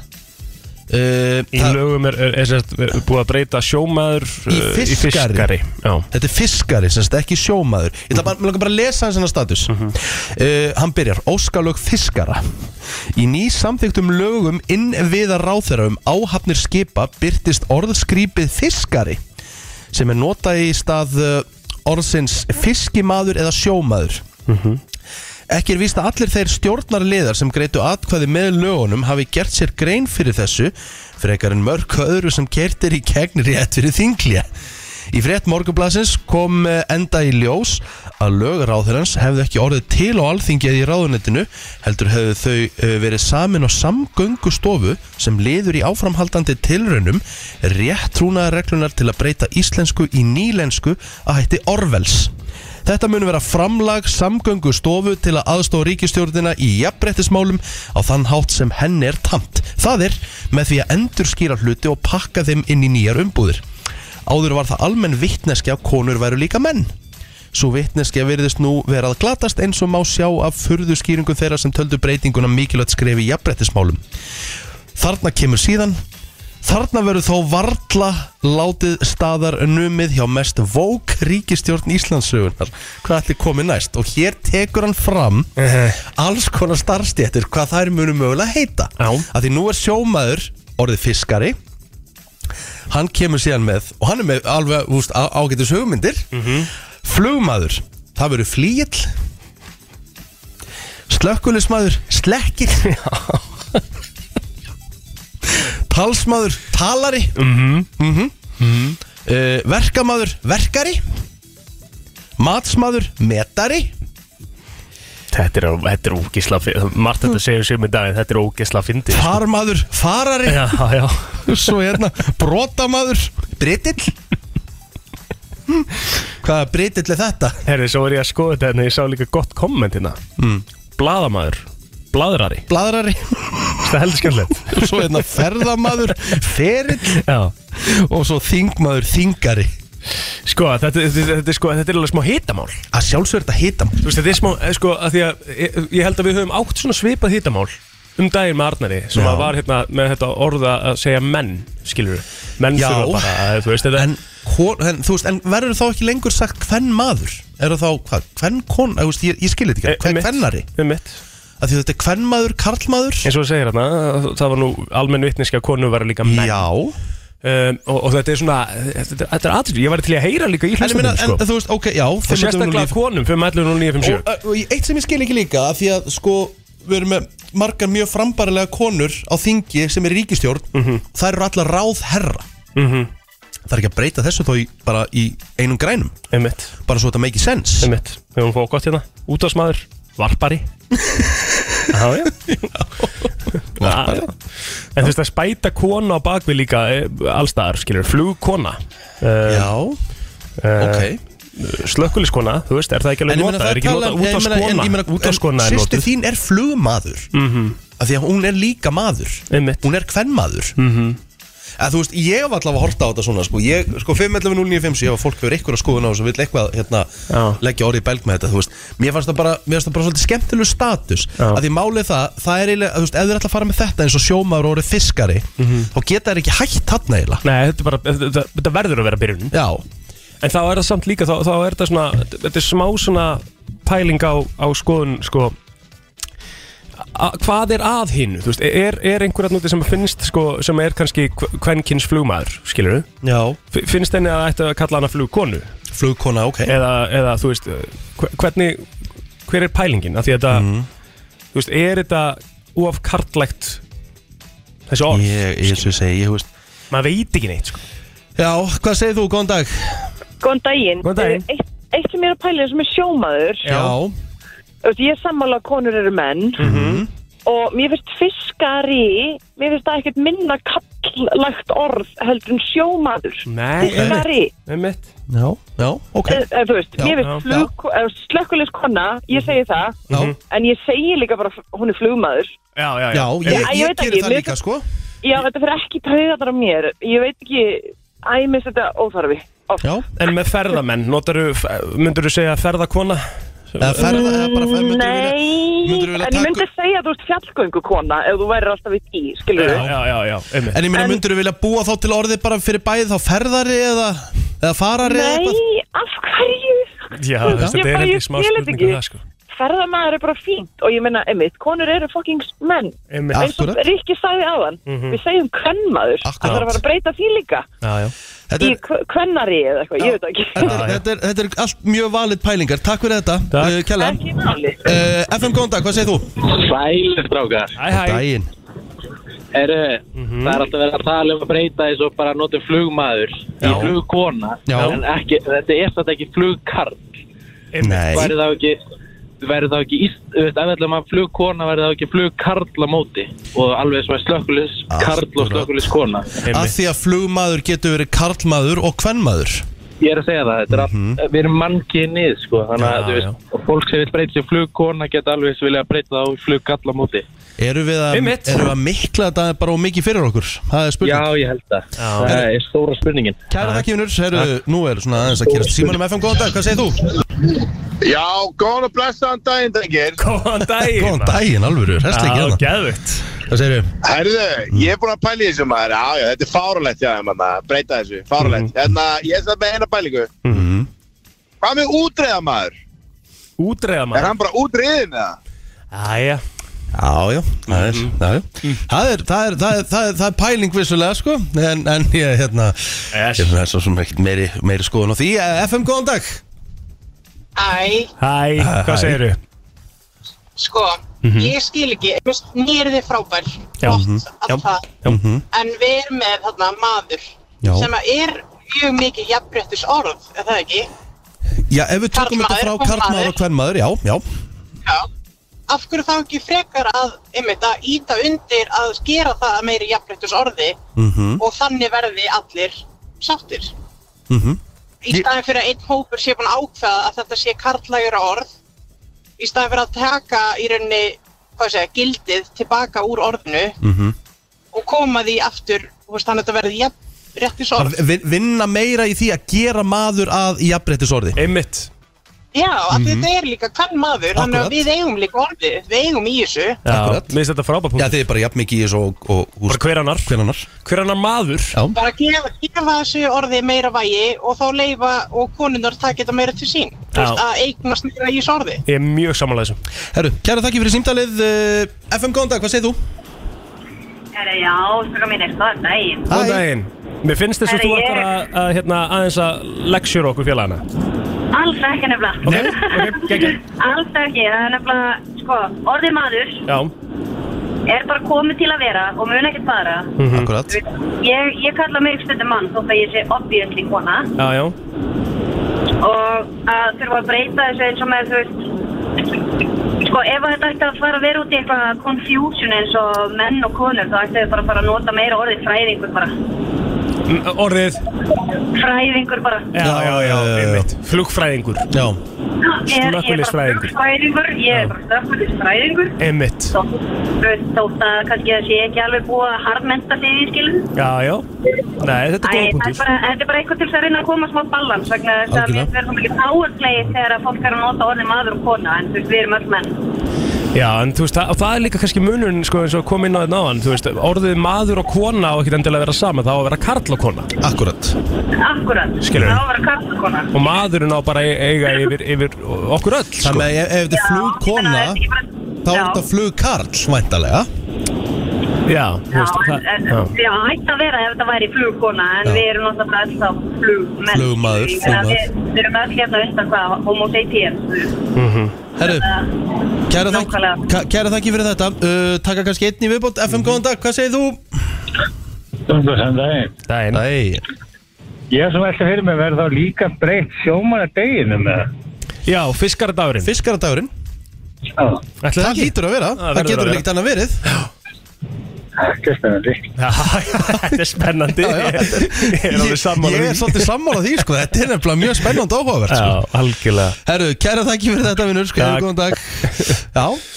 B: uh,
C: Í
B: það-
C: lögum er, er, er, er, er búið að breyta sjómaður
B: Í
C: uh,
B: fiskari.
C: fiskari. Já
B: Þetta er fiskari, sem sagt ekki sjómaður Ég ætla bara, mig langar bara að lesa hans hennar status uh, Hann byrjar, óskalög fiskara Í ný samþyktum lögum inn við að ráþera um áhafnir skipa byrtist orðskrýpið fiskari sem er notað í stað uh, orðsins fiskimaður eða sjómaður Ekki er víst að allir þeir stjórnarliðar sem greitu atkvæði með lögunum hafi gert sér grein fyrir þessu frekar en mörg öðru sem kert er í kegnir í ett fyrir þinglja. Í frétt morgunblasins kom eh, enda í ljós að lögaráðherrans hefðu ekki orðið til á alþingið í ráðunetinu heldur hefðu þau eh, verið samin á samgöngustofu sem liður í áframhaldandi tilraunum rétt trúnaða reglunar til að breyta íslensku í nýlensku að hætti Orvels. Þetta mun vera framlag samgöngu stofu til að aðstofa ríkistjórnina í jafnbrettismálum á þann hátt sem henni er tamt. Það er með því að endurskýra hluti og pakka þeim inn í nýjar umbúðir. Áður var það almenn vittneskja að konur væru líka menn. Svo vittneskja virðist nú vera að glatast eins og má sjá af furðu skýringum þeirra sem töldu breytinguna mikilvægt skrefi í jafnbrettismálum. Þarna kemur síðan Þarna verður þó varla látið staðar numið hjá mest vók ríkistjórn Íslandsögunar hvað ætli komið næst og hér tekur hann fram alls konar starfstjættir hvað þær munu mögulega heita
C: Já.
B: að því nú er sjómaður orðið fiskari hann kemur síðan með og hann er með alveg úst, ágætis hugmyndir flugmaður það verður flýill slökkulismadur slekkill talsmaður talari mm verkamaður verkari matsmaður metari
C: Þetta er, þetta er ógisla Marta þetta segir sér með daginn Þetta er ógisla fyndi
B: farmaður farari
C: Já, já
B: svo hérna brotamaður britill Hmm, hvaða britill er þetta
C: Herri, svo er ég að skoða þetta En ég sá líka gott komment hérna mm. Bladamaður Bladrari
B: bladrari
C: Þetta er heldur skemmtilegt
B: svo hérna ferðamaður ferill
C: Já
B: og svo þingmaður þingari
C: Sko, þetta, þetta, þetta, er sko, þetta er alveg smá hitamál
B: að sjálfsögur þetta hita
C: Þú veist, þetta er smá, eh, sko, að því að ég, ég held að við höfum átt svona svipað hitamál um daginn með Arnari sem
B: Já.
C: að var hérna með þetta orða að segja menn, skilur menn
B: Já.
C: þurfa bara, að, þú veist, þetta
B: en, kon, en, þú veist, en verður þá ekki lengur sagt hvern maður er það þá hvað, hvern kon þú veist, ég, ég skilir þetta
C: Eh,
B: ekki, hvern kvennari
C: um mitt,
B: af því þetta er hvern maður, karlmaður
C: eins og það segir hérna það var nú almenn vitniski að konu var líka menn
B: já
C: um, og, og þetta er svona, þetta, þetta er aðtrykk ég var til í að heyra líka í
B: en, ég meina,
C: hlustanum
B: en
C: sko.
B: þú veist, ok, já
C: og sérstaklega konum, 5.11.09.57
B: og, og eitt sem ég skil ekki líka af því að sko við erum með margar mjög frambarilega konur á þingi sem er ríkistjórn mm það eru allar ráðherra Mhm. það er ekki að breyta þessu þó í, bara í einum grænum
C: um mitt,
B: bara svo þetta make sense
C: um mitt, við höfum fóð gott hérna útásmaður, varpari Já, já.
B: Varpari.
C: Já, já. En þú veist að spæta kona á bakvið líka eh, allstaðar, skilur, flugkona uh,
B: já, ok
C: uh, slökkuliskona, þú veist, er það ekki alveg notað, er ekki notað út af skona út af skona er
B: Sýstu
C: notað
B: þín er flugmaður mm -hmm. Af því að hún er líka maður
C: Einmitt. Mhm.
B: Hún er kvennmaður mm -hmm. að þú veist, ég var alltaf að horta á þetta svona sko, ég, sko 5.11.095 ég var fólk fyrir ykkur að skoðuna á þessu vill eitthvað hérna, leggja orðið í belg með þetta, þú veist mér fannst það bara, mér fannst það bara svolítið skemmtileg status Já. að því málið það, það er eiginlega, þú veist, ef þið er alltaf að fara með þetta eins og sjómaður orðið fiskari mm
C: Mhm.
B: -hmm. þá geta þær ekki hægt þarna eiginlega
C: Nei, þetta, bara, þetta, þetta verður að vera byrjun
B: Já,
C: En þá er það samt líka, þá, þá er þetta svona, þetta er smá svona pæling á, á skoðun, sko, a, hvað er að hinn, þú veist, er, er einhver að núti sem finnst, sko, sem er kannski kvenkins flugmaður, skilur þú?
B: Já.
C: Finnst henni að ætti að kalla hana flugkonu?
B: flugkona, ok
C: Eða, eða, þú veist, hve- hvernig, hver er pælingin? Af því að þetta,
B: Mhm.
C: þú veist, er þetta of karlægt þessi orð?
B: Ég, ég, svo segi, ég, þú veist
C: Maður veit ekki neitt, sko.
B: Já, hvað segir þú, góðan dag?
H: Góðan daginn.
C: Góðan daginn.
H: Eh, Eitt, eitt sem ég er að pæla er sem er sjómaður.
B: Já,
H: Þú veist, ég er sammála að konur eru menn.
C: Mhm.
H: Og mér finnst fiskari, mér finnst það ekkert minna kalllagt orð heldur en sjómaður.
C: Nei,
H: Fiskari,
C: með mitt.
B: já, já, ok
H: eh, eh, þú veist,
B: Já, Mhm.
H: mér
C: já.
H: finnst flug, slökkuliskonna, ég segi það.
B: Já,
H: En ég segi líka bara, hún er flugmaður.
C: Já, já,
B: já, ég,
H: Æ, eh, ég
B: ég
H: veit
B: gerir
H: ekki,
B: það
H: mér
B: líka, sko
H: Já, þetta fyrir ekki taugatar á mér. Ég veit ekki, æ, mér finnst þetta óþarfi. Oft.
B: Já,
C: En með ferðamenn, notaru, myndur þú segja ferðakona?
B: eða ferða, eða bara ferða myndir vilja
H: Nei,
B: myndirðu vilja
H: en ég
B: taka-
H: myndi segja þú ert fjallgöngu kona ef þú værir alltaf í tí, skilur
C: Já, já, já, já, einmitt
B: En ég meina,
H: En-
B: myndur þú vilja búa þá til orðið bara fyrir bæði þá ferðari eða, eða farari eða
H: Nei, af hverju?
C: Já,
H: Ég
C: þetta er
H: bara-
C: held
H: ég
C: ég smá
H: skil þetta
C: spurning
H: ekki.
C: um það, sko
H: Ferðamaður er bara fínt og ég meina, einmitt, konur eru fucking menn
C: Einmitt.
B: Allt.
H: eins og
B: Akkurat.
H: Ríkki sagði áðan við segjum kvennmaður, það
B: Akkurat.
H: þarf að fara að breyta því líka
C: Já, já
B: Þetta
H: í
B: er,
H: kv- kvennari eða eitthvað, ég veit það ekki
B: þetta, er, þetta, er, þetta er allt mjög valið pælingar Takk fyrir þetta,
C: Takk.
B: uh, Kjalla
H: ekki máli
B: uh, FM góðan dag, hvað segir þú?
J: Sælir, strákar.
C: Hæ, hæ,
B: Dæin
J: Heru,
B: Mhm.
J: Það er alltaf verið að tala um að breyta þessu og bara nota flugmaður í
B: Já.
J: flugkona.
B: Já.
J: En ekki, þetta er þetta ekki flugkarl.
B: Nei
J: Væri það ekki, væri það ekki, íst- þú veist, ef við ætlum að flugkona væri það ekki flugkarl á móti. Og alveg sem er slökkulis karl
B: Akkurat.
J: og slökkulis kona.
B: Að því að flugmaður getur verið karlmaður og kvenmaður
J: Ég er að segja það, þetta er allt, við erum mannkinnið, sko. Þannig að,
C: Já,
J: þú veist, fólk sem vil breyta sér í flugkona geta alveg eins vilja breyta það á flugkarl á móti.
B: Eru við að,
C: Einmitt.
B: eru við að mikla þetta bara og mikið fyrir okkur? Það er
J: Já,
B: spurning
J: ég held það. Það er stóra spurningin.
B: Kæra þakki vinnur, heyrðu, nú er svona aðeins að kýrast Símanum FM góðan dag, hvað segir þú?
I: Já, góðan og blessaðan daginn, drengir.
C: góðan daginn hérna.
B: Góðan daginn alvöru, restleik
C: Já,
B: hérna
C: gæðvitt
B: Hvað segir þú?
I: Herðu, ég er búin að pæla í þessu maður. Já, já, þetta er fáralegt, já, maður, breyta þessu, fáralegt. Hérna, ég er satt með eina pælingu. Hvað með útreða maður?
C: Útreða
I: Er
C: maður
I: hann bara útreðin eða?
C: Æja,
B: Já, já, það er,
C: Mm.
B: það er, það er, það er, það er, það er, það er pæling vissulega sko En, en ég, hérna,
C: Yes.
B: ég er svona svo sem ekkert meiri, meiri skoðun á því Eh, FM, góðan dag
M: Æ,
C: hæ, hvað
B: hæ.
C: segirðu?
M: sko, ég skil ekki, nýrið er frábær,
C: Já.
M: gott
C: Mhm.
M: allt það,
C: Já.
M: en við erum með þarna maður
B: Mhm. Já.
M: sem að er mjög mikið jafnbrettis orð, er það ekki?
B: Já, ef við tökum þetta frá
M: Karlmaður,
B: karlmaður og kvenmaður, já, já
M: Já. Af hverju þá ekki frekar að, einmitt, að íta undir að gera það að meiri jafnbrettis orði
B: Mhm,
M: og þannig verði allir sáttir?
B: mhm
M: Í staðin fyrir að einn hópur sé búin að ákveða að þetta sé karlægjara orð, í staðin fyrir að taka í rauninni, hvað ég segja, gildið tilbaka úr orðinu
B: Mhm.
M: og koma því aftur, þú veist, þannig að þetta verði jafn, réttis
B: Bara
M: orð.
B: vin- Vinna meira í því að gera maður að jafnbrettis orði
C: Einmitt
M: Já, af
B: Mhm.
M: því þetta er líka kann maður, þannig
B: Akkurat.
M: að við eigum líka orðið, við eigum í þessu.
C: Já,
B: Akkurat.
C: Mér finnst þetta frábæð
B: Já,
C: punkt
B: þið er bara jafn mikið í þessu og, og,
C: Bara hver annar
B: hver annar
C: Hver annar maður
B: Já.
M: Bara gefa, gefa þessu orði meira vægi og þá leifa og konunnar taka þetta meira til sín. Þú veist,
C: Já.
M: að eignast meira í þessu orði.
C: Ég er mjög samanlega þessum
B: Herru, kæra þakki fyrir símtalið eh, FM, góðan dag, hvað segir þú?
N: Herra, já, stráka mínir, góðan daginn.
C: Góðan daginn Mér finnst þess að
N: Herra,
C: þú
N: ég-
C: ætlar að, að hérna, aðeins að leksjur okkur félagana
N: Alls ekki nefnilega.
C: Ok, ok, geggjað.
N: Alls ekki, það er nefnilega, sko, orðið maður
C: Já,
N: er bara komið til að vera og mun ekkert fara.
H: Hmm.
C: Mhm.
B: Akkurat
N: Ég, ég kalla mig stundum mann þótt að ég sé obviously kona
C: já, já
N: og að þurfa að breyta þessu eins og með, þú veist, sko, ef að þetta ætti að fara að vera út í eitthvað confusion eins og menn og konur, þá ætti þau bara að fara að nota meira orðið fræðingur bara.
C: Mm, Orðið
N: Fræðingur bara
C: Já, já, já, einmitt Flugfræðingur
B: Já
C: Slökkviliðsfræðingur.
N: Slökkulisfræðingur Ég er bara slökkulisfræðingur
C: Einmitt
N: Þótt að kannski að sé ekki alveg búið að harðmenta sig í skilum
C: Já, já Nei, þetta er
N: Æ,
C: góða
N: það er
C: punktur
N: bara, þetta er bara eitthvað til þess að reyna að koma smá ballans vegna þess að
C: Algjörlega.
N: við verðum ekki áherslegið þegar að fólk er að nota orðin maður og kona en þú veist, við erum öll menn
C: Já, en þú veist, það, og það er líka kannski munurinn sko, eins og kom inn á þetta náðan Þú veist, orðið maður og kona á ekkert endilega að vera sama Það á að vera karl og kona
B: Akkurat
N: Akkurat,
C: Skilurðu.
N: það á að vera kall og kona
C: Og maðurinn á bara að eiga yfir, yfir okkur öll sko.
B: Þannig að ef, ef þetta er flugkona Þá er þetta flugkarl, væntalega
C: Já,
N: Já, en, en, já, ætti að vera ef þetta væri flugkona en
B: Já.
N: við erum náttúrulega öll þá flugmenn
B: Flugmaður,
N: Ég meina,
B: flugmaður.
N: Við, við erum öll hérna undan hvað homo sapiens þú veist.
B: Herru, kæra, þakk,
N: Nákvæmlega.
B: ka- kæra þakki fyrir þetta uh, Takka kannski einn í viðbót FM, góðan dag, hvað segir þú?
O: Þann daginn.
C: Daginn.
O: Ég er svo velta fyrir mig, verður þá líka breytt sjómana deginu með það?
C: Já, fiskaradagurinn
B: Fiskaradagurinn
C: Það,
B: það lítur að vera,
C: Það
B: það
C: verður að
B: getur
C: vera.
B: líkt annað verið
O: Ekki spennandi.
C: Já, þetta er spennandi Ég er alveg sammála
B: Ég
C: því.
B: er svolítið sammála því, sko, þetta er nefnilega mjög spennand og áhugavert sko.
C: Já, algjörlega
B: Herru, kæra þakki fyrir þetta, vinnur, sko,
C: Takk.
B: góðan dag Já,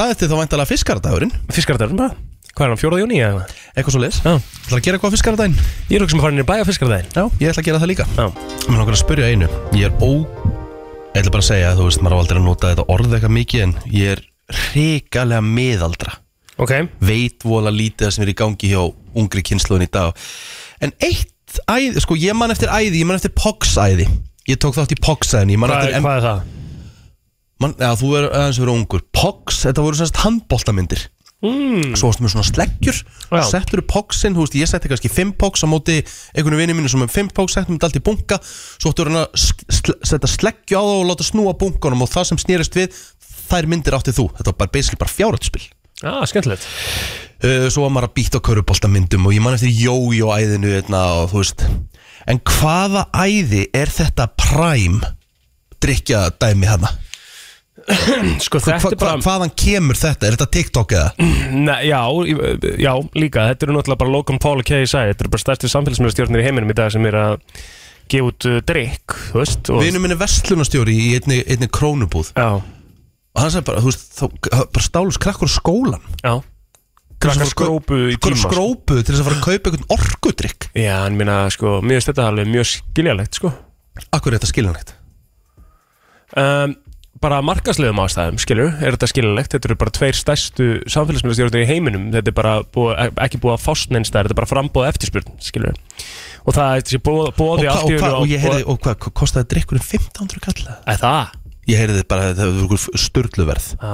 B: það eftir þá væntalega fiskaradagurinn
C: Fiskaradagurinn bara, hvað er hann, fjóraði júni eða?
B: Eitthvað svo leis
C: Já
B: Það að gera eitthvað fiskaradaginn?
C: Ég er okkur sem að fara inn í bæja fiskaradaginn
B: Já, ég ætla að gera það líka
C: Já
B: Mér langar að spyrja einu Ég er ó... Ég ætla bara að segja, þú veist, maður á aldrei að nota þetta orð eitthvað mikið En ég er hrikalega miðaldra
C: Ok
B: Veit vola lítið það sem er í gangi hjá ungri kynsluðin í dag En eitt æði, sko, ég man eftir æði, ég man eftir pox-æði Ég tók þátt í pox-æðin, ég man
C: Hvað-
B: eftir
C: Hvað er það?
B: Man, já, þú er aðeins verið ungur Pox, þetta voru semst handboltamyndir
C: Mm.
B: Svo varstu með svona sleggjur
C: Já.
B: Settur þú poxin, þú veist, ég setti kannski 5 pox á móti einhvern veginn mínu sem er 5 pox Settum þetta allt í bunka Svo ættu verið að sk- sl- setja sleggju á það og láta snúa bunkanum Og það sem snýrist við, þær myndir átti þú Þetta var bara basically bara fjárhætspil
C: Já, ah, skemmtilegt
B: uh, Svo var maður að býta á köruboltamyndum Og ég man eftir jójóæðinu hérna, og, þú veist. En hvaða æði er þetta prime drikja dæmi hana?
C: Sko þetta Mm. er bara
B: Hvaðan kemur þetta? Er þetta TikTok eða?
C: Nei, já, ég- já, líka Þetta eru náttúrulega bara Logan Paul og KSI Þetta eru bara stærsti samfélagsmiðastjórnir í heiminum í dag sem er að gefa út uh, drikk, þú veist og,
B: Vinur minn er vestlunastjóri í einni, einni krónubúð
C: Já,
B: Og hann sagði bara, þú veist, þá bara stálus krakkur á skólan
C: já Krakkar skrópuðu í tíma, sko.
B: Skrópuðu til þess að fara að kaupa einhvern orkudrykk
C: Já, en minna, sko, mér finnst þetta alveg mjög skiljalegt, sko
B: Akkur er þetta skiljanlegt?
C: um, bara markaslegum ástæðum skilur, er þetta skiljanlegt, þetta eru bara tveir stærstu samfélagsmiðlastjórnir í heiminum þetta er bara búið, e- ekki búið að fást neins það þetta er bara frambóð og eftirspurn, skilur og það er þessi bóði
B: Og hvað,
C: allt í
B: og hvað,
C: einu á-
B: og ég heyrði, og hvað, hvað kostaði drykkurinn 1500 kall? eða?
C: Æ, það
B: Ég heyrði bara, að það var einhver sturluverð
C: Já,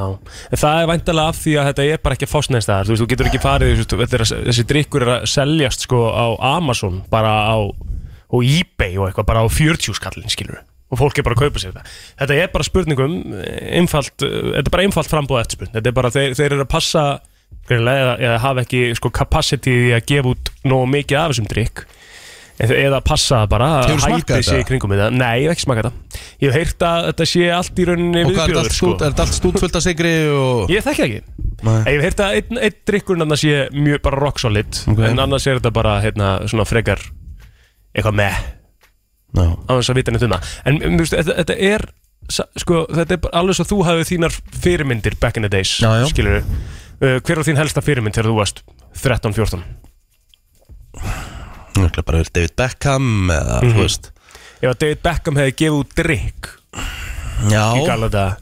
C: en það er væntalega af því að þetta er bara ekki að fást neins það, þú veist, þú getur ekki farið þú veist, þetta er, að- þessi drikkur er að seljast sko á Amazon, bara á og eBay og eitthvað, bara á 40 skallin skilur, og fólk er bara að kaupa sér það þetta er bara spurningum einfalt, eh, þetta er bara einfalt frambúð eftirspurn þetta er bara, þeir, þeir eru að passa greinilega, eða, eða hafa ekki sko capacity í að gefa út nógu mikið af þessum drikk En þau- eða passa það bara að
B: Hefurðu smakkað
C: hætið sé í
B: þetta?
C: kringum þetta Nei, ég hef ekki smakað þetta Ég hef heyrt að þetta sé allt í
B: Og
C: rauninni
B: hvað er þetta
C: viðbjóður sko.
B: allt stút- er þetta allt stútfullt að sigri og...
C: Ég þekki það ekki En Ég hef heyrt að einn ein drikkurinn annars sé mjög bara rock solid
B: Ok.
C: En annars er þetta bara hérna, svona frekar Eitthvað með
B: Já.
C: Á þess að vita neitt um það En um, þú veist, þetta, þetta er sa- sko, Þetta er bara alveg svo þú hafið þínar fyrirmyndir Back in the days
B: Já, já.
C: skilurðu. uh, Hver var þín helsta fyrirmynd þegar þú varst 13-14
B: Nú er bara verið David Beckham eða,
C: Mhm.
B: þú veist
C: Ef að David Beckham hefði gefið út drikk Í
B: Já,
C: gala þetta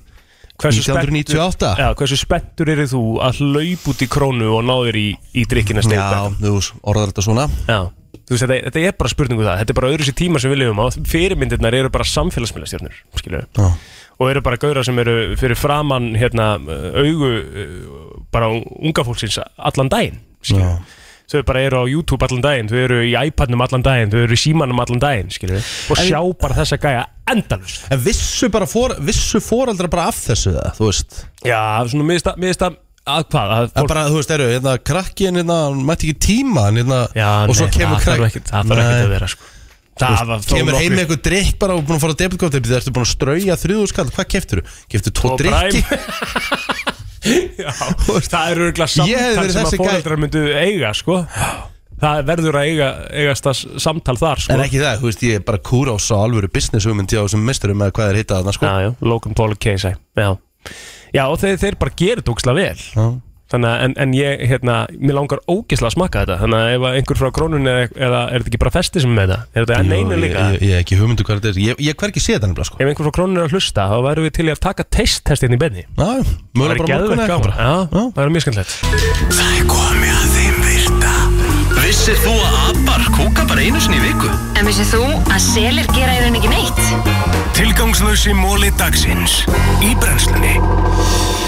B: 1998.
C: Já, hversu spenntur eru þú að hlaup út í krónu og náður í, í drikkina David Beckham
B: já, þú veist, orðar þetta svona
C: Já, þú veist, þetta, þetta er bara spurningu það Þetta er bara öðru sér tíma sem við lifum á Fyrirmyndirnar eru bara samfélagsmiðlastjörnur Skilju
B: Já.
C: Og eru bara gauðra sem eru fyrir framann hérna, uh, augu uh, bara unga fólksins allan daginn skilju
B: Já.
C: Þau bara eru á YouTube allan daginn, þau eru í iPadnum allan daginn, þau eru í símanum allan daginn, skilju Og
B: En-
C: sjá bara þessa gæja endalus
B: En vissu bara for, vissu foreldra bara af þessu það, þú veist
C: Já, svona miðist að, miðist að, að hvað? Að
B: En bara, þú veist, eru, hérna, krakkin, hérna, hann mætti ekki tíma, hann, hérna
C: Já,
B: Og svo
C: nei,
B: kemur
C: það þarf
B: krakk-
C: ekki, það þarf ekki
B: Nei.
C: að vera, sko
B: Þú
C: Það
B: veist,
C: var þó
B: Kemur heim með
C: nokkrir-
B: eitthvað drikk bara og búin að fara að debitgóta Þú ertu búin að strauja þriðu skall, hvað keftur þú? Keftur tvo
C: Tvo
B: drikki
C: Já, það eru örgulega
B: Ég hefði
C: samtal
B: verið
C: sem að
B: þessi gæ-
C: fóreldrar myndu eiga sko það verður að eiga, eigast að samtal þar sko.
B: En ekki það, þú veist, ég er bara kúra á svo alvöru business hugmyndi á þessum misturum með hvað þeir hitta þarna sko
C: Já, já, Logan Paul og KSI Já, já og þeir, þeir bara gerir þetta ógislega vel já. Þannig að, en, en ég, hérna, mér langar ógislega að smakka þetta Þannig að ef að einhver frá krónunni eða, eða er þetta ekki bara festi sem er með þetta? Er þetta enn einu líka?
B: Ég, ég, ég ekki hugmyndu hvað þetta er, ég, ég hver ekki sé þetta nefnilega sko
C: Ef einhver frá krónunni er að hlusta, þá verður við til í að taka taste-test hérna í benni
B: Já,
C: Það er
B: mögulega bara
C: geðveikt
B: morgun
C: gaman.
B: eitthvað
C: Já, það er mjög skemmtilegt
E: Það er komið að þeim virta Vissir þú að abar kúka bara einu sinni í viku?
P: En vissið þú að selir gera í raun ekki neitt?
E: Tilgangslösi móli dagsins Í brennslunni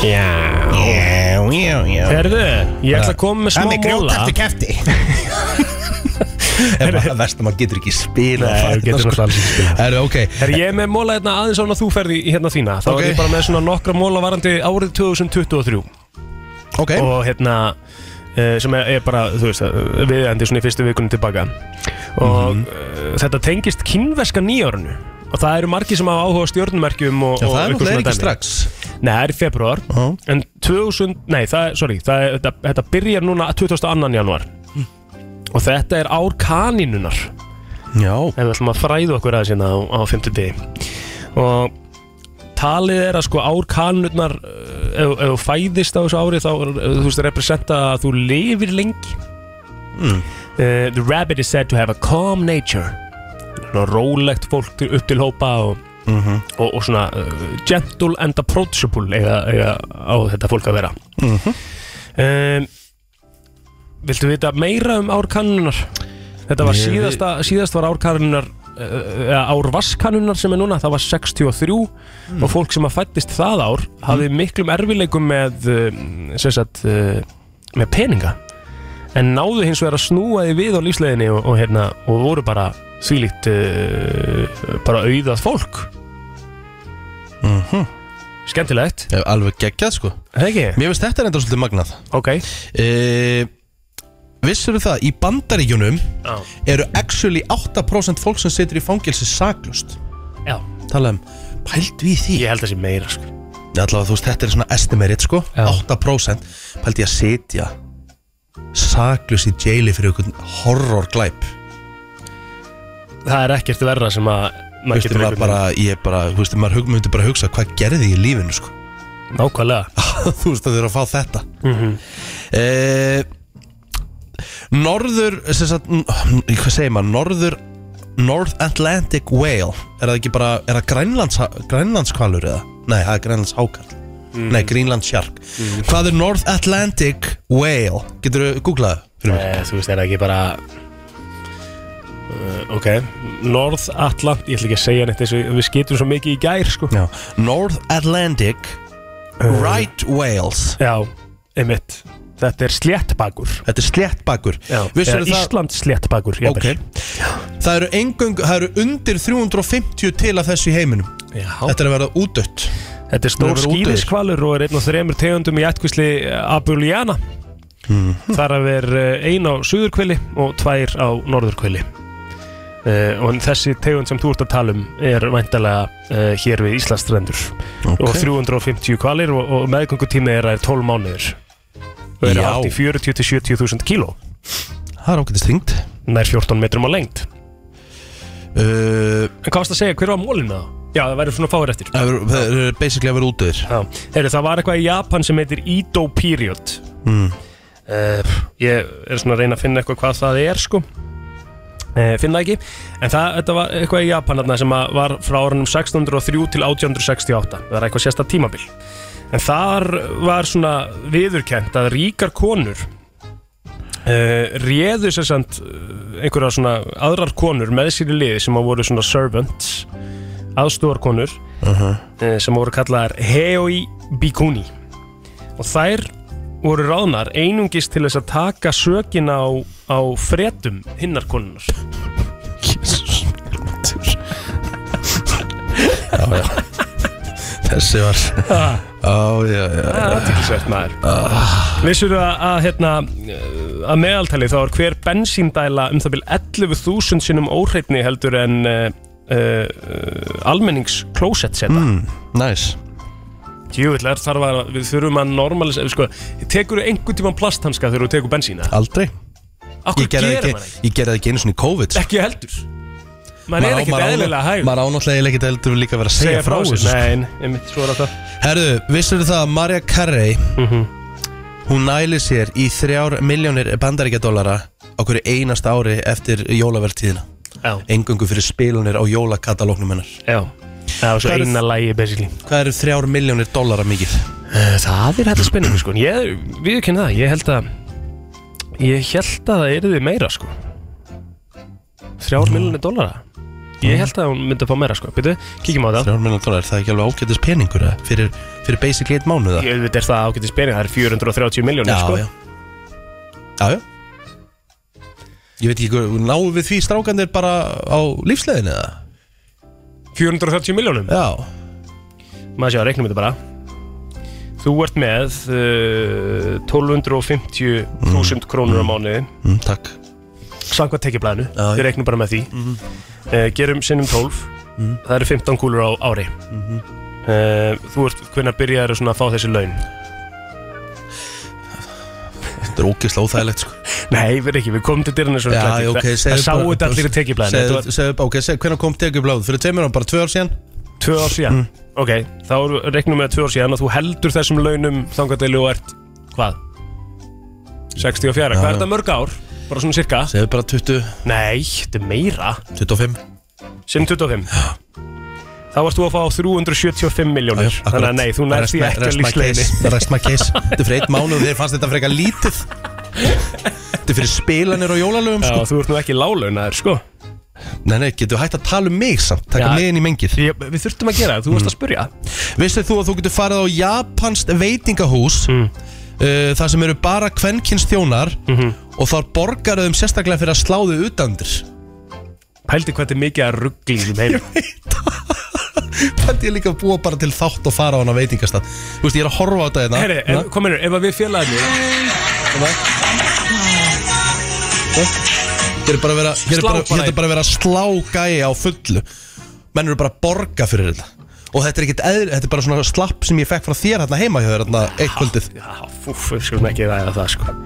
C: Já, já, já, já Herðu, ég ætla að koma með smá
B: Það
C: móla
B: með grjótart og kefti En bara verst að maður getur ekki spila
C: Nei, þú getur náttúrulega alls ekki spila.
B: Það er ok
C: Herri, ég er með móla hérna aðeins án að þú ferði í hérna þína Þá
B: Ok.
C: er ég bara með svona nokkra móla varandi árið 2023
B: Ok
C: Og hérna, uh, sem er, er bara, þú veist, eh, viðeigandi svona í fyrstu vikunum tilbaka Og
B: Mhm.
C: mm þetta tengist kynverska nýjárunu Og það eru margir sem hafa áhuga á stjórnumerkjum og,
B: Já,
C: og
B: það er
C: einhver
B: náttúrulega
C: svona
B: ekki
C: dæmi.
B: strax
C: Nei, það er í februar En 2000, nei, það er, sorry það er, þetta, þetta byrjar núna 22. januar
B: Hm.
C: Og þetta er ár kanínunar
B: Já
C: En við ætlum að fræða okkur aðeins hérna á, á 50 Og talið er að sko ár kanunnar Ef ef þú fæðist á þessu ári Þá, eh, þú veist, representa að þú lifir lengi Eh,
B: mm.
C: The rabbit is said to have a calm nature Ná, Rólegt fólk til, upp til hópa og
B: Mhm.
C: og, og svona uh, gentle and approachable eiga, eiga á þetta fólk að vera um, Viltu vita meira um árkannunar? Þetta var
B: Ég vil-
C: síðasta, síðast var árkannunar uh, ár vaskannunar sem er núna það var 63
B: Mm.
C: og fólk sem að fættist það ár hafði miklum erfileikum með um, sem sagt, uh, með peninga en náðu hins vegar að snúa því við á lífsleginni og, og, hérna, og voru bara þvílíkt uh, bara auðað fólk
B: Mhm.
C: Skemmtilegt
B: Ég hef Alveg geggjað sko
C: Ekki?
B: Mér finnst þetta reynda svolítið magnað
C: Ok
B: e, Vissur það, í bandaríkjunum
C: Já.
B: eru actually 8% fólk sem situr í fangelsi saklust
C: Já
B: Talað um, pælt við því
C: Ég held að sé meira sko
B: Allavega þú veist, þetta er svona estimate sko 8% pælt ég að sitja saklust í jaili fyrir einhvern horrorglæp
C: Það er ekkert verra sem að
B: Þú
C: maður
B: veist,
C: getur
B: maður
C: einhvern
B: bara, ég er bara, þú veist, maður hugmyndi bara að hugsa hvað gerði ég í lífinu sko
C: veginn- Nákvæmlega
B: þú veist að þau eru að fá þetta mm
C: Mhm.
B: Norður sem sagt, n- hvað segir maður Norður North Atlantic Whale er það ekki bara, er það Grænlands, Grænlandskvalur eða? Nei, það er Grænlandshákarl
C: Mm.
B: Nei, Grínlandsjark Hvað er North Atlantic Whale? Getur þú googlað það? fyrir mig?
C: Eh, Þú veist, er það ekki bara uh, Ok North Atlant Ég ætla ekki að segja neitt þessu Við skitum svo mikið í gær sko
B: Já. North Atlantic
C: Eh.
B: Right Whales
C: Já, einmitt Þetta er sléttbakur
B: Þetta er sléttbakur
C: Já,
B: Vissirðu
C: eða
B: það-
C: Ísland sléttbakur
B: Ok Það eru, engung, það eru undir 350 til af þessu í heiminum
C: Já.
B: Þetta er að vera útdött
C: Þetta er
B: Þetta
C: stór
B: er útdauður.
C: skýðiskvalur og er einn og þremur tegundum í ættkvísli Abuljana
B: Mhm.
C: Þar að vera ein á suðurkvili og tvær á norðurkvili uh, og þessi tegund sem þú ert að tala um er væntalega uh, hér við Íslandstrendur
B: Ok.
C: og 350 kvalir og, og meðgöngutími er að 12 mánuðir og eru
B: Já.
C: allt í 40-70.000 kíló
B: Það er ákveðist ringt
C: nær 14 metrum á lengt
B: uh,
C: En hvað varst að segja, hver var mólin með það? Já, það verður svona fáir eftir
B: Það eru- það eru basically að vera útdöður
C: Já, Heru, það var eitthvað í Japan sem heitir Ido Period
B: mm.
C: uh, Ég er svona að reyna að finna eitthvað hvað það er sko uh, Finna ekki En það, þetta var eitthvað í Japan þarna sem að var frá árunum 1603 til 1868 Það var eitthvað sérsta tímabil En þar var svona viðurkent að ríkar konur Uh, réðu sér samt einhverja svona aðrar konur með sér í liði sem að voru svona servants aðstúarkonur eh, sem voru kallaðar Heoi Bikuni og þær voru ráðnar einungis til þess að taka sökin á, á fretum hinnar konunar
B: Já, já Þessi var Já, já, já,
C: Það er
B: já.
C: aðtiklisvert maður Vissur að, að, hérna, eh, að meðaltali þá er hver bensíndæla um það byrja 11.000 sinnum óhreinni heldur en uh, uh, almenningsklósett seta
B: Mm, Nice
C: Jöfnvel er þarf að við þurfum að normalisa sko, Tekur þú einhvern tímann plasthanska þegar þú tekur bensína?
B: Aldrei
C: Akkur
B: Ég gerði
C: gerir
B: ekki-
C: maður ekki?
B: Ég gerði það ekki einu svona í COVID sko.
C: Ekki heldur Maður er
B: á-
C: ekkert
B: á-
C: eðlilega hægur
B: Maður ánáttlega er ekkert heldur líka að vera að segja frá þessu sko.
C: Nei, einmitt, svo er það
B: Herðu, vissur það að Marja Carey Hún næli sér í þrjár miljónir bandaríkjadólara á hverju einast ári eftir jólavertíðina
C: Já.
B: Engungu fyrir spilunir á jólakatalóknum hennar
C: Já, það var svo
B: Hvað eru-
C: eina lægi basically
B: Hvað eru þrjár miljónir dólara mikið? Eh,
C: Það er hægt spennandi sko en Ég, við kynna það, ég held að Ég held að það yrði meira sko Þrjár miljonir dólara Ég held að hún myndi að fá meira sko Býtu, kíkjum á það
B: Þrjár miljónir dólara, er það ekki alveg ágætis peningur eða? fyrir, fyrir basically eitt mánuða?
C: Ég veit er það ágætið spenið, það er 430 miljónir
B: Já,
C: sko
B: já. Já, já Ég veit ekki, hvað- náum við því strákandir bara á lífsleðinu eða?
C: 430 miljónum?
B: Já
C: Maður sjá, reiknum þetta bara Þú ert með uh, 1250.000 krónur á mánuði
B: mm, Takk
C: Samkvæmt tekjublaðinu,
B: Já, Mhm.
C: við
B: já.
C: reiknum bara með því mm Gerum sinnum 12
B: Mhm.
C: Það eru 15 kúlur á ári mm
B: Mhm.
C: Þú ert, hvenær byrjaður svona að fá þessi laun?
B: Þetta er ógeðslega óþægilegt sko
C: Nei, verð ekki, við komum til dyrna svona
B: Já,
C: klæddir.
B: ok,
C: Það-
B: segðu
C: Það sáu
B: bara-
C: þetta allir í tekjublaðinu Þetta var
B: segðu, segðu, Ok, segðu, hvernig kom tekjublaðið? Fyrir tveimur ára, bara tvö ár síðan?
C: tvö ár síðan
B: Mm.
C: Ok, þá eru- reiknum við að tvö ár síðan og þú heldur þessum launum þangatæli og ert Hvað? 64, hvað
B: Já,
C: er
B: já.
C: þetta mörg ár? Bara svona cirka?
B: Segðu bara 20,
C: Nei, þetta er meira
B: 25
C: Sem 25 Þá varst þú að fá 375 miljónir
B: Akkurat.
C: Þannig að nei, þú nærst
B: Rest
C: því
B: my-
C: ekki að
B: rest my
C: lífsleginni
B: case, Rest my case Þetta er fyrir eitt mánuð, þér fannst þetta frekar lítið Þetta er fyrir spilanir og jólalögum
C: Já,
B: sko.
C: þú ert nú ekki lálaunaður, sko
B: Nei, nei, getur hægt að tala um mig samt Takk
C: Já.
B: mig inn í mengið
C: ég, Við þurftum að gera það, þú varst að spyrja
B: Vissið þú að þú getur farið á japanskt veitingahús
C: Mm.
B: uh, Það sem eru bara kvenkins þjónar
C: Mhm.
B: Og þar borgaruðum sérstaklega fyrir að sláðu utandir
C: Pældi hvað þetta er mikið að ruggli í meira
B: Þetta er líka að búa bara til þátt og fara á hana veitingastað Þú veist, ég er að horfa á þetta hérna
C: Herri,
B: Hérna.
C: ef- kom ennur, ef að við félagarnir
B: Þetta er bara að vera Þetta er bara,
C: Slá bara
B: hérna
C: í.
B: bara að vera að slá gæi á fullu Menn eru bara að borga fyrir þetta Og þetta er ekkert eðl Þetta er bara svona slapp sem ég fekk frá þér hérna heima hjá þér hérna eitt kvöldið
C: Já, fúf, við skulum ekki ræða það, sko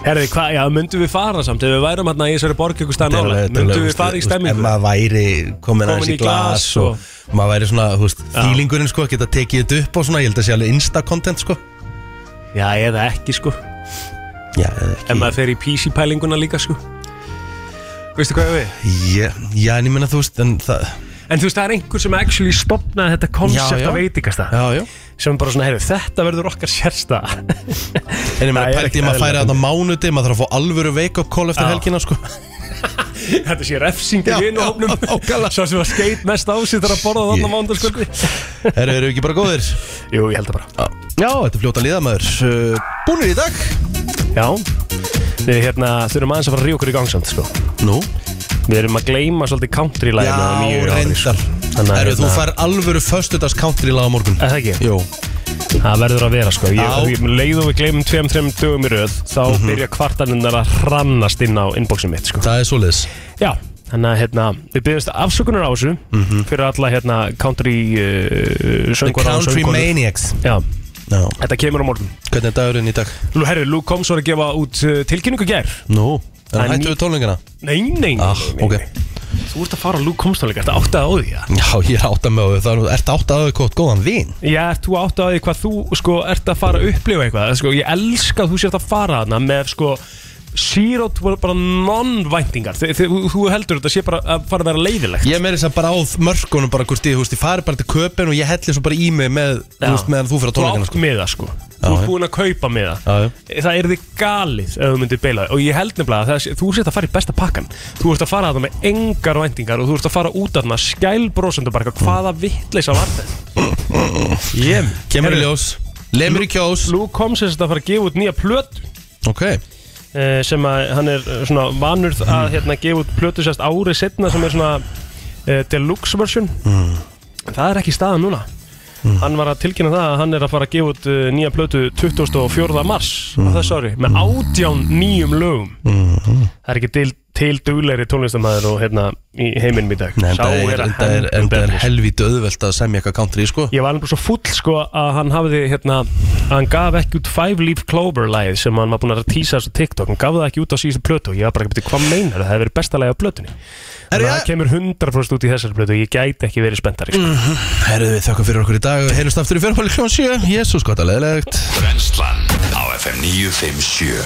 C: Herri, hvað, já, myndum við fara samt Ef við værum hérna í þessari borg ykkur stað nála Myndum við fara í
B: En
C: stemmingu
B: maður væri komin aðeins í glas og, maður væri svona, þú veist, fílingurinn sko Geta tekið þetta upp og svona, ég held að sé alveg insta-content sko
C: Já, eða ekki, sko
B: Já, eða ekki
C: En maður fer í PC-pælinguna líka, sko Veistu hvað ég á við?
B: Já, já, en ég meina þú veist, en það
C: En þú veist, það er einhver sem actually stopnaði þetta
B: Já,
C: konsept
B: já.
C: af veitingasta
B: Já, já
C: sem bara svona, heyrðu, þetta verður okkar sérsta
B: En ég meina,
C: Það er
B: pælti
C: ekki
B: ég maður færi
C: eðlilegt.
B: þetta mánuði Maður þarf að fá alvöru wake-up call eftir
C: Já.
B: helgina sko
C: Þetta sé refsing í hinn og opnum Svo sem var skeit mest á sig þegar að borða þarna
B: Yes.
C: mándaskvöldi
B: Herru, eru ekki bara góðir?
C: Jú, ég held það bara
B: Já, þetta er fljóta liðamæður Búnir í dag
C: Já, við hérna þurfum aðeins að fara að ríða okkur í gangsamt, sko
B: Nú?
C: Við erum að gleyma svolítið country-lægina á nýju
B: Já,
C: ári, sko.
B: reyndar
C: Þannig að
B: Herru, þú
C: hérna-
B: fær alvöru föstudags country lag á morgun
C: Er það ekki?
B: Jó
C: Það verður að vera sko
B: Já. Mhm.
C: ég, ég, Leið og við gleymum tveim, þreim dögum í röð Þá byrja kvartaninnar að hrannast inn á inboxið mitt sko
B: Það er svoleiðis
C: Já, þannig að hérna Við byggjumst afsökunar á þessu Fyrir alla hérna country uh,
B: Mhm. The
C: söngur
B: Country Maniacs
C: Já,
B: Já
C: þetta kemur á morgun
B: Hvernig er dagurinn í dag?
C: Lú, herri, Lú kom svo að gefa út uh, tilkynningu í gær
B: Nú Er
C: Það er
B: hann hættu
C: ný-
B: við tónleikana?
C: Nei, nei, nei,
B: Ah,
C: nei,
B: ok
C: nei. Þú ert að fara á Lú komstónleika Þetta áttað á því, já
B: Já, ég er átt að með á því Það er ert átt að með hvort góðan vin
C: Já, ert þú átt að því hvað þú sko, ert að fara að upplifa eitthvað sko, Ég elska að þú sért að fara hana með sko, zero to bara non-væntingar Þi- þi- Þú þú heldur þetta sé bara að fara að vera leiðilegt
B: Ég meiri þess að bara á mörkunum bara hvort ég, þú veist, ég fari bara til köpinn og ég helli svo bara í mig með, þú
C: Já.
B: veist, meðan þú fyrir á
C: Þú
B: tónleikana
C: átt
B: sko.
C: með það sko Þú
B: já.
C: ert búin að kaupa með það
B: Já, já.
C: Það er þið galið ef þú myndir beila þig. Og ég held nefnilega að það sé- þú sért að fara í besta pakkan Þú ert að fara þarna með engar væntingar Og þú ert að fara út þarna skælbrósendur bara eitthvað, Hvaða vittleisa var þetta Ég
B: Kemur í ljós Lemur í kjós
C: Lú kom sem þetta að fara að gefa út nýja plötu
B: Ok
C: eh, sem að hann er eh, svona vanur að hérna gefa út plötu sérst árið setna sem er svona uh, deluxe version
B: Mm.
C: það er ekki staðan núna hann var að tilkynna það að hann er að fara að gefa út uh, nýja plötu
B: Mm. Mm-hmm.
C: 24. mars á þessu ári með átján nýjum lögum það er ekki til til dugleiri tónlistamæður og hérna í heiminum í dag
B: Nei, en það er, enda er, enda er helvítið auðvelt að semja eitthvað country, sko
C: Ég var alveg bara svo full sko að hann hafði hérna að hann gaf ekki út Five Leaf Clover lagið sem hann var búinn að tísa þessu TikTok hann gaf það ekki út á síðustu plötu og ég var bara ekki betið hvað meinar það hefur verið besta lagið á plötunni Þannig að það kemur 100% út í þessari plötu og ég gæti ekki verið spenntari sko.
B: Herðu við þökkum fyrir okkur í dag Heilust aftur í fjármáli klón 7 Jésús, gott að leðilegt
E: Brennslan á FM 957